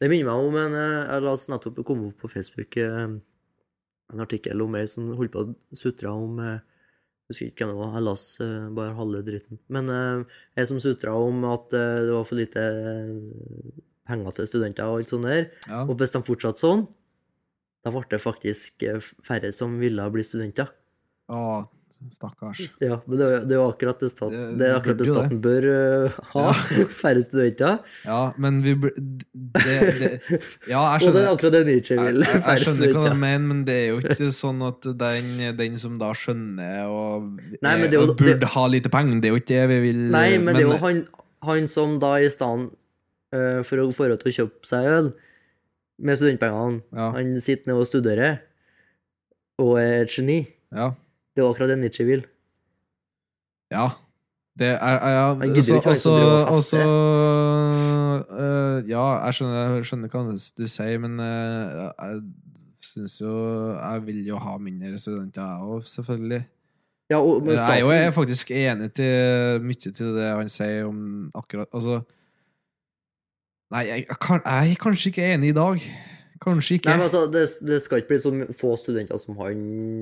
Speaker 2: Det minner meg om en eh, Jeg la oss nettopp komme opp på Facebook eh, en artikkel om ei som holdt på å sutre om eh, jeg husker ikke hvem det var, jeg las eh, bare halve dritten. Men eh, ei som sutra om at eh, det var for lite eh, penger til studenter og alt sånt der.
Speaker 1: ja.
Speaker 2: Og hvis de fortsatte sånn, da ble det faktisk eh, færre som ville bli studenter.
Speaker 1: Å, stakkars.
Speaker 2: Ja, men det, det er jo akkurat det staten,
Speaker 1: Det-
Speaker 2: det er
Speaker 1: det
Speaker 2: akkurat det
Speaker 1: burde jo
Speaker 2: staten bør eh, ha. Færre studenter.
Speaker 1: Ja, men vi bl- det, det, Ja, jeg
Speaker 2: Og det er
Speaker 1: skjønner,
Speaker 2: akkurat det Nietzsche
Speaker 1: jeg,
Speaker 2: vil.
Speaker 1: jeg, jeg
Speaker 2: Færre
Speaker 1: skjønner hva de
Speaker 2: studenter.
Speaker 1: mener, men det er jo ikke sånn at den, den som da skjønner og,
Speaker 2: Nei, men
Speaker 1: er-
Speaker 2: det er jo-
Speaker 1: og burde
Speaker 2: det-
Speaker 1: ha lite penger, det er jo ikke det vi vil
Speaker 2: Nei, men det er jo han, han som da i stedet eh, for å få råd til å kjøpe seg øl med studentpengene,
Speaker 1: ja,
Speaker 2: han sitter ned og studerer og er et geni.
Speaker 1: ja,
Speaker 2: Det er jo akkurat det Nietzsche vil.
Speaker 1: ja. Det er, er- ja, altså,
Speaker 2: gidder jo ikke å
Speaker 1: også,
Speaker 2: drive og
Speaker 1: også,
Speaker 2: feste.
Speaker 1: øh, Ja, jeg skjønner, jeg skjønner hva du sier, men øh, jeg syns jo Jeg vil jo ha mindre studenter, jeg òg, selvfølgelig.
Speaker 2: Ja, og, men
Speaker 1: Jeg er jo
Speaker 2: staten-
Speaker 1: jeg er faktisk enig til mye til det han sier om akkurat Altså Nei, jeg, jeg, kan, jeg er kanskje ikke enig i dag. Kanskje ikke.
Speaker 2: Nei, men altså, det, det skal ikke bli så få studenter som han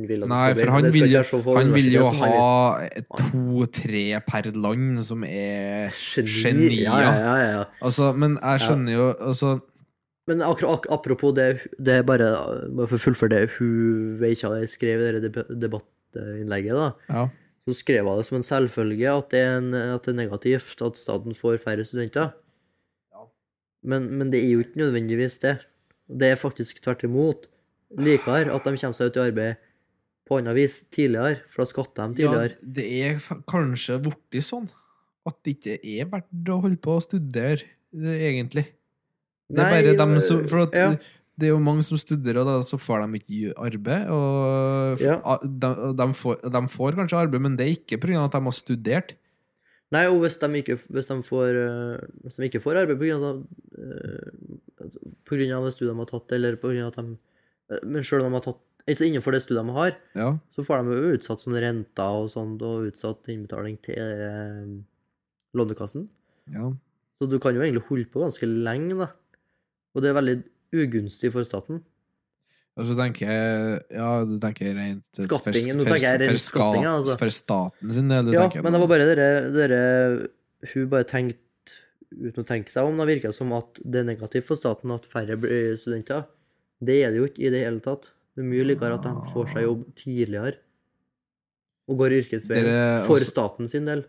Speaker 2: vil at det
Speaker 1: Nei,
Speaker 2: skal bli.
Speaker 1: for han
Speaker 2: Det skal
Speaker 1: vil,
Speaker 2: ikke
Speaker 1: jo,
Speaker 2: være så få
Speaker 1: han vil jo
Speaker 2: universiteter som
Speaker 1: ha
Speaker 2: vil-
Speaker 1: to-tre per land som er
Speaker 2: Geni. Ja, ja,
Speaker 1: genier.
Speaker 2: ja, ja, ja.
Speaker 1: Altså, men jeg skjønner jo altså,
Speaker 2: Men akkurat ak apropos det, det er bare, bare for å fullføre det hun Veikja skrev i det deb- debattinnlegget, da,
Speaker 1: ja.
Speaker 2: så skrev hun det som en selvfølge at det er, en, at det er negativt at staten får færre studenter. Men, men det er jo ikke nødvendigvis det. Det er faktisk tvert imot likere at de kommer seg ut i arbeid på annet vis tidligere, for da skatter de
Speaker 1: ja,
Speaker 2: tidligere.
Speaker 1: det er fa- kanskje blitt sånn at det ikke er verdt å holde på å studere, det, egentlig. Det er
Speaker 2: Nei, øh,
Speaker 1: bare dem som For at
Speaker 2: ja.
Speaker 1: det er jo mange som studerer, og da så får de ikke gjø- arbeid. Og f-
Speaker 2: Ja.
Speaker 1: a- de, og de, får, de får kanskje arbeid, men det er ikke pga. at de har studert.
Speaker 2: Nei, og hvis de ikke, hvis de får, øh, hvis de ikke får arbeid på grunn av, øh, på grunn av det studiet de har tatt, eller på grunn av at de, øh, men selv om de har tatt, altså innenfor det studiet de har,
Speaker 1: Ja.
Speaker 2: så får de jo utsatt sånne renter og sånt, og utsatt innbetaling til øh, lånekassen.
Speaker 1: ja.
Speaker 2: Så du kan jo egentlig holde på ganske lenge, da. Og det er veldig ugunstig for staten.
Speaker 1: Og så tenker jeg Ja, du tenker rent
Speaker 2: Skattingen, nå tenker jeg rent skattingen, altså.
Speaker 1: For staten sin del, du
Speaker 2: Ja,
Speaker 1: tenker
Speaker 2: men det var bare dere, dere Hun bare tenkte uten å tenke seg om. Det virka som at det er negativt for staten at færre blir studenter. Det er det jo ikke i det hele tatt. Det er mye likere at de får seg jobb tidligere og går yrkesveien.
Speaker 1: Dere-
Speaker 2: For
Speaker 1: også-
Speaker 2: staten sin del.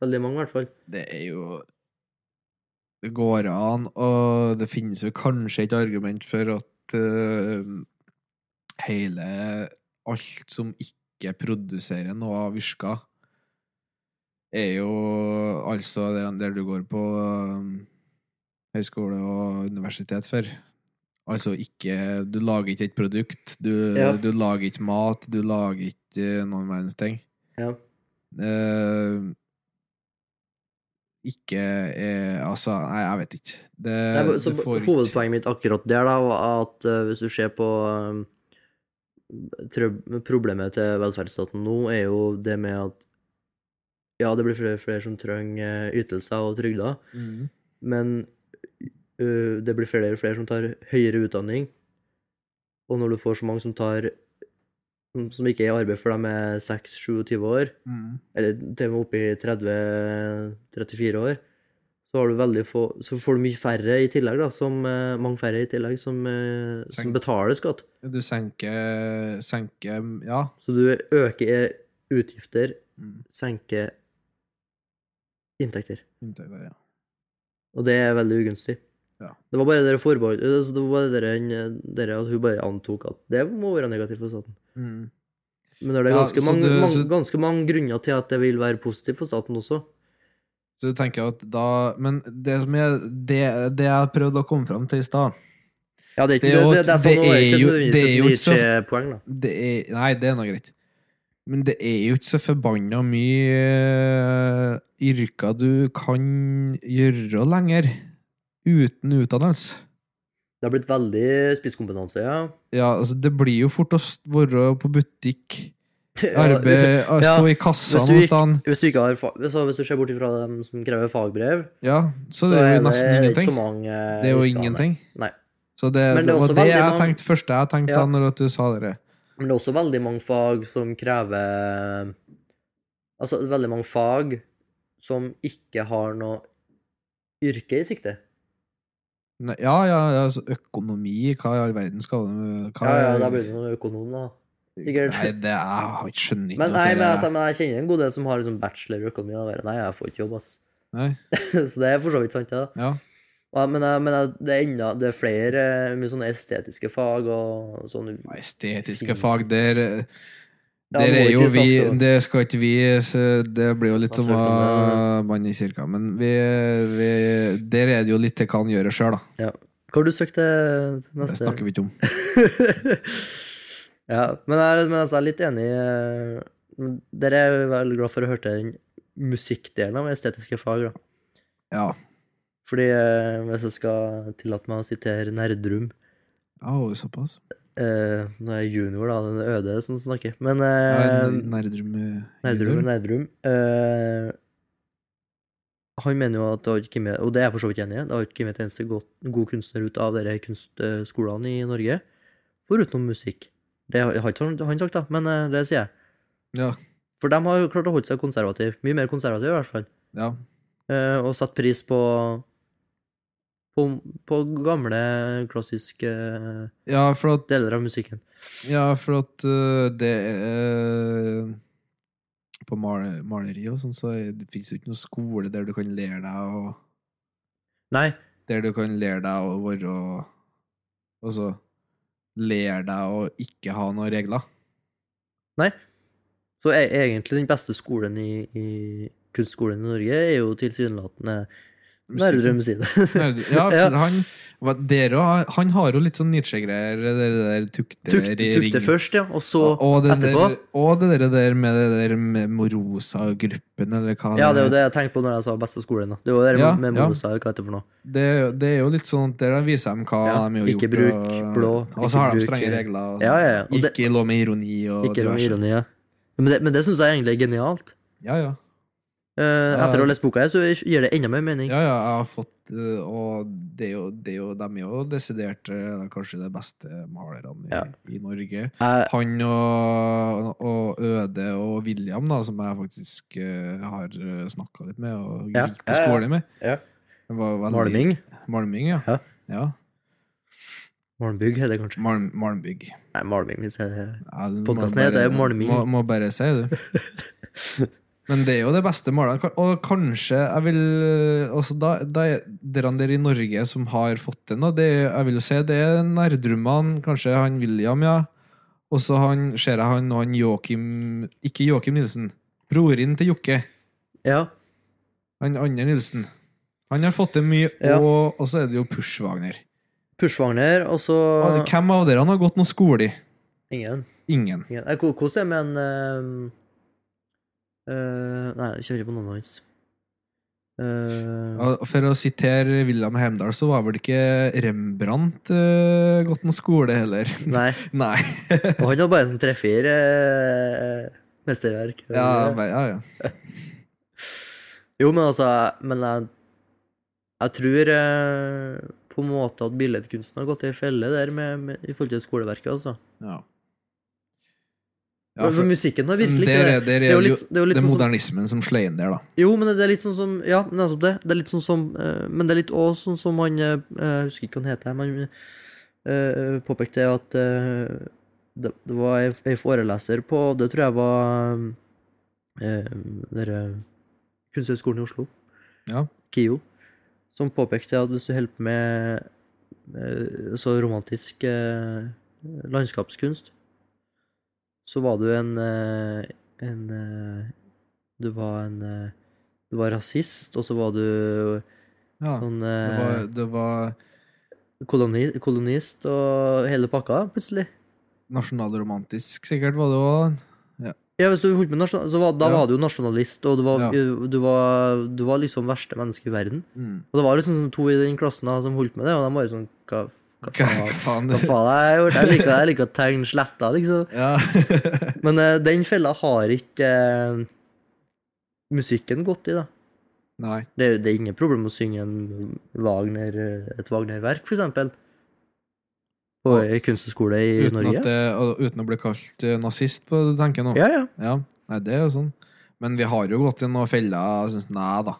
Speaker 2: Veldig mange, i hvert fall.
Speaker 1: Det er jo Det går an, og det finnes jo kanskje et argument for at eh, hele Alt som ikke produserer noe av yrker, er jo altså der, der du går på eh, høyskole og universitet for. Altså ikke Du lager ikke et produkt, du,
Speaker 2: Ja.
Speaker 1: du lager ikke mat, du lager ikke eh, noen verdens ting
Speaker 2: Ja.
Speaker 1: eh, ikke er Altså, nei, jeg vet ikke. Det,
Speaker 2: Nei, men så
Speaker 1: Eh, du får ikke
Speaker 2: hovedpoenget mitt akkurat der, da, var at eh, hvis du ser på eh, trøb- Problemet til velferdsstaten nå er jo det med at Ja, det blir flere, flere som trenger eh, ytelser og trygder,
Speaker 1: Mhm.
Speaker 2: men eh, det blir flere og flere som tar høyere utdanning. Og når du får så mange som tar som- som ikke er i arbeid før de er 6-27 år,
Speaker 1: Mhm.
Speaker 2: eller til og med oppe i 30-34 år, så, har du veldig få, så får du mye færre i tillegg, da, som, eh, mange færre i tillegg, som, eh, som
Speaker 1: Tenk.
Speaker 2: betaler skatt.
Speaker 1: Du senker Senker Ja.
Speaker 2: Så du øker utgifter,
Speaker 1: Mm.
Speaker 2: senker inntekter.
Speaker 1: Inntekter, ja.
Speaker 2: Og det er veldig ugunstig.
Speaker 1: Ja.
Speaker 2: Det var bare dere forbehold, altså, det var bare dere, dere at hun bare antok at det må være negativt for staten.
Speaker 1: Mhm.
Speaker 2: Men når det er
Speaker 1: Ja,
Speaker 2: ganske,
Speaker 1: så
Speaker 2: mange,
Speaker 1: du-
Speaker 2: mange,
Speaker 1: så-
Speaker 2: ganske mange grunner til at det vil være positivt for staten også.
Speaker 1: Så du tenker at da Men det som jeg Det, det jeg prøvde å komme fram til i stad,
Speaker 2: Ja, det er, ikke,
Speaker 1: Det er
Speaker 2: det,
Speaker 1: jo-
Speaker 2: det, det er sånn,
Speaker 1: det
Speaker 2: det er
Speaker 1: er
Speaker 2: ikke
Speaker 1: jo-
Speaker 2: nødvendigvis
Speaker 1: det er jo
Speaker 2: et
Speaker 1: ikke så-
Speaker 2: Nietzsche-poeng, da.
Speaker 1: det er Nei, det er nå greit. Men det er jo ikke så forbanna mye eh, yrker du kan gjøre lenger uten utdannelse.
Speaker 2: Det har blitt veldig spisskompetanse, ja.
Speaker 1: Ja, altså, det blir jo fort å s- være på butikk, arbeid, å
Speaker 2: Ja,
Speaker 1: stå i kassa
Speaker 2: hvis du
Speaker 1: noe
Speaker 2: gikk-
Speaker 1: sted.
Speaker 2: Hvis du, ikke har, fa- så hvis du ser bort ifra dem som krever fagbrev,
Speaker 1: Ja, så det er jo nesten
Speaker 2: ikke så
Speaker 1: ingenting.
Speaker 2: mange
Speaker 1: Det er jo
Speaker 2: utdannet.
Speaker 1: ingenting.
Speaker 2: Nei.
Speaker 1: Så det,
Speaker 2: Men det er
Speaker 1: det var
Speaker 2: også
Speaker 1: det
Speaker 2: veldig
Speaker 1: jeg
Speaker 2: mange-
Speaker 1: tenkte første jeg tenkte
Speaker 2: Ja.
Speaker 1: da når at du sa det.
Speaker 2: Men det er også veldig mange fag som krever Altså det er veldig mange fag som ikke har noe yrke i sikte.
Speaker 1: Nei, Ja, ja, ja, altså økonomi, hva i all verden skal du hva,
Speaker 2: Ja, ja, da blir det noen økonom, da. sikkert.
Speaker 1: Nei, det jeg har ikke skjønner ikke
Speaker 2: Men,
Speaker 1: at
Speaker 2: nei,
Speaker 1: det
Speaker 2: men,
Speaker 1: er-
Speaker 2: altså, men jeg kjenner en god del som har liksom bachelor i økonomi. Og bare, nei, jeg får ikke jobb, ass.
Speaker 1: Nei.
Speaker 2: så det er for så vidt sant, det. da.
Speaker 1: Ja.
Speaker 2: Ja, men eh, men eh, det er enda det er flere eh, med sånne estetiske fag og sånn
Speaker 1: Nei, Estetiske
Speaker 2: Fint.
Speaker 1: fag, der
Speaker 2: Ja,
Speaker 1: Der
Speaker 2: må
Speaker 1: er
Speaker 2: ikke
Speaker 1: jo vi
Speaker 2: snakke så-
Speaker 1: Det skal ikke vi så Det blir jo litt
Speaker 2: Snakke
Speaker 1: som
Speaker 2: så
Speaker 1: å
Speaker 2: høyt
Speaker 1: banne i kirka, men vi, vi Der er det jo litt jeg kan gjøre sjøl, da.
Speaker 2: Hva har du søkt til
Speaker 1: Det
Speaker 2: neste?
Speaker 1: snakker vi ikke om.
Speaker 2: ja, men jeg, men altså, jeg er litt enig eh, men Dere er jo veldig glad for å høre den musikkdelen av estetiske fag. da.
Speaker 1: Ja.
Speaker 2: Fordi eh, hvis jeg skal tillate meg å sitere Nerdrum
Speaker 1: Au, såpass.
Speaker 2: eh, Nå er jeg junior, da. Den øde som snakker. Men
Speaker 1: Ja,
Speaker 2: eh,
Speaker 1: en Nerdrum eh,
Speaker 2: Nerdrum
Speaker 1: junior.
Speaker 2: er Nerdrum. Eh, han mener jo at det har ikke kommet, og det er jeg for så vidt enig i, det har ikke kommet et eneste godt, god kunstner ut av disse kunstskolene i Norge, foruten musikk. Det har har ikke han- han sagt, da, men eh, det sier jeg.
Speaker 1: Ja.
Speaker 2: For de har jo klart å holde seg konservativ, mye mer konservativ i hvert fall,
Speaker 1: Ja.
Speaker 2: eh, og satt pris på, på, på gamle, klassiske eh,
Speaker 1: Ja, for at
Speaker 2: deler av musikken.
Speaker 1: Ja, for at øh, det øh, På mal maleri og sånn, så er- det finnes jo ikke noen skole der du kan lære deg å
Speaker 2: Nei,
Speaker 1: Der du kan lære deg å være Altså lære deg å ikke ha noen regler.
Speaker 2: Så e egentlig den beste skolen i, i kunstskolen i Norge er jo tilsynelatende Nerdrum sine.
Speaker 1: Nerd- Ja,
Speaker 2: Ja.
Speaker 1: for han hva- dere har- Han har jo litt sånn Nietzsche-greier, det der
Speaker 2: Tukte, tukte
Speaker 1: tukte
Speaker 2: først, ja, og så
Speaker 1: og, og, det der,
Speaker 2: etterpå.
Speaker 1: og det der- der med det der med Morosa-gruppen, eller hva
Speaker 2: Ja, det er jo det jeg tenkte på når jeg sa beste skolen. da. Det var det
Speaker 1: Ja,
Speaker 2: med
Speaker 1: ja.
Speaker 2: Morosa, eller hva heter det for noe.
Speaker 1: Det, det er jo litt sånn at der viser de hva
Speaker 2: Ja,
Speaker 1: de har gjort.
Speaker 2: ikke bruk
Speaker 1: og,
Speaker 2: blå,
Speaker 1: Og
Speaker 2: ikke
Speaker 1: så har de
Speaker 2: bruk- eh,
Speaker 1: strenge regler. Og
Speaker 2: Ja, ja, ja. Og det,
Speaker 1: ikke lov med ironi og
Speaker 2: ikke noe
Speaker 1: diverse.
Speaker 2: ironi, ja. Men det, men det syns jeg egentlig er genialt.
Speaker 1: Ja, ja.
Speaker 2: Eh, etter å ha lest boka her, så gir det enda mer mening.
Speaker 1: ja, ja. Jeg har fått eh, Og det er jo, det er jo, de er jo desidert eh, kanskje de beste malerne i,
Speaker 2: Ja.
Speaker 1: i Norge.
Speaker 2: Jeg,
Speaker 1: Han og, og Øde og William, da, som jeg faktisk eh, har snakka litt med og
Speaker 2: Ja.
Speaker 1: gikk
Speaker 2: Ja,
Speaker 1: på
Speaker 2: ja.
Speaker 1: skole med.
Speaker 2: Ja.
Speaker 1: Det var veldig-
Speaker 2: Malming.
Speaker 1: Malming, ja.
Speaker 2: Ja.
Speaker 1: ja.
Speaker 2: Malmbygg heter det kanskje.
Speaker 1: Malm, Malmbygg.
Speaker 2: Nei, Malming hvis jeg
Speaker 1: Ja, du må
Speaker 2: Podcasten
Speaker 1: bare-
Speaker 2: heter Malming.
Speaker 1: Må, må bare si det. Men det er jo det beste maleren. kan- Og kanskje jeg vil altså da, da er Dere der i Norge som har fått det nå, det, er- jeg vil jo si det er Nerdrumman, kanskje han William, ja. Og så han, ser jeg han, og han Joakim Ikke Joakim Nilsen. Broren til Jokke.
Speaker 2: Ja.
Speaker 1: Han andre Nilsen. Han har fått til mye,
Speaker 2: Ja.
Speaker 1: og, og så er det jo Pushwagner.
Speaker 2: Pushwagner, og så
Speaker 1: Og Hvem av dere har gått noe skole i?
Speaker 2: Ingen.
Speaker 1: Ingen.
Speaker 2: Ja, jeg- hvor- Hvordan er det med en eh, eh, Nei, jeg kjenner ikke på navnet hans. Eh,
Speaker 1: Og For å sitere William Heimdal, så var vel ikke Rembrandt eh, gått noen skole heller.
Speaker 2: nei.
Speaker 1: Nei.
Speaker 2: Og han var bare en treffer uh, mesterverk. Eh,
Speaker 1: Ja, men- ja, ja.
Speaker 2: Jo, men altså Men jeg, jeg tror eh, på en måte at billedkunsten har gått i felle der med, med, i forhold til skoleverket, altså.
Speaker 1: ja.
Speaker 2: for,
Speaker 1: for-
Speaker 2: musikken har virkelig
Speaker 1: der,
Speaker 2: ikke det.
Speaker 1: er- der
Speaker 2: Det
Speaker 1: er
Speaker 2: er jo
Speaker 1: jo
Speaker 2: litt, det er jo litt
Speaker 1: den
Speaker 2: sånn som
Speaker 1: modernismen som slår inn der, da.
Speaker 2: Jo, men det er litt sånn som Ja, nettopp det. Det er litt sånn som eh, Men det er litt òg sånn som han eh, Jeg husker ikke hva han heter, men eh, påpekte at eh, det, det var ei- ei foreleser på Det tror jeg var eh, dere Kunsthøgskolen i Oslo.
Speaker 1: Ja.
Speaker 2: KIO. Som påpekte at hvis du holder på med eh, så romantisk eh, landskapskunst, så var du en eh, en eh, Du var en eh, Du var rasist, og så var du
Speaker 1: Ja.
Speaker 2: sånn
Speaker 1: Det
Speaker 2: eh,
Speaker 1: var, det var
Speaker 2: koloni, kolonist og hele pakka, plutselig.
Speaker 1: nasjonalromantisk, sikkert, var det òg.
Speaker 2: Ja, hvis du holdt med nasjonal, så var, Da
Speaker 1: Ja.
Speaker 2: var du jo nasjonalist, og du var, du, var, du var liksom verste menneske i verden.
Speaker 1: Mm.
Speaker 2: Og det var liksom to i den klassen da, som holdt med det, og de bare sånn Hva, hva
Speaker 1: Hva
Speaker 2: faen?
Speaker 1: faen?
Speaker 2: Hva faen har jeg gjort? Jeg liker, jeg liker å tegne sletter, liksom.
Speaker 1: Ja.
Speaker 2: Men eh, den fella har ikke eh, musikken gått i, da.
Speaker 1: Nei.
Speaker 2: Det, er- det er ingen problem å synge en Wagner, eh, et Wagner-verk, for eksempel. På
Speaker 1: Og-
Speaker 2: ei kunsthøgskole i
Speaker 1: Uten,
Speaker 2: Norge.
Speaker 1: at det, og uten å bli kalt eh, nazist, på det tenker jeg nå.
Speaker 2: Ja, ja.
Speaker 1: Ja, nei, det er jo sånn. Men vi har jo gått i noen feller, jeg synes, nei da.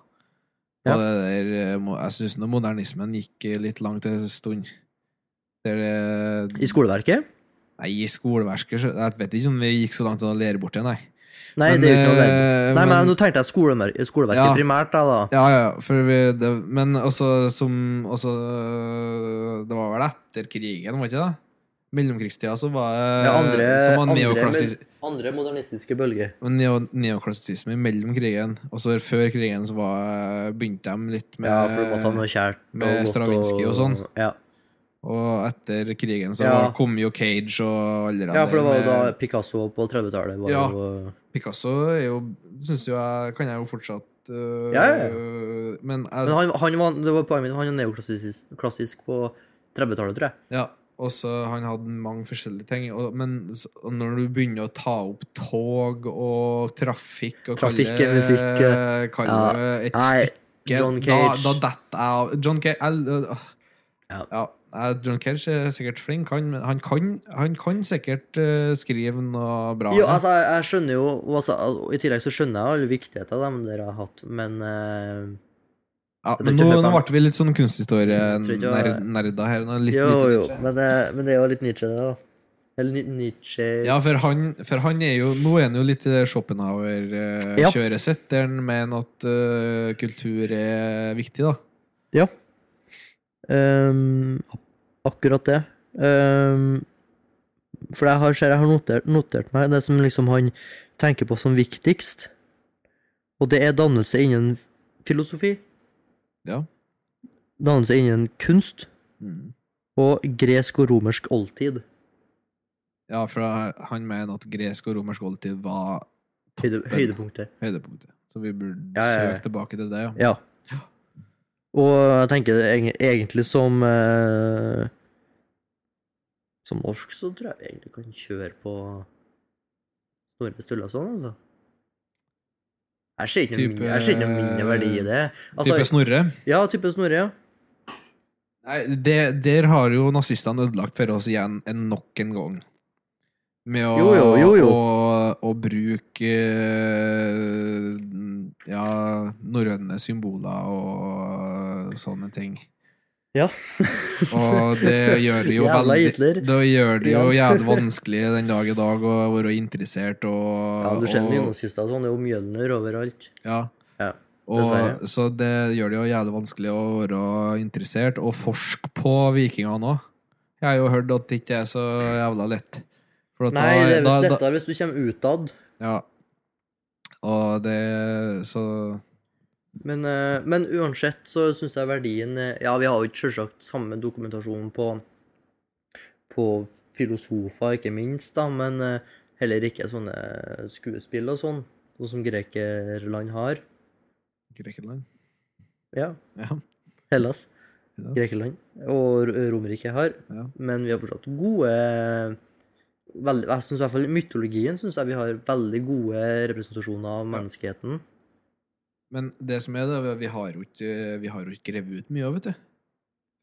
Speaker 2: Ja.
Speaker 1: Og det der, eh, mo- jeg syns modernismen gikk eh, litt langt en stund. Der,
Speaker 2: I skoleverket.
Speaker 1: nei, i skoleverket så- Jeg vet ikke om vi gikk så langt som å lære bort det, nei.
Speaker 2: Nei,
Speaker 1: Men,
Speaker 2: det er jo ikke noe der.
Speaker 1: eh,
Speaker 2: Nei, men
Speaker 1: men-
Speaker 2: nå tenkte jeg skolemer- skoleverket
Speaker 1: Ja.
Speaker 2: primært, da. da.
Speaker 1: Ja, ja, for vi, det, men også som også, Det var vel etter krigen, var det ikke det? Mellomkrigstida så var det
Speaker 2: Ja, andre-
Speaker 1: så Eh, var
Speaker 2: andre-
Speaker 1: neoklassis-
Speaker 2: Andre modernistiske bølger.
Speaker 1: Og neo, neoklassisisme mellom krigen. Og så før krigen så var, eh, begynte de litt med
Speaker 2: ja, for du måtte ha noe kjært. og
Speaker 1: med
Speaker 2: godt
Speaker 1: Stravinskij og sånn.
Speaker 2: Ja.
Speaker 1: Og etter krigen så
Speaker 2: Ja.
Speaker 1: kom jo Cage og alle de
Speaker 2: ja, for det var jo da
Speaker 1: der med-
Speaker 2: Picasso på 30-tallet var
Speaker 1: Ja.
Speaker 2: jo
Speaker 1: Picasso er jo Syns jo jeg Kan jeg jo fortsatt øh,
Speaker 2: Ja, ja,
Speaker 1: Men jeg
Speaker 2: Men han, han var, det var poenget mitt, han er neoklassisk klassisk på 30-tallet, tror jeg.
Speaker 1: Ja. Og så han hadde mange forskjellige ting. Og, men s- og når du begynner å ta opp tog og trafikk og
Speaker 2: Trafikk
Speaker 1: kalle-
Speaker 2: er musikk,
Speaker 1: Kalle det et
Speaker 2: Nei,
Speaker 1: stikk ikke
Speaker 2: John
Speaker 1: Da,
Speaker 2: Cage.
Speaker 1: da detter jeg av. John Cage jeg- øh,
Speaker 2: Ja.
Speaker 1: ja. jeg- John Cage er sikkert flink. Han, han, kan, han kan sikkert øh, skrive noe bra.
Speaker 2: Jo, altså, jeg, jeg skjønner jo og altså, og I tillegg så skjønner jeg alle viktigheten av dem dere har hatt, men eh,
Speaker 1: ja,
Speaker 2: jeg
Speaker 1: men
Speaker 2: tror
Speaker 1: nå,
Speaker 2: ikke
Speaker 1: nå
Speaker 2: dette-
Speaker 1: ble vi litt sånn
Speaker 2: Jeg tror ikke-
Speaker 1: kunsthistorie-nerder her. Nå, litt,
Speaker 2: Jo,
Speaker 1: litt,
Speaker 2: jo, men det, men det er jo litt Nietzsche, det, da. Eller Ni- Nietzsche
Speaker 1: Ja, for han, for han er jo Nå er han jo litt i det
Speaker 2: Ja.
Speaker 1: Schopenhauer-kjøret sitt, der han mener at øh, kultur er viktig, da.
Speaker 2: Ja. Ehm, ak- akkurat det. Ehm, for jeg har, ser jeg har notert, notert meg det som liksom han tenker på som viktigst, og det er dannelse innen filosofi,
Speaker 1: Ja.
Speaker 2: dannelse innen kunst
Speaker 1: Mm.
Speaker 2: og gresk og romersk oldtid.
Speaker 1: Ja, for han mener at gresk og romersk oldtid var
Speaker 2: Høyde, høydepunkter.
Speaker 1: høydepunktet. Så vi burde
Speaker 2: Ja, ja, ja.
Speaker 1: søke tilbake til det, ja.
Speaker 2: Ja. Og jeg tenker det egen- egentlig som eh, Som norsk så tror jeg vi egentlig kan kjøre på Snorre Sturlason, altså. Jeg ser ikke noe
Speaker 1: Type-
Speaker 2: mindre, jeg ser ikke noe mindre verdi i det. Altså,
Speaker 1: Type Snorre.
Speaker 2: ja, type Snorre, ja.
Speaker 1: Nei, det, der har jo nazistene ødelagt for oss igjen en nok en gang. Med å,
Speaker 2: Jo, jo, jo, jo.
Speaker 1: å, å bruke eh, ja, norrøne symboler og sånne ting.
Speaker 2: Ja.
Speaker 1: Og det gjør det jo
Speaker 2: Jævla
Speaker 1: veldig
Speaker 2: Hitler.
Speaker 1: Det gjør det jo jævlig vanskelig den dag i dag å være interessert og
Speaker 2: ja du ser
Speaker 1: og-
Speaker 2: Jonas-kysta sånn, det er jo Mjølner overalt.
Speaker 1: Ja.
Speaker 2: Ja,
Speaker 1: og,
Speaker 2: dessverre.
Speaker 1: så det gjør det jo jævlig vanskelig å være interessert og forske på vikingene òg. Jeg har jo hørt at det ikke er så jævla lett. For at
Speaker 2: Nei, det er
Speaker 1: da-
Speaker 2: visst
Speaker 1: da-
Speaker 2: lettere hvis du kommer utad.
Speaker 1: Ja. Og det Så
Speaker 2: Men, eh, men uansett så syns jeg verdien eh, Ja, vi har jo ikke selvsagt samme dokumentasjon på, på filosofer, ikke minst, da, men eh, heller ikke sånne skuespill og sånn, sånn som grekerland har.
Speaker 1: Grekeland?
Speaker 2: Ja,
Speaker 1: Ja.
Speaker 2: Hellas,
Speaker 1: ja.
Speaker 2: Grekeland og R- Romerike har.
Speaker 1: Ja.
Speaker 2: Men vi har fortsatt gode veldig, Jeg synes i hvert fall i mytologien synes jeg vi har veldig gode representasjoner av menneskeheten.
Speaker 1: Men det som er, det, vi har jo ikke Vi har jo ikke revet ut mye av, vet du.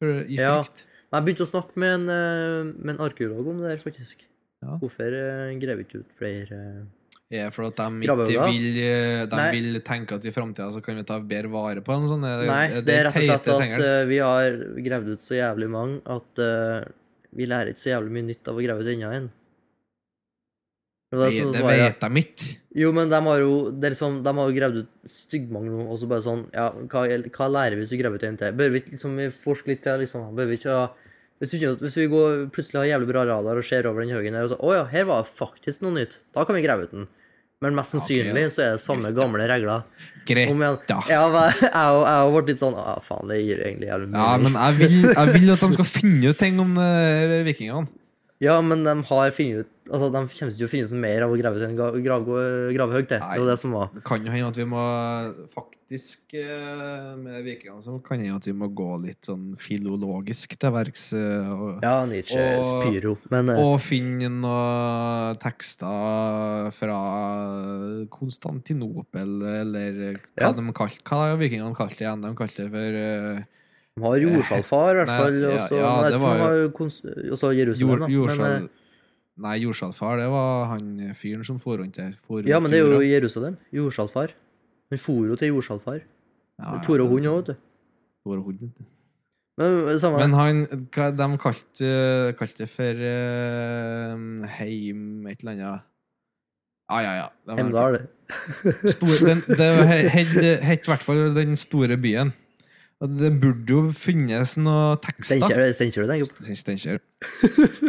Speaker 1: For, I
Speaker 2: Ja.
Speaker 1: frykt.
Speaker 2: Jeg begynte å snakke med en, eh, med en arkeolog om det der, faktisk.
Speaker 1: Ja.
Speaker 2: Hvorfor eh, grev vi ikke ut flere eh,
Speaker 1: Er for at de ikke
Speaker 2: Gravhauger?
Speaker 1: vil eh, De
Speaker 2: Nei.
Speaker 1: vil tenke at i framtida så kan vi ta bedre vare på dem. Sånn. Er,
Speaker 2: Nei, det er rett og slett
Speaker 1: teite
Speaker 2: at
Speaker 1: tingene?
Speaker 2: eh, vi har gravd ut så jævlig mange at eh, vi lærer ikke så jævlig mye nytt av å grave ut enda en. Det var
Speaker 1: Det,
Speaker 2: sånn
Speaker 1: det
Speaker 2: svaret.
Speaker 1: vet de ikke.
Speaker 2: Jo, men de har jo, det er liksom, de har jo gravd ut styggmange nå, og så bare sånn Ja, hva, hva lærer vi hvis vi graver ut en til? Bør vi ikke liksom forske litt til, liksom? Bør vi ikke ha hvis vi, ikke- hvis vi går, plutselig har jævlig bra radar og ser over den haugen her og så Å ja, her var det faktisk noe nytt. Da kan vi grave ut den. Men mest
Speaker 1: Ja, ok, ja.
Speaker 2: sannsynlig så er det samme
Speaker 1: Greit, da.
Speaker 2: gamle regler.
Speaker 1: Greit,
Speaker 2: Om igjen.
Speaker 1: da.
Speaker 2: Ja, men jeg og- jeg har vært litt sånn Ja, faen, det gir egentlig jævlig
Speaker 1: Ja,
Speaker 2: mening.
Speaker 1: men jeg vil, jeg vil at de skal finne ut ting om eh, vikingene.
Speaker 2: Ja, men de har funnet ut Altså, de kommer ikke til å finne ut mer av å grave ut en ga- gravgå- gravhaug til. Det
Speaker 1: Nei.
Speaker 2: var det som var
Speaker 1: Det kan jo hende at vi må faktisk eh, Med vikingene så kan det hende at vi må gå litt sånn filologisk til verks. eh, og,
Speaker 2: Ja, Nietzsche
Speaker 1: Og-
Speaker 2: spyro, men eh,
Speaker 1: og finne noen tekster fra Konstantinopel, eller hva
Speaker 2: Ja.
Speaker 1: de kalte Hva har vikingene kalte det igjen? De kalte det for eh,
Speaker 2: De har jordsalfar, i hvert
Speaker 1: Nei,
Speaker 2: fall.
Speaker 1: ja,
Speaker 2: Og så
Speaker 1: ja,
Speaker 2: jeg vet
Speaker 1: det
Speaker 2: ikke
Speaker 1: var jo-
Speaker 2: om han har kons- og så Jerusalem,
Speaker 1: jord,
Speaker 2: da.
Speaker 1: Jordskjal...
Speaker 2: Men, eh,
Speaker 1: Nei, Jordskjalfar, det var han fyren som for rundt der. for
Speaker 2: eh, ja,
Speaker 1: rundt
Speaker 2: men det er
Speaker 1: jorda.
Speaker 2: jo Jerusalem. Jordsalfar. Han for jo til jordsalfar.
Speaker 1: Ja, ja,
Speaker 2: Tore
Speaker 1: det er
Speaker 2: Hund
Speaker 1: sant.
Speaker 2: òg, vet du.
Speaker 1: Tore Hund.
Speaker 2: Men det samme
Speaker 1: Men han, hva- de kalte, kalte det for eh, Heim et eller annet. Ja, ja, ja. De-
Speaker 2: Hemdal.
Speaker 1: Stor, den, det he- het- het i hvert fall den store byen. Og Det burde jo finnes noen tekster.
Speaker 2: Steinkjer, Steinkjer du tenker på?
Speaker 1: Steinkjer.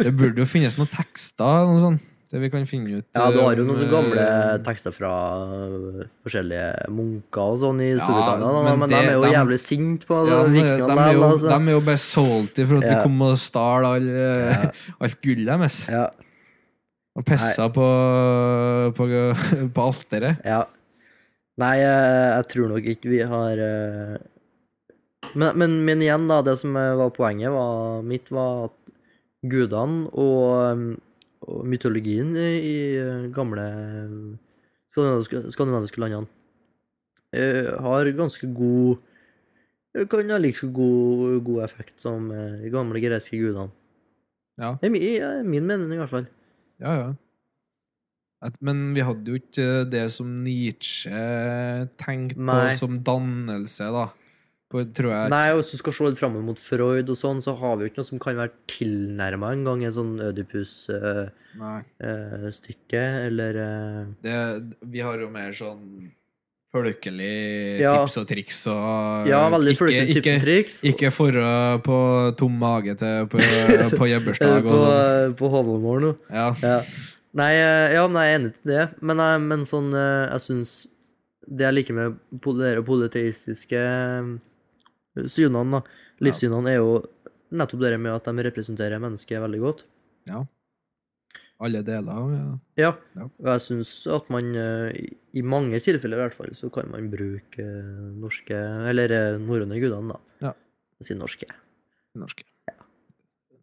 Speaker 1: Det burde jo finnes noen tekster, noe sånt. Det vi kan finne ut.
Speaker 2: Ja, du har jo
Speaker 1: om,
Speaker 2: noen sånne gamle
Speaker 1: eh,
Speaker 2: tekster fra øh, forskjellige munker og sånn i
Speaker 1: Ja,
Speaker 2: Storbritannia, da, men,
Speaker 1: men det-
Speaker 2: de er jo
Speaker 1: dem-
Speaker 2: jævlig sinte på
Speaker 1: Ja, de,
Speaker 2: altså,
Speaker 1: de,
Speaker 2: vikingene
Speaker 1: er jo,
Speaker 2: der, altså.
Speaker 1: de er jo bare salty for at vi
Speaker 2: Ja.
Speaker 1: kom og stjal all, eh,
Speaker 2: Ja.
Speaker 1: alt gullet deres.
Speaker 2: Ja,
Speaker 1: Og pissa på, på, på alteret.
Speaker 2: ja. Nei, jeg, jeg tror nok ikke vi har øh, men, men, men igjen, da, det som øh, var poenget var, mitt, var at gudene og, øhm, og mytologien i, i øh, gamle skandinaviske, skandinaviske landene øh, har eh, ganske god Det kan ha like så god, god effekt som eh, de gamle greske gudene.
Speaker 1: Ja.
Speaker 2: Det er mi- ja, det er min mening, i hvert fall.
Speaker 1: Ja, ja. At, men vi hadde jo ikke det som Nietzsche tenkte på
Speaker 2: Nei.
Speaker 1: som dannelse, da. På, tror jeg.
Speaker 2: Nei, og Hvis du skal se litt fram mot Freud, og sånn, så har vi jo ikke noe som kan være tilnærma engang en sånn Ødipus-stykke.
Speaker 1: Nei.
Speaker 2: eller eh,
Speaker 1: Det, vi har jo mer sånn folkelig
Speaker 2: Ja.
Speaker 1: tips og triks og
Speaker 2: Ja, veldig
Speaker 1: Eh, ikke,
Speaker 2: fløyete tips
Speaker 1: ikke,
Speaker 2: og triks.
Speaker 1: ikke forra på tom mage til på, på
Speaker 2: Er du
Speaker 1: jebbersdag
Speaker 2: eh, på,
Speaker 1: og sånn.
Speaker 2: på Holmgård nå?
Speaker 1: Ja.
Speaker 2: Ja. Nei, eh, ja, nei, jeg er enig til det. Men, eh, men sånn, eh, jeg syns det jeg liker med pol- dere politeistiske eh, synene, da,
Speaker 1: Ja.
Speaker 2: livssynene, er jo nettopp det med at de representerer mennesket veldig godt.
Speaker 1: Alle deler. Ja.
Speaker 2: Ja.
Speaker 1: Ja.
Speaker 2: Og jeg syns at man eh, i- i mange tilfeller i hvert fall, så kan man bruke eh, norske Eller eh, norrøne gudene, da.
Speaker 1: Ja.
Speaker 2: Jeg sier norske.
Speaker 1: Norske.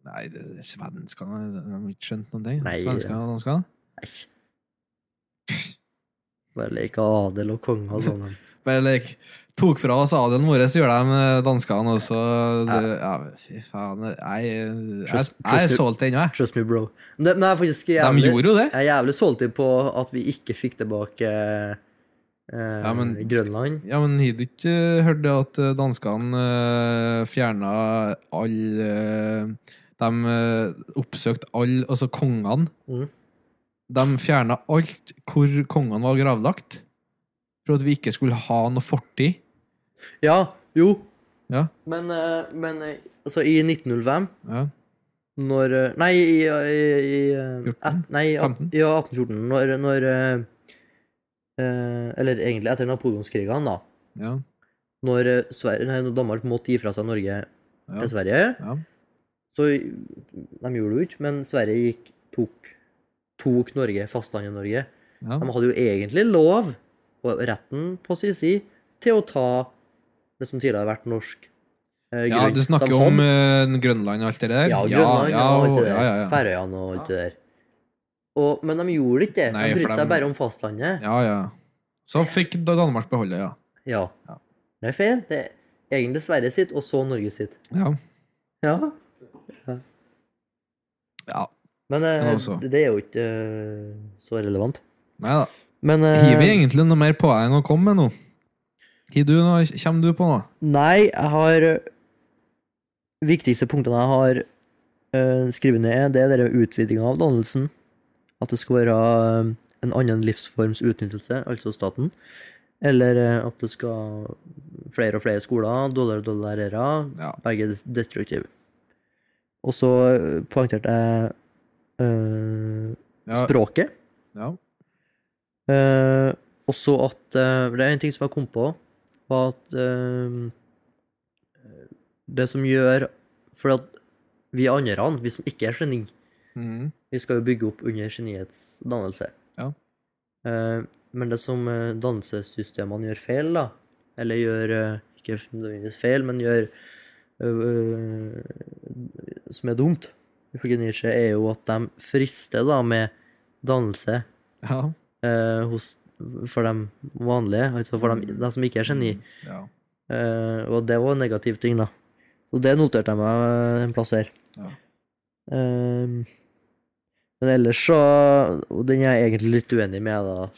Speaker 1: Nei, det, svenskene de har ikke skjønt noen ting.
Speaker 2: Nei,
Speaker 1: Svenskene og danskene.
Speaker 2: Nei. Bare leker adel og konge og sånn.
Speaker 1: Bare like, tok fra oss adelen vår, så gjør de eh, danskene også det, ja, Fy faen. Jeg, jeg,
Speaker 2: Trust-
Speaker 1: jeg er
Speaker 2: trust-
Speaker 1: solgt ennå, jeg.
Speaker 2: Trust me, bro. Men det- men jeg er faktisk
Speaker 1: De
Speaker 2: jævlig,
Speaker 1: gjorde jo det.
Speaker 2: jeg er jævlig solgt inn på at vi ikke fikk tilbake eh,
Speaker 1: men-
Speaker 2: Grønland.
Speaker 1: Ja, men har du ikke hørt det at eh, danskene uh, fjerna alle De eh, oppsøkte alle, altså kongene.
Speaker 2: Mhm.
Speaker 1: De fjerna alt hvor kongene var gravlagt, for at vi ikke skulle ha noe fortid.
Speaker 2: Ja, jo.
Speaker 1: Ja.
Speaker 2: Men, eh, men eh, altså, i 1905,
Speaker 1: Ja.
Speaker 2: når eh, Nei, i, i, i eh,
Speaker 1: 14?
Speaker 2: at- Nei, i at-
Speaker 1: 15?
Speaker 2: ja, 1814, når, når eh, eh, Eller egentlig etter napoleonskrigene, da.
Speaker 1: ja.
Speaker 2: Når, eh, Sverige, nei, når Danmark måtte gi fra seg Norge
Speaker 1: Ja.
Speaker 2: til Sverige,
Speaker 1: Ja.
Speaker 2: så De gjorde det jo ikke, men Sverige gikk, tok, tok Norge, fastlandet Norge.
Speaker 1: ja.
Speaker 2: De hadde jo egentlig lov, og retten på sin side, til å ta det som tidligere har vært norsk eh,
Speaker 1: Ja,
Speaker 2: grunn.
Speaker 1: du snakker
Speaker 2: De
Speaker 1: jo om
Speaker 2: hadde-
Speaker 1: eh, Grønland og alt det der?
Speaker 2: Ja, Grønland
Speaker 1: ja,
Speaker 2: og alt det der.
Speaker 1: ja, ja, ja.
Speaker 2: Færøyene og alt det der. Og, men de gjorde ikke det.
Speaker 1: Nei,
Speaker 2: de
Speaker 1: for de-
Speaker 2: brydde seg bare om fastlandet.
Speaker 1: ja, ja. Så fikk da Danmark beholde, ja.
Speaker 2: Ja.
Speaker 1: Ja.
Speaker 2: Det er feil. Det er egentlig Sverige sitt, og så Norge sitt.
Speaker 1: Ja.
Speaker 2: Ja.
Speaker 1: ja.
Speaker 2: Men eh,
Speaker 1: Men altså. også-
Speaker 2: det er jo ikke eh, så relevant.
Speaker 1: Nei da.
Speaker 2: Men eh,
Speaker 1: Har vi egentlig noe mer poeng å komme med nå? Har du noe, kommer du på noe?
Speaker 2: Nei, jeg har eh, Viktigste punktene jeg har eh, skrevet ned, det er denne utvidinga av dannelsen. At det skal være eh, en annen livsforms utnyttelse, altså staten. Eller eh, at det skal flere og flere skoler, dårligere og dårligere lærere.
Speaker 1: Ja.
Speaker 2: Begge des- destruktive. Og så eh, poengterte jeg eh,
Speaker 1: Ja,
Speaker 2: språket.
Speaker 1: ja.
Speaker 2: Eh, også at eh, Det er en ting som jeg kom på, var at eh, Det som gjør For at vi andre, vi som ikke er geni,
Speaker 1: Mhm.
Speaker 2: vi skal jo bygge opp under geniets dannelse.
Speaker 1: Ja.
Speaker 2: Eh, men det som eh, dannelsessystemene gjør feil, da, eller gjør eh, Ikke nødvendigvis feil, men gjør eh, Som er dumt, ifølge Nietzsche, er jo at de frister da med dannelse
Speaker 1: ja.
Speaker 2: eh, hos, for de vanlige, altså for de,
Speaker 1: Mm.
Speaker 2: de som ikke er geni.
Speaker 1: Ja.
Speaker 2: Eh, og det var en negativ ting, da. Så det noterte jeg meg eh, en plass her.
Speaker 1: Ja.
Speaker 2: Eh, men ellers så Og den er jeg egentlig litt uenig med, da.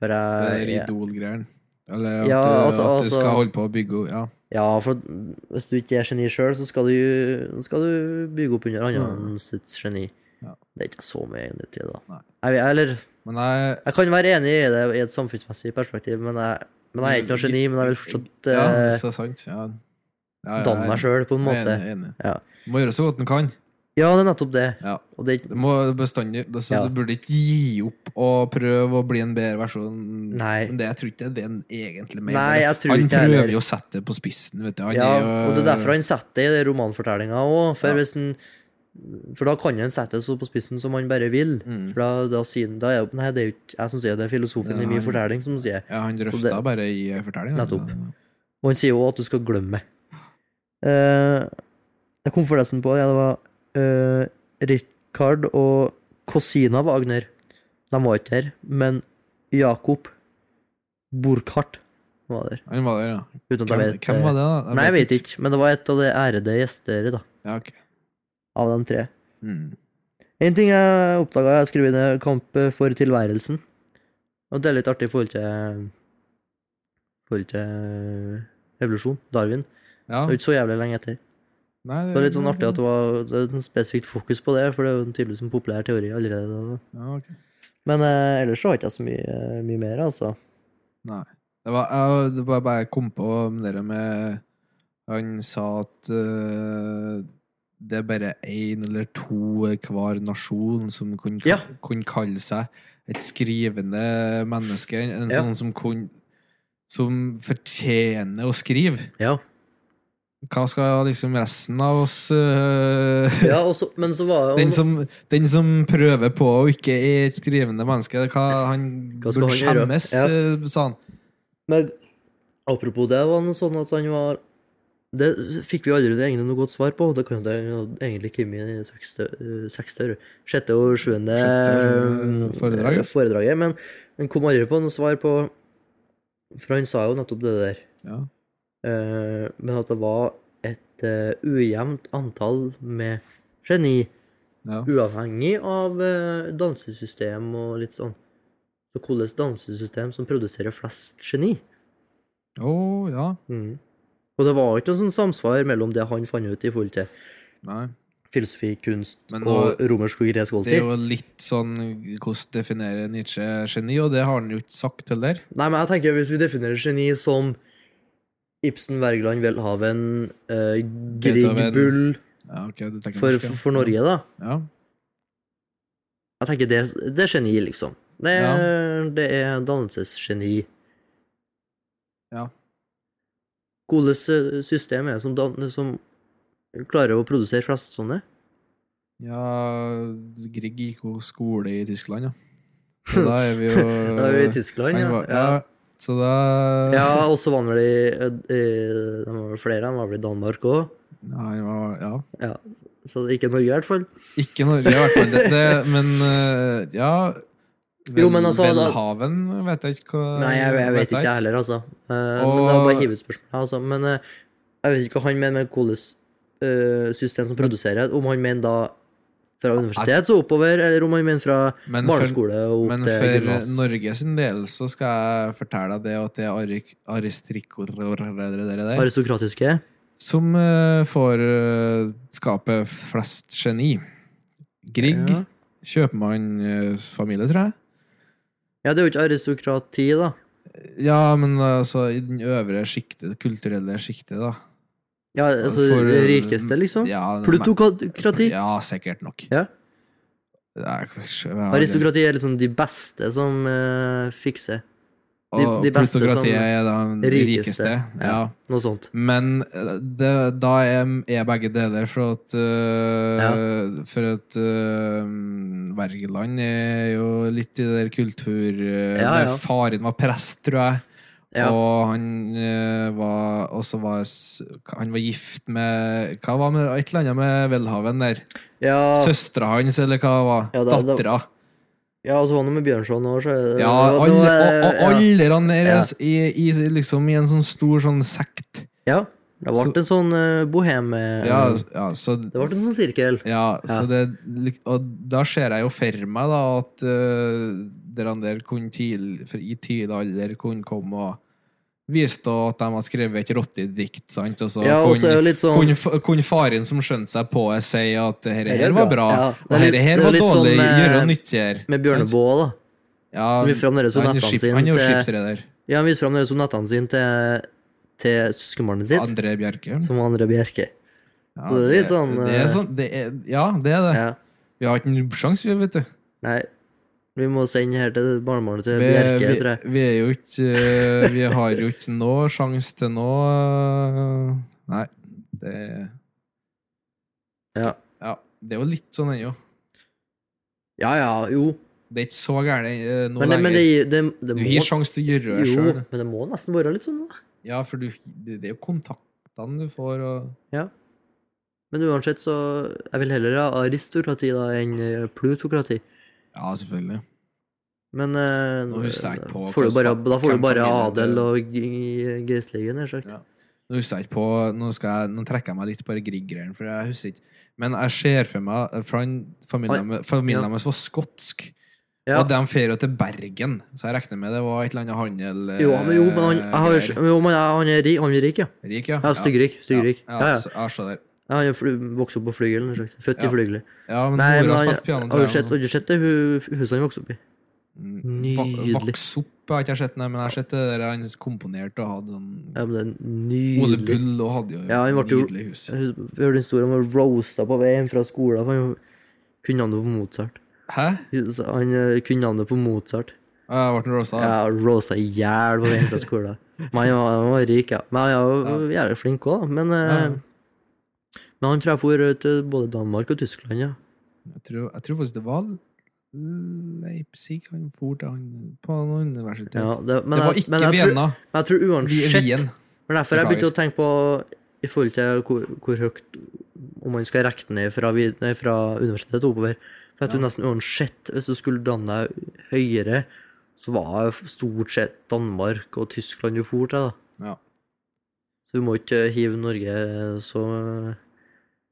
Speaker 2: For
Speaker 1: Det
Speaker 2: jeg,
Speaker 1: er Idol-greien. Eller at,
Speaker 2: Eh, Ja,
Speaker 1: du,
Speaker 2: altså-
Speaker 1: at du skal
Speaker 2: altså-
Speaker 1: holde på å bygge opp ja.
Speaker 2: Ja, for hvis du ikke er geni sjøl, så skal du, skal du bygge opp under andre
Speaker 1: Mm.
Speaker 2: sitt geni.
Speaker 1: Ja.
Speaker 2: Det er ikke så mye enig til, da.
Speaker 1: Nei.
Speaker 2: Jeg, eller
Speaker 1: Men jeg,
Speaker 2: Jeg kan være enig i det i et samfunnsmessig perspektiv, men jeg, men jeg er ikke noe geni. Men jeg vil fortsatt
Speaker 1: ja, det er
Speaker 2: eh,
Speaker 1: så sant. Ja. Ja, ja,
Speaker 2: danne meg sjøl, på en
Speaker 1: jeg er
Speaker 2: måte.
Speaker 1: Enig, enig.
Speaker 2: Ja.
Speaker 1: Må gjøre så godt en kan.
Speaker 2: Ja, det er nettopp det.
Speaker 1: Ja.
Speaker 2: Og det er ikke-
Speaker 1: Du må bestandig det- Så
Speaker 2: Ja.
Speaker 1: du burde ikke gi opp og prøve å bli en bedre versjon.
Speaker 2: Nei.
Speaker 1: Men det, jeg tror ikke det er det han egentlig mener.
Speaker 2: Nei, jeg tror
Speaker 1: han
Speaker 2: ikke jeg
Speaker 1: prøver
Speaker 2: heller.
Speaker 1: jo å sette det på spissen, vet du. Han
Speaker 2: ja,
Speaker 1: er jo-
Speaker 2: og det er derfor han setter det i den romanfortellinga òg. For,
Speaker 1: Ja.
Speaker 2: hvis han- for da kan han sette det så på spissen som han bare vil.
Speaker 1: Mm.
Speaker 2: For da, da sier han da er, jo- Nei, det er jo ikke jeg som sier det, det er filosofen i
Speaker 1: Ja, han-
Speaker 2: min fortelling som sier det.
Speaker 1: Ja, han
Speaker 2: Så
Speaker 1: drøfta
Speaker 2: det-
Speaker 1: bare i fortellinga.
Speaker 2: Nettopp. Og han sier jo at du skal glemme. Eh, jeg kom for nesten på ja, det var eh, Richard og Cosina Wagner. De var ikke her. Men Jakob Burkhardt var der.
Speaker 1: Han var der, ja.
Speaker 2: Uten at jeg
Speaker 1: Hvem,
Speaker 2: vet eh,
Speaker 1: hvem var det, da?
Speaker 2: Nei, jeg vet ikke, men det var et av de ærede gjester da,
Speaker 1: Ja, ok.
Speaker 2: av de tre.
Speaker 1: Mm.
Speaker 2: En ting jeg oppdaga jeg har skrevet ned Kamp for tilværelsen. Og det er litt artig i forhold til forhold til eh, evolusjon. Darwin.
Speaker 1: Ja.
Speaker 2: Det er jo ikke så jævlig lenge etter.
Speaker 1: Nei,
Speaker 2: Det var litt sånn artig at det var det er en spesifikt fokus på det, for det er jo en tydeligvis en populær teori allerede. da.
Speaker 1: ja, ok.
Speaker 2: Men eh, ellers så har ikke jeg så mye, mye mer, altså.
Speaker 1: Nei. Det var, jeg, det var bare jeg kom på det der med Han sa at eh, det er bare én eller to hver nasjon som kunne, ka-
Speaker 2: Ja.
Speaker 1: kunne kalle seg et skrivende menneske. En, en
Speaker 2: Ja.
Speaker 1: sånn som kunne Som fortjener å skrive.
Speaker 2: Ja.
Speaker 1: Hva skal liksom resten av oss eh,
Speaker 2: ja og så- men så var
Speaker 1: den, som, den som prøver på å ikke er et skrivende menneske, hva han
Speaker 2: Hva skal
Speaker 1: burde
Speaker 2: han gjøre?
Speaker 1: skjemmes,
Speaker 2: Ja.
Speaker 1: eh, sa han.
Speaker 2: Men apropos det, var det sånn at han var Det fikk vi aldri det egentlig noe godt svar på. Det kan jo det jo egentlig Kimi i sekste, eh, sekste, eller sjette og sjuende
Speaker 1: Sjette og sjuende
Speaker 2: eh,
Speaker 1: foredraget.
Speaker 2: foredraget. Men han kom aldri på noe svar på For han sa jo nettopp det der.
Speaker 1: Ja.
Speaker 2: eh, Men at det var et eh, ujevnt antall med geni,
Speaker 1: Ja.
Speaker 2: uavhengig av eh, dansesystem og litt sånn. Så hvordan dansesystem som produserer flest geni?
Speaker 1: Å, ja.
Speaker 2: Mm. Og det var ikke noe sånn samsvar mellom det han fant ut i forhold til
Speaker 1: Nei.
Speaker 2: filosofi, kunst
Speaker 1: Men
Speaker 2: og romersk og gresk
Speaker 1: Det er
Speaker 2: alltid.
Speaker 1: jo litt sånn hvordan definerer Nietzsche geni, og det har han jo ikke sagt heller.
Speaker 2: Nei, men jeg tenker hvis vi definerer geni som Ibsen, Wergeland, Welhaven, eh, Grieg,
Speaker 1: Beethoven.
Speaker 2: Bull
Speaker 1: Ja, ok, du tenker
Speaker 2: for,
Speaker 1: norsk, ja.
Speaker 2: for Norge, da.
Speaker 1: Ja.
Speaker 2: Jeg tenker det, det er geni, liksom. Det er, det er dannelsesgeni.
Speaker 1: Ja.
Speaker 2: Hvilket system er det som, dan- som klarer å produsere flest sånne?
Speaker 1: ja Grieg gikk jo skole i Tyskland, ja. Så da er vi jo
Speaker 2: Det er jo i Tyskland,
Speaker 1: Han
Speaker 2: ja.
Speaker 1: var- Eh, ja. Så da
Speaker 2: Ja, og så var han vel i- i De var vel flere, de var vel i Danmark òg.
Speaker 1: Ja, Han var Ja.
Speaker 2: Ja, så ikke Norge, i hvert fall.
Speaker 1: Ikke Norge, i hvert fall. Det, det, men eh, ja Vel,
Speaker 2: Jo, men altså, da-
Speaker 1: Velhaven vet jeg ikke hva
Speaker 2: Nei, jeg, jeg vet ikke, jeg heller, altså. Eh, Men det var bare å hive ut spørsmålet, altså. Men eh, jeg vet ikke hva han mener med hvilket eh, system som produserer. Om han mener da fra universitet og oppover, eller om han mener fra
Speaker 1: Men for-
Speaker 2: barneskole og
Speaker 1: Men
Speaker 2: opp til
Speaker 1: for
Speaker 2: gymnas.
Speaker 1: Norge sin del så skal jeg fortelle deg det at det er arik- aristrikorer
Speaker 2: Aristokratiske.
Speaker 1: som eh, får eh, skape flest geni. Grieg,
Speaker 2: Ja.
Speaker 1: kjøpmannsfamilie, tror jeg.
Speaker 2: Ja, det er jo ikke aristokrati, da.
Speaker 1: Ja, men altså i den øvre sjiktet, det kulturelle sjiktet, da.
Speaker 2: Ja, altså
Speaker 1: For,
Speaker 2: det
Speaker 1: eh,
Speaker 2: rikeste, liksom.
Speaker 1: Ja, det-
Speaker 2: Plutokrati.
Speaker 1: Ja, sikkert nok.
Speaker 2: Ja.
Speaker 1: Det er- jeg har aldri-
Speaker 2: Aristokrati er liksom de beste som eh, fikser de-
Speaker 1: Og
Speaker 2: de beste som-
Speaker 1: plutokratiet er da de
Speaker 2: Rikeste.
Speaker 1: rikeste.
Speaker 2: Ja.
Speaker 1: Ja.
Speaker 2: noe sånt.
Speaker 1: Men eh, det, da er, er begge deler, for at, eh, for at eh, Wergeland er jo litt i det der kultur... eh,
Speaker 2: Ja,
Speaker 1: der
Speaker 2: ja.
Speaker 1: Faren var prest, tror jeg.
Speaker 2: Ja.
Speaker 1: Og han eh, var også var s- Han var gift med Hva var med et eller annet med Welhaven der?
Speaker 2: Ja,
Speaker 1: Søstera hans, eller hva var?
Speaker 2: Ja, det- det-
Speaker 1: Dattera.
Speaker 2: ja og så var det noe med Bjørnson òg, så
Speaker 1: Ja,
Speaker 2: og det
Speaker 1: alle,
Speaker 2: var-
Speaker 1: og, og
Speaker 2: ja.
Speaker 1: alle deres
Speaker 2: Ja.
Speaker 1: i, i, liksom, i en sånn stor sånn sekt.
Speaker 2: ja. Det ble en sånn eh, bohem... eh,
Speaker 1: Ja, ja, så
Speaker 2: Det ble en sånn sirkel.
Speaker 1: Ja,
Speaker 2: Ja.
Speaker 1: Så det, og da ser jeg jo for meg da at uh, de der kunne tidlig, for i tidlig alder kunne komme og vise da at de hadde skrevet et rottedikt, sant? Og så
Speaker 2: ja, og så er
Speaker 1: kunne,
Speaker 2: det litt sånn
Speaker 1: kunne, f- kunne faren som skjønte seg på det, si at det her,
Speaker 2: Det er
Speaker 1: her var bra,
Speaker 2: Ja,
Speaker 1: og
Speaker 2: det er
Speaker 1: her,
Speaker 2: litt-
Speaker 1: her
Speaker 2: det er
Speaker 1: var
Speaker 2: litt
Speaker 1: dårlig,
Speaker 2: sånn med-
Speaker 1: gjøre nytt her.
Speaker 2: Med Bjørneboe, da.
Speaker 1: Ja,
Speaker 2: Som viser fram dere som
Speaker 1: han, er
Speaker 2: nettene
Speaker 1: skip,
Speaker 2: sine
Speaker 1: han er jo
Speaker 2: til-
Speaker 1: skipsreder.
Speaker 2: Ja, han viste fram dere som nettene sine til, til søskenbarnet sitt,
Speaker 1: André Bjerke.
Speaker 2: som var André Bjerke.
Speaker 1: Ja,
Speaker 2: det er litt sånn,
Speaker 1: det er
Speaker 2: eh,
Speaker 1: sånn det er, Ja, det er det.
Speaker 2: Ja.
Speaker 1: Vi har ikke en sjanse, vi, vet du.
Speaker 2: Nei, vi må sende her til barnebarnet til
Speaker 1: Vi,
Speaker 2: Bjerke,
Speaker 1: vi,
Speaker 2: tror jeg.
Speaker 1: vi er jo ikke eh, Vi har jo ikke noe sjanse til noe eh, Nei, det
Speaker 2: Ja.
Speaker 1: Ja, det er jo litt sånn ennå.
Speaker 2: ja ja, jo.
Speaker 1: Det er ikke så gærent eh, nå
Speaker 2: Men det, men det,
Speaker 1: lenger.
Speaker 2: det, det
Speaker 1: Du
Speaker 2: må
Speaker 1: har sjanse til å gjøre det
Speaker 2: Jo,
Speaker 1: sjøl.
Speaker 2: men det må nesten være litt sånn, da.
Speaker 1: Ja, for du, det det er jo kontaktene du får, og
Speaker 2: Men uansett, så Jeg vil heller ha aristokrati da enn eh, plutokrati.
Speaker 1: Ja, selvfølgelig.
Speaker 2: Men eh,
Speaker 1: Nå husker jeg ikke på
Speaker 2: får du bare,
Speaker 1: hvordan-
Speaker 2: da får
Speaker 1: hvem
Speaker 2: du bare
Speaker 1: familien til-
Speaker 2: adel og g- geistlige, nær sagt.
Speaker 1: Ja. Nå husker jeg ikke på Nå, skal jeg, nå trekker jeg meg litt på de Grieg-greiene, for jeg husker ikke. Men jeg ser for meg eh, for han, Familien med- familien
Speaker 2: Ja.
Speaker 1: deres var skotsk,
Speaker 2: Ja.
Speaker 1: og de drar jo til Bergen. Så jeg regner med det var et eller annet handel eh,
Speaker 2: Jo, men, jo, men han, jeg har,
Speaker 1: greier.
Speaker 2: jo, men jeg- han er rik, han er rik ja.
Speaker 1: Rik, ja.
Speaker 2: ja Styggrik. Styggrik.
Speaker 1: Ja,
Speaker 2: Ja, ja.
Speaker 1: ja, så- ja, så der.
Speaker 2: Ja, Han er fly- vokst opp på flygel, nær sagt. Født
Speaker 1: Ja.
Speaker 2: i flygelet.
Speaker 1: ja men
Speaker 2: Nei, men
Speaker 1: mora
Speaker 2: han,
Speaker 1: spilte piano.
Speaker 2: har
Speaker 1: tror
Speaker 2: du sett, har
Speaker 1: jeg,
Speaker 2: du sett det hu- huset han vokste opp
Speaker 1: og sånn.
Speaker 2: i?
Speaker 1: Va-
Speaker 2: Nydelig.
Speaker 1: Vaks opp har jeg ikke sett, nei, men jeg har sett det der han komponerte og hadde sånn
Speaker 2: Ja, men det er
Speaker 1: Ole
Speaker 2: nydelig.
Speaker 1: Bull og hadde jo
Speaker 2: Ja, han ble jo-
Speaker 1: nydelig hus.
Speaker 2: Jeg hus- jeg hørte en historie om han ble roasta på vei hjem fra skolen. For han kunne navnet på Mozart.
Speaker 1: Hæ?
Speaker 2: Så Han eh, kunne navnet på Mozart.
Speaker 1: Jeg ble rosa. Ja.
Speaker 2: Ja, roasta i hjel på vei hjem fra skolen. Men han var, han var rik, ja. Men han var jo jævlig flink òg, da. Men, eh,
Speaker 1: Ja.
Speaker 2: men han tror jeg for eh, til både Danmark og Tyskland, ja.
Speaker 1: Jeg tror, jeg tror faktisk det var Leipzig han for til han på noe universitet.
Speaker 2: ja det, men,
Speaker 1: det var
Speaker 2: jeg-
Speaker 1: ikke
Speaker 2: men jeg tror-
Speaker 1: Vienna.
Speaker 2: Men jeg tror
Speaker 1: Vi-
Speaker 2: uansett
Speaker 1: Wien.
Speaker 2: Det er derfor jeg
Speaker 1: Beklager.
Speaker 2: begynte å tenke på i forhold til hvor, hvor høyt om man skal rekke ned fra, vid- nei, fra universitetet oppover. For jeg tror nesten uansett, hvis du skulle danne deg høyere, så var det stort sett Danmark og Tyskland du for til, da.
Speaker 1: Ja.
Speaker 2: Så du må ikke hive Norge så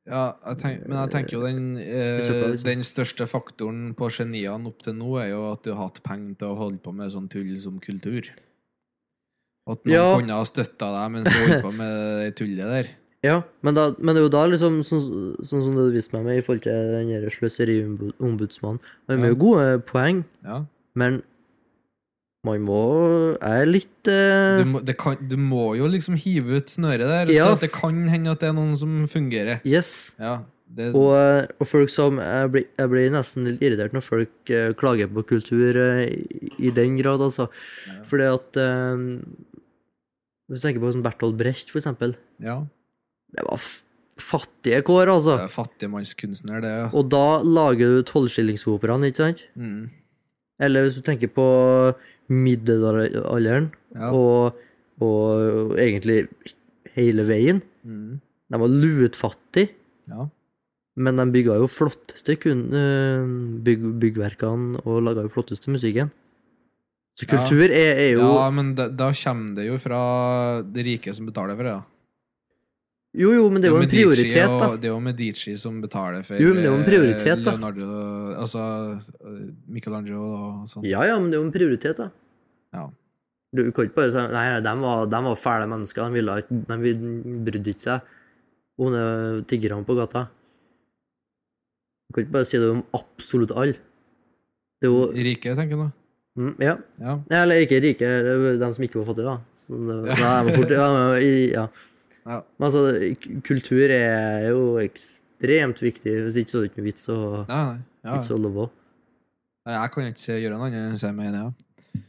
Speaker 1: Ja, jeg tenk, men jeg tenker jo den,
Speaker 2: I søpla,
Speaker 1: eh,
Speaker 2: liksom.
Speaker 1: den største faktoren på geniene opp til nå er jo at du har hatt penger til å holde på med sånn tull som kultur. At noen
Speaker 2: Ja.
Speaker 1: kunne ha støtta deg mens du holdt på med det tullet der.
Speaker 2: Ja, men, da, men det er jo da liksom sånn, sånn som du viste meg med i forhold til den der sløseriombudsmannen. Han har
Speaker 1: Ja.
Speaker 2: jo gode poeng,
Speaker 1: Ja.
Speaker 2: men man må Jeg er litt eh,
Speaker 1: Du, må, det kan, du må jo liksom hive ut snøret der.
Speaker 2: Ja.
Speaker 1: At det kan hende at det er noen som fungerer.
Speaker 2: Yes.
Speaker 1: Ja, det,
Speaker 2: Og, eh, og folk som jeg blir, jeg blir nesten litt irritert når folk eh, klager på kultur eh, i, i den grad, altså.
Speaker 1: Ja.
Speaker 2: Fordi at eh, Hvis du tenker på sånn Bertolt Brecht, for eksempel.
Speaker 1: ja.
Speaker 2: Det var f fattige kår, altså.
Speaker 1: Det er fattigmannskunstner, det. Ja.
Speaker 2: Og da lager du tolvskillingsoperaen, ikke sant?
Speaker 1: Mm.
Speaker 2: Eller hvis du tenker på middelalderen,
Speaker 1: Ja.
Speaker 2: og, og egentlig hele veien.
Speaker 1: Mm.
Speaker 2: De var lutfattige.
Speaker 1: Ja.
Speaker 2: Men de bygga jo flotteste kun, eh, bygg, byggverkene og laga jo flotteste musikken. Så
Speaker 1: Ja.
Speaker 2: kultur er, er jo
Speaker 1: ja, men da, da kommer det jo fra de rike som betaler for det. da.
Speaker 2: Jo, jo, men det er jo en
Speaker 1: Medici
Speaker 2: prioritet, da.
Speaker 1: Og, det er jo Medici som betaler for
Speaker 2: Jo, men det er jo en prioritet, da.
Speaker 1: eh, Leonardo, altså eh, Michelangelo og sånn.
Speaker 2: Ja, ja, men det er jo en prioritet, da.
Speaker 1: Ja.
Speaker 2: Du kan ikke bare si Nei, de var, de var fæle mennesker. De, ville, ikke- de ville- brydde ikke seg om det tiggerne på gata. Du kan ikke bare si det om absolutt alle. Det er jo
Speaker 1: Rike, tenker du nå?
Speaker 2: mm, Ja.
Speaker 1: Ja.
Speaker 2: Ja, Eller ikke rike, det er de som ikke var fattige, da. Så det,
Speaker 1: Ja.
Speaker 2: nei, men fort, ja, men, i- ja.
Speaker 1: Ja.
Speaker 2: Men altså, k- kultur er jo ekstremt viktig. Hvis ikke så er det ikke noe vits å
Speaker 1: Nei, nei. Ja.
Speaker 2: vits å leve av.
Speaker 1: Nei, Jeg kan ikke se- gjøre noe annet enn å si meg enig. Ja.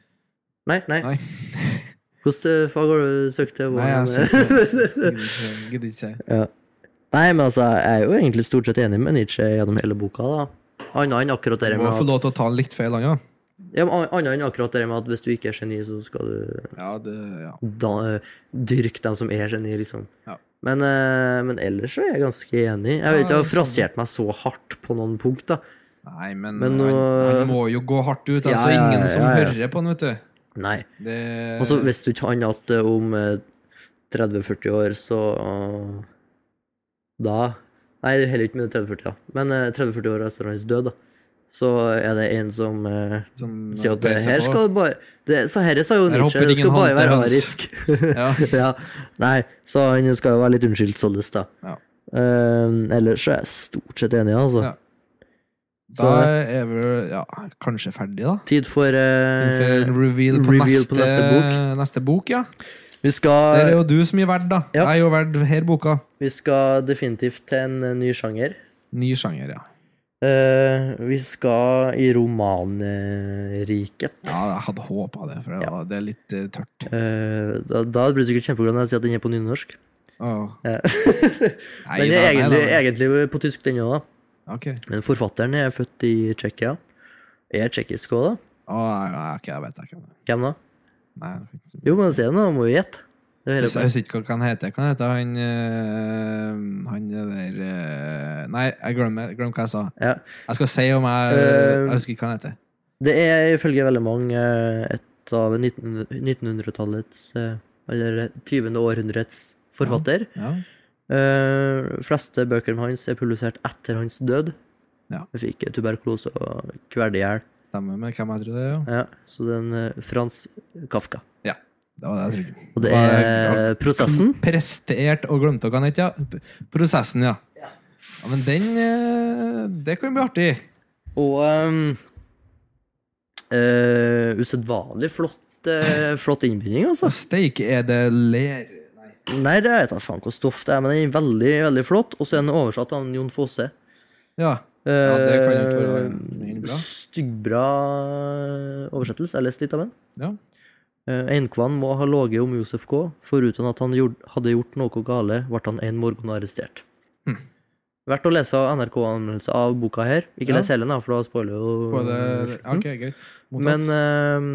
Speaker 2: Nei, nei.
Speaker 1: Nei.
Speaker 2: Hvilket eh, fag har du søkt til?
Speaker 1: Nei, jeg
Speaker 2: Hvordan-
Speaker 1: ser- jeg gidder ikke si.
Speaker 2: nei, men altså, jeg er jo egentlig stort sett enig med Nietzsche gjennom hele boka, da. Annet enn akkurat det
Speaker 1: Du
Speaker 2: med
Speaker 1: må få
Speaker 2: at,
Speaker 1: lov til å ta litt feil, han ja.
Speaker 2: ja, men an- annet enn akkurat det med at hvis du ikke er geni, så skal du
Speaker 1: Ja, det- ja.
Speaker 2: da, dyrk dem som er geni, liksom.
Speaker 1: Ja.
Speaker 2: Men, eh, men ellers så er jeg ganske enig. Jeg
Speaker 1: Ja,
Speaker 2: vet ikke, jeg har
Speaker 1: jeg skjønner.
Speaker 2: frasert meg så hardt på noen punkt, da.
Speaker 1: Nei, men, øh,
Speaker 2: Men nå-
Speaker 1: han, han må jo gå hardt ut. Altså,
Speaker 2: Ja, ja,
Speaker 1: ingen som
Speaker 2: ja, ja.
Speaker 1: hører på han, vet du.
Speaker 2: Nei.
Speaker 1: Det
Speaker 2: Og så hvis du ikke annet at eh, om eh, 30-40 år, så eh, Da Nei, det er heller ikke med 30-40, da. Men eh, 30-40 år etter hans død, da, så er det en som eh,
Speaker 1: som
Speaker 2: sier at det
Speaker 1: peiser
Speaker 2: her
Speaker 1: på.
Speaker 2: skal det bare det, Så herre sa jo
Speaker 1: Her
Speaker 2: Nietzsche,
Speaker 1: hopper
Speaker 2: det skal
Speaker 1: ingen
Speaker 2: bare være
Speaker 1: håndtehøns.
Speaker 2: arisk.
Speaker 1: Ja.
Speaker 2: ja. Nei, så han skal jo være litt unnskyldt således, da.
Speaker 1: Ja.
Speaker 2: Eh, ellers så er jeg stort sett enig, altså.
Speaker 1: Ja. Da
Speaker 2: Så-
Speaker 1: er vi ja, kanskje ferdig, da.
Speaker 2: Tid for eh,
Speaker 1: For en reveal på,
Speaker 2: reveal
Speaker 1: neste,
Speaker 2: på neste bok.
Speaker 1: neste bok, ja.
Speaker 2: vi,
Speaker 1: Der er
Speaker 2: skal,
Speaker 1: jo du som gir verd, da.
Speaker 2: Ja.
Speaker 1: Jeg er jo verd her boka.
Speaker 2: vi skal definitivt til en eh, ny sjanger.
Speaker 1: Ny sjanger, ja.
Speaker 2: Eh, vi skal i romanriket.
Speaker 1: Ja, jeg hadde håpa det, for det, var, det er litt eh, tørt.
Speaker 2: Eh, da, da blir du sikkert kjempeglad når jeg sier at den er på nynorsk.
Speaker 1: Åh.
Speaker 2: Eh,
Speaker 1: Nei, da,
Speaker 2: Den er
Speaker 1: nei,
Speaker 2: egentlig,
Speaker 1: da.
Speaker 2: egentlig på tysk, den òg, da.
Speaker 1: Ok.
Speaker 2: Men forfatteren er født i Tsjekkia. Er tsjekkisk òg, da?
Speaker 1: Å, nei, nei, ok, jeg vet ikke.
Speaker 2: Hvem da?
Speaker 1: Nei, jeg vet ikke.
Speaker 2: Jo, men se nå, må jo gjette. Det er
Speaker 1: jeg
Speaker 2: hele
Speaker 1: husker jeg husker ikke hva han heter. Hva heter han eh, Han der eh, Nei, jeg glemmer, glemmer hva jeg sa.
Speaker 2: Ja.
Speaker 1: Jeg skal si om jeg
Speaker 2: Eh,
Speaker 1: Jeg husker ikke hva han heter.
Speaker 2: Det er ifølge veldig mange eh, et av 19 1900-tallets, eh, eller 20. århundrets forfatter.
Speaker 1: Ja.
Speaker 2: Eh, fleste bøkene hans er publisert etter hans død.
Speaker 1: Ja.
Speaker 2: Han fikk eh, tuberkulose og kvelte i hjel.
Speaker 1: Stemmer med hvem jeg tror det er. Ja.
Speaker 2: Ja, så den eh, Frans Kafka.
Speaker 1: Det var det jeg trodde.
Speaker 2: Og det er prosessen.
Speaker 1: Mm. Prestert og glemte hva han het, ja. Prosessen, ja. ja. Men den eh, Det kan bli artig.
Speaker 2: Og um, eh, usedvanlig flott, eh, flott innbinding, altså.
Speaker 1: Så steike er det ler... Nei.
Speaker 2: Nei, det vet jeg faen hvor stoff det er, men den er veldig, veldig flott. Og så er den oversatt av Jon Fosse.
Speaker 1: Ja. Ja, det kan jo ikke være en bra.
Speaker 2: Eh, Styggbra oversettelse. Jeg leste litt av den.
Speaker 1: ja.
Speaker 2: Eh, Einkvam må ha loget om Josef K. Foruten at han gjord, hadde gjort noe gale, ble han en morgen arrestert.
Speaker 1: Hm.
Speaker 2: Verdt å lese NRK-anmeldelse av boka her.
Speaker 1: Ja.
Speaker 2: Ikke les hele, da, for da spoiler jo
Speaker 1: Både, ja, ok, greit. Mottatt.
Speaker 2: Men eh,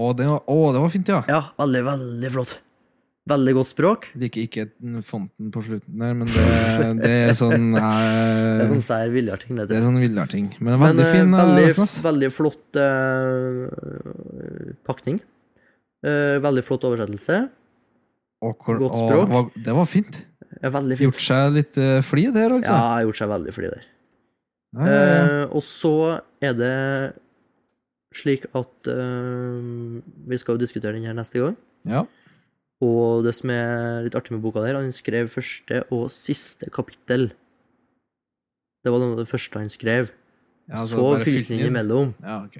Speaker 1: å, det var, å, det var fint, ja.
Speaker 2: ja, veldig, veldig flott. Veldig godt språk.
Speaker 1: Liker ikke den fonten på slutten der, men det, det er sånn eh,
Speaker 2: Det er sånn sær viljarting, det.
Speaker 1: Det er sånn villarting. Men
Speaker 2: Men
Speaker 1: veldig
Speaker 2: eh,
Speaker 1: fin. eh,
Speaker 2: veldig,
Speaker 1: Rasmus.
Speaker 2: veldig flott eh, pakning. Eh, veldig flott oversettelse.
Speaker 1: Og hvor-
Speaker 2: godt
Speaker 1: å,
Speaker 2: språk.
Speaker 1: det var- det var fint.
Speaker 2: Ja, veldig fint.
Speaker 1: Gjort seg litt uh, fly der,
Speaker 2: Ja,
Speaker 1: altså.
Speaker 2: har gjort seg veldig flid
Speaker 1: Ja,
Speaker 2: der.
Speaker 1: ja, ja.
Speaker 2: Eh, og så er det slik at eh, Vi skal jo diskutere den her neste gang.
Speaker 1: ja.
Speaker 2: Og det som er litt artig med boka der, han skrev første og siste kapittel. Det var noe av det første han skrev.
Speaker 1: Ja, altså,
Speaker 2: så
Speaker 1: bare fylt
Speaker 2: fylte
Speaker 1: den
Speaker 2: han
Speaker 1: inn.
Speaker 2: imellom.
Speaker 1: Ja, ok.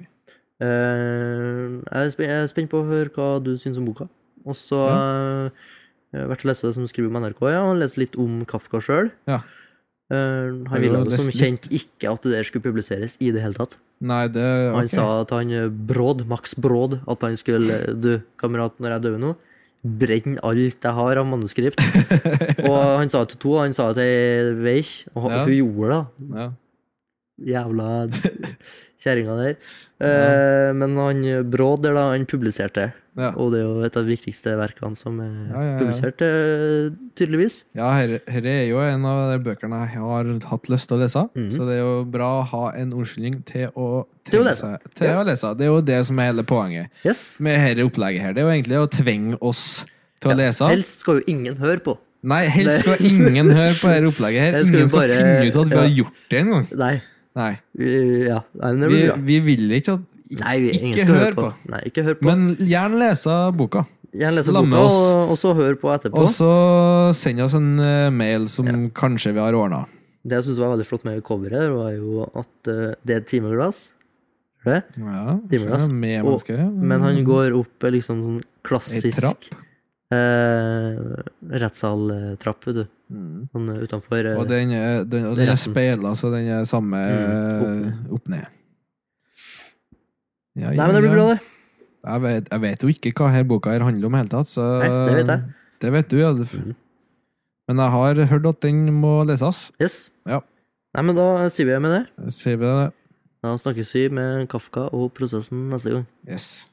Speaker 2: Eh, jeg er spe- jeg er spent på å høre hva du syns om boka. Og så eh, vært å lese det som skriver om NRK, ja, og lese litt om Kafka sjøl. Eh,
Speaker 1: Ja.
Speaker 2: han ville
Speaker 1: har
Speaker 2: jo som
Speaker 1: lest litt.
Speaker 2: kjent ikke at det der skulle publiseres i det hele tatt.
Speaker 1: Nei, det
Speaker 2: Han
Speaker 1: ok.
Speaker 2: sa at han eh, Bråd, Max Bråd, at han skulle eh, Du, kamerat, når jeg dør nå, brenn alt jeg har av manuskript. Og han sa det til to, og han sa det til ei ikke, og
Speaker 1: Ja.
Speaker 2: hun gjorde det. da
Speaker 1: ja.
Speaker 2: jævla kjerringa der. Eh, men han Bråd der, da, han publiserte.
Speaker 1: Ja,
Speaker 2: Og det er jo et av de viktigste verkene som er
Speaker 1: Ja, ja, ja.
Speaker 2: publisert, eh, tydeligvis.
Speaker 1: ja her, her er jo en av de bøkene jeg har hatt lyst til å lese.
Speaker 2: Mhm.
Speaker 1: Så det er jo bra å ha en unnskyldning til å
Speaker 2: Til
Speaker 1: tenke
Speaker 2: å lese.
Speaker 1: seg- Til
Speaker 2: Ja.
Speaker 1: å lese. Det er jo det som er hele poenget
Speaker 2: Yes.
Speaker 1: med dette opplegget her. Det er jo egentlig å tvinge oss til å lese.
Speaker 2: Helst skal jo ingen høre på.
Speaker 1: Nei, helst
Speaker 2: Nei.
Speaker 1: skal ingen høre på dette opplegget her.
Speaker 2: Helst skal vi
Speaker 1: Ingen skal
Speaker 2: bare-
Speaker 1: finne ut at vi
Speaker 2: ja.
Speaker 1: har gjort det en gang.
Speaker 2: Nei.
Speaker 1: Nei.
Speaker 2: Vi, ja. Nei, men det
Speaker 1: Vi,
Speaker 2: blir bra.
Speaker 1: vi vil ikke at
Speaker 2: Nei, vi, ingen
Speaker 1: ikke
Speaker 2: skal
Speaker 1: hør
Speaker 2: høre på. Nei, ikke hør på.
Speaker 1: Men gjerne lese boka.
Speaker 2: Gjerne lese
Speaker 1: la med
Speaker 2: boka,
Speaker 1: oss.
Speaker 2: og, og så hør på etterpå.
Speaker 1: Og så send oss en eh, mail som kanskje vi har ordna.
Speaker 2: Det jeg syns var veldig flott med coveret, var jo at eh, det er et timeglass. Ser du det?
Speaker 1: Ja,
Speaker 2: Timer, ass.
Speaker 1: så med
Speaker 2: altså. Og-
Speaker 1: mennesker, ja.
Speaker 2: Men han går opp eh, liksom sånn
Speaker 1: Ei
Speaker 2: klassisk
Speaker 1: Mm. trapp.
Speaker 2: eh, rettssaltrapp, vet du.
Speaker 1: Mm.
Speaker 2: Sånn eh, utenfor. eh,
Speaker 1: Og den, er- den, og
Speaker 2: Så
Speaker 1: den er
Speaker 2: retten.
Speaker 1: speila, så den er samme
Speaker 2: Mm,
Speaker 1: eh, opp ned. Ja,
Speaker 2: Nei, men det blir bra, det.
Speaker 1: Jeg vet, jeg vet jo ikke hva her boka her handler om i hele tatt, så
Speaker 2: Nei, det vet jeg.
Speaker 1: Det vet du, ja. Det-
Speaker 2: Mhm.
Speaker 1: Men jeg har hørt at den må leses.
Speaker 2: Yes.
Speaker 1: Ja.
Speaker 2: Nei, men da sier vi med det.
Speaker 1: Sier vi det?
Speaker 2: Da snakkes vi med Kafka og prosessen neste gang.
Speaker 1: Yes.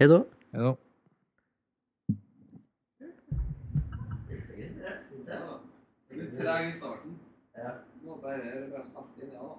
Speaker 2: Hei da.
Speaker 1: Ja da. Du trenger starten. Må bare løse alt inn, ja da.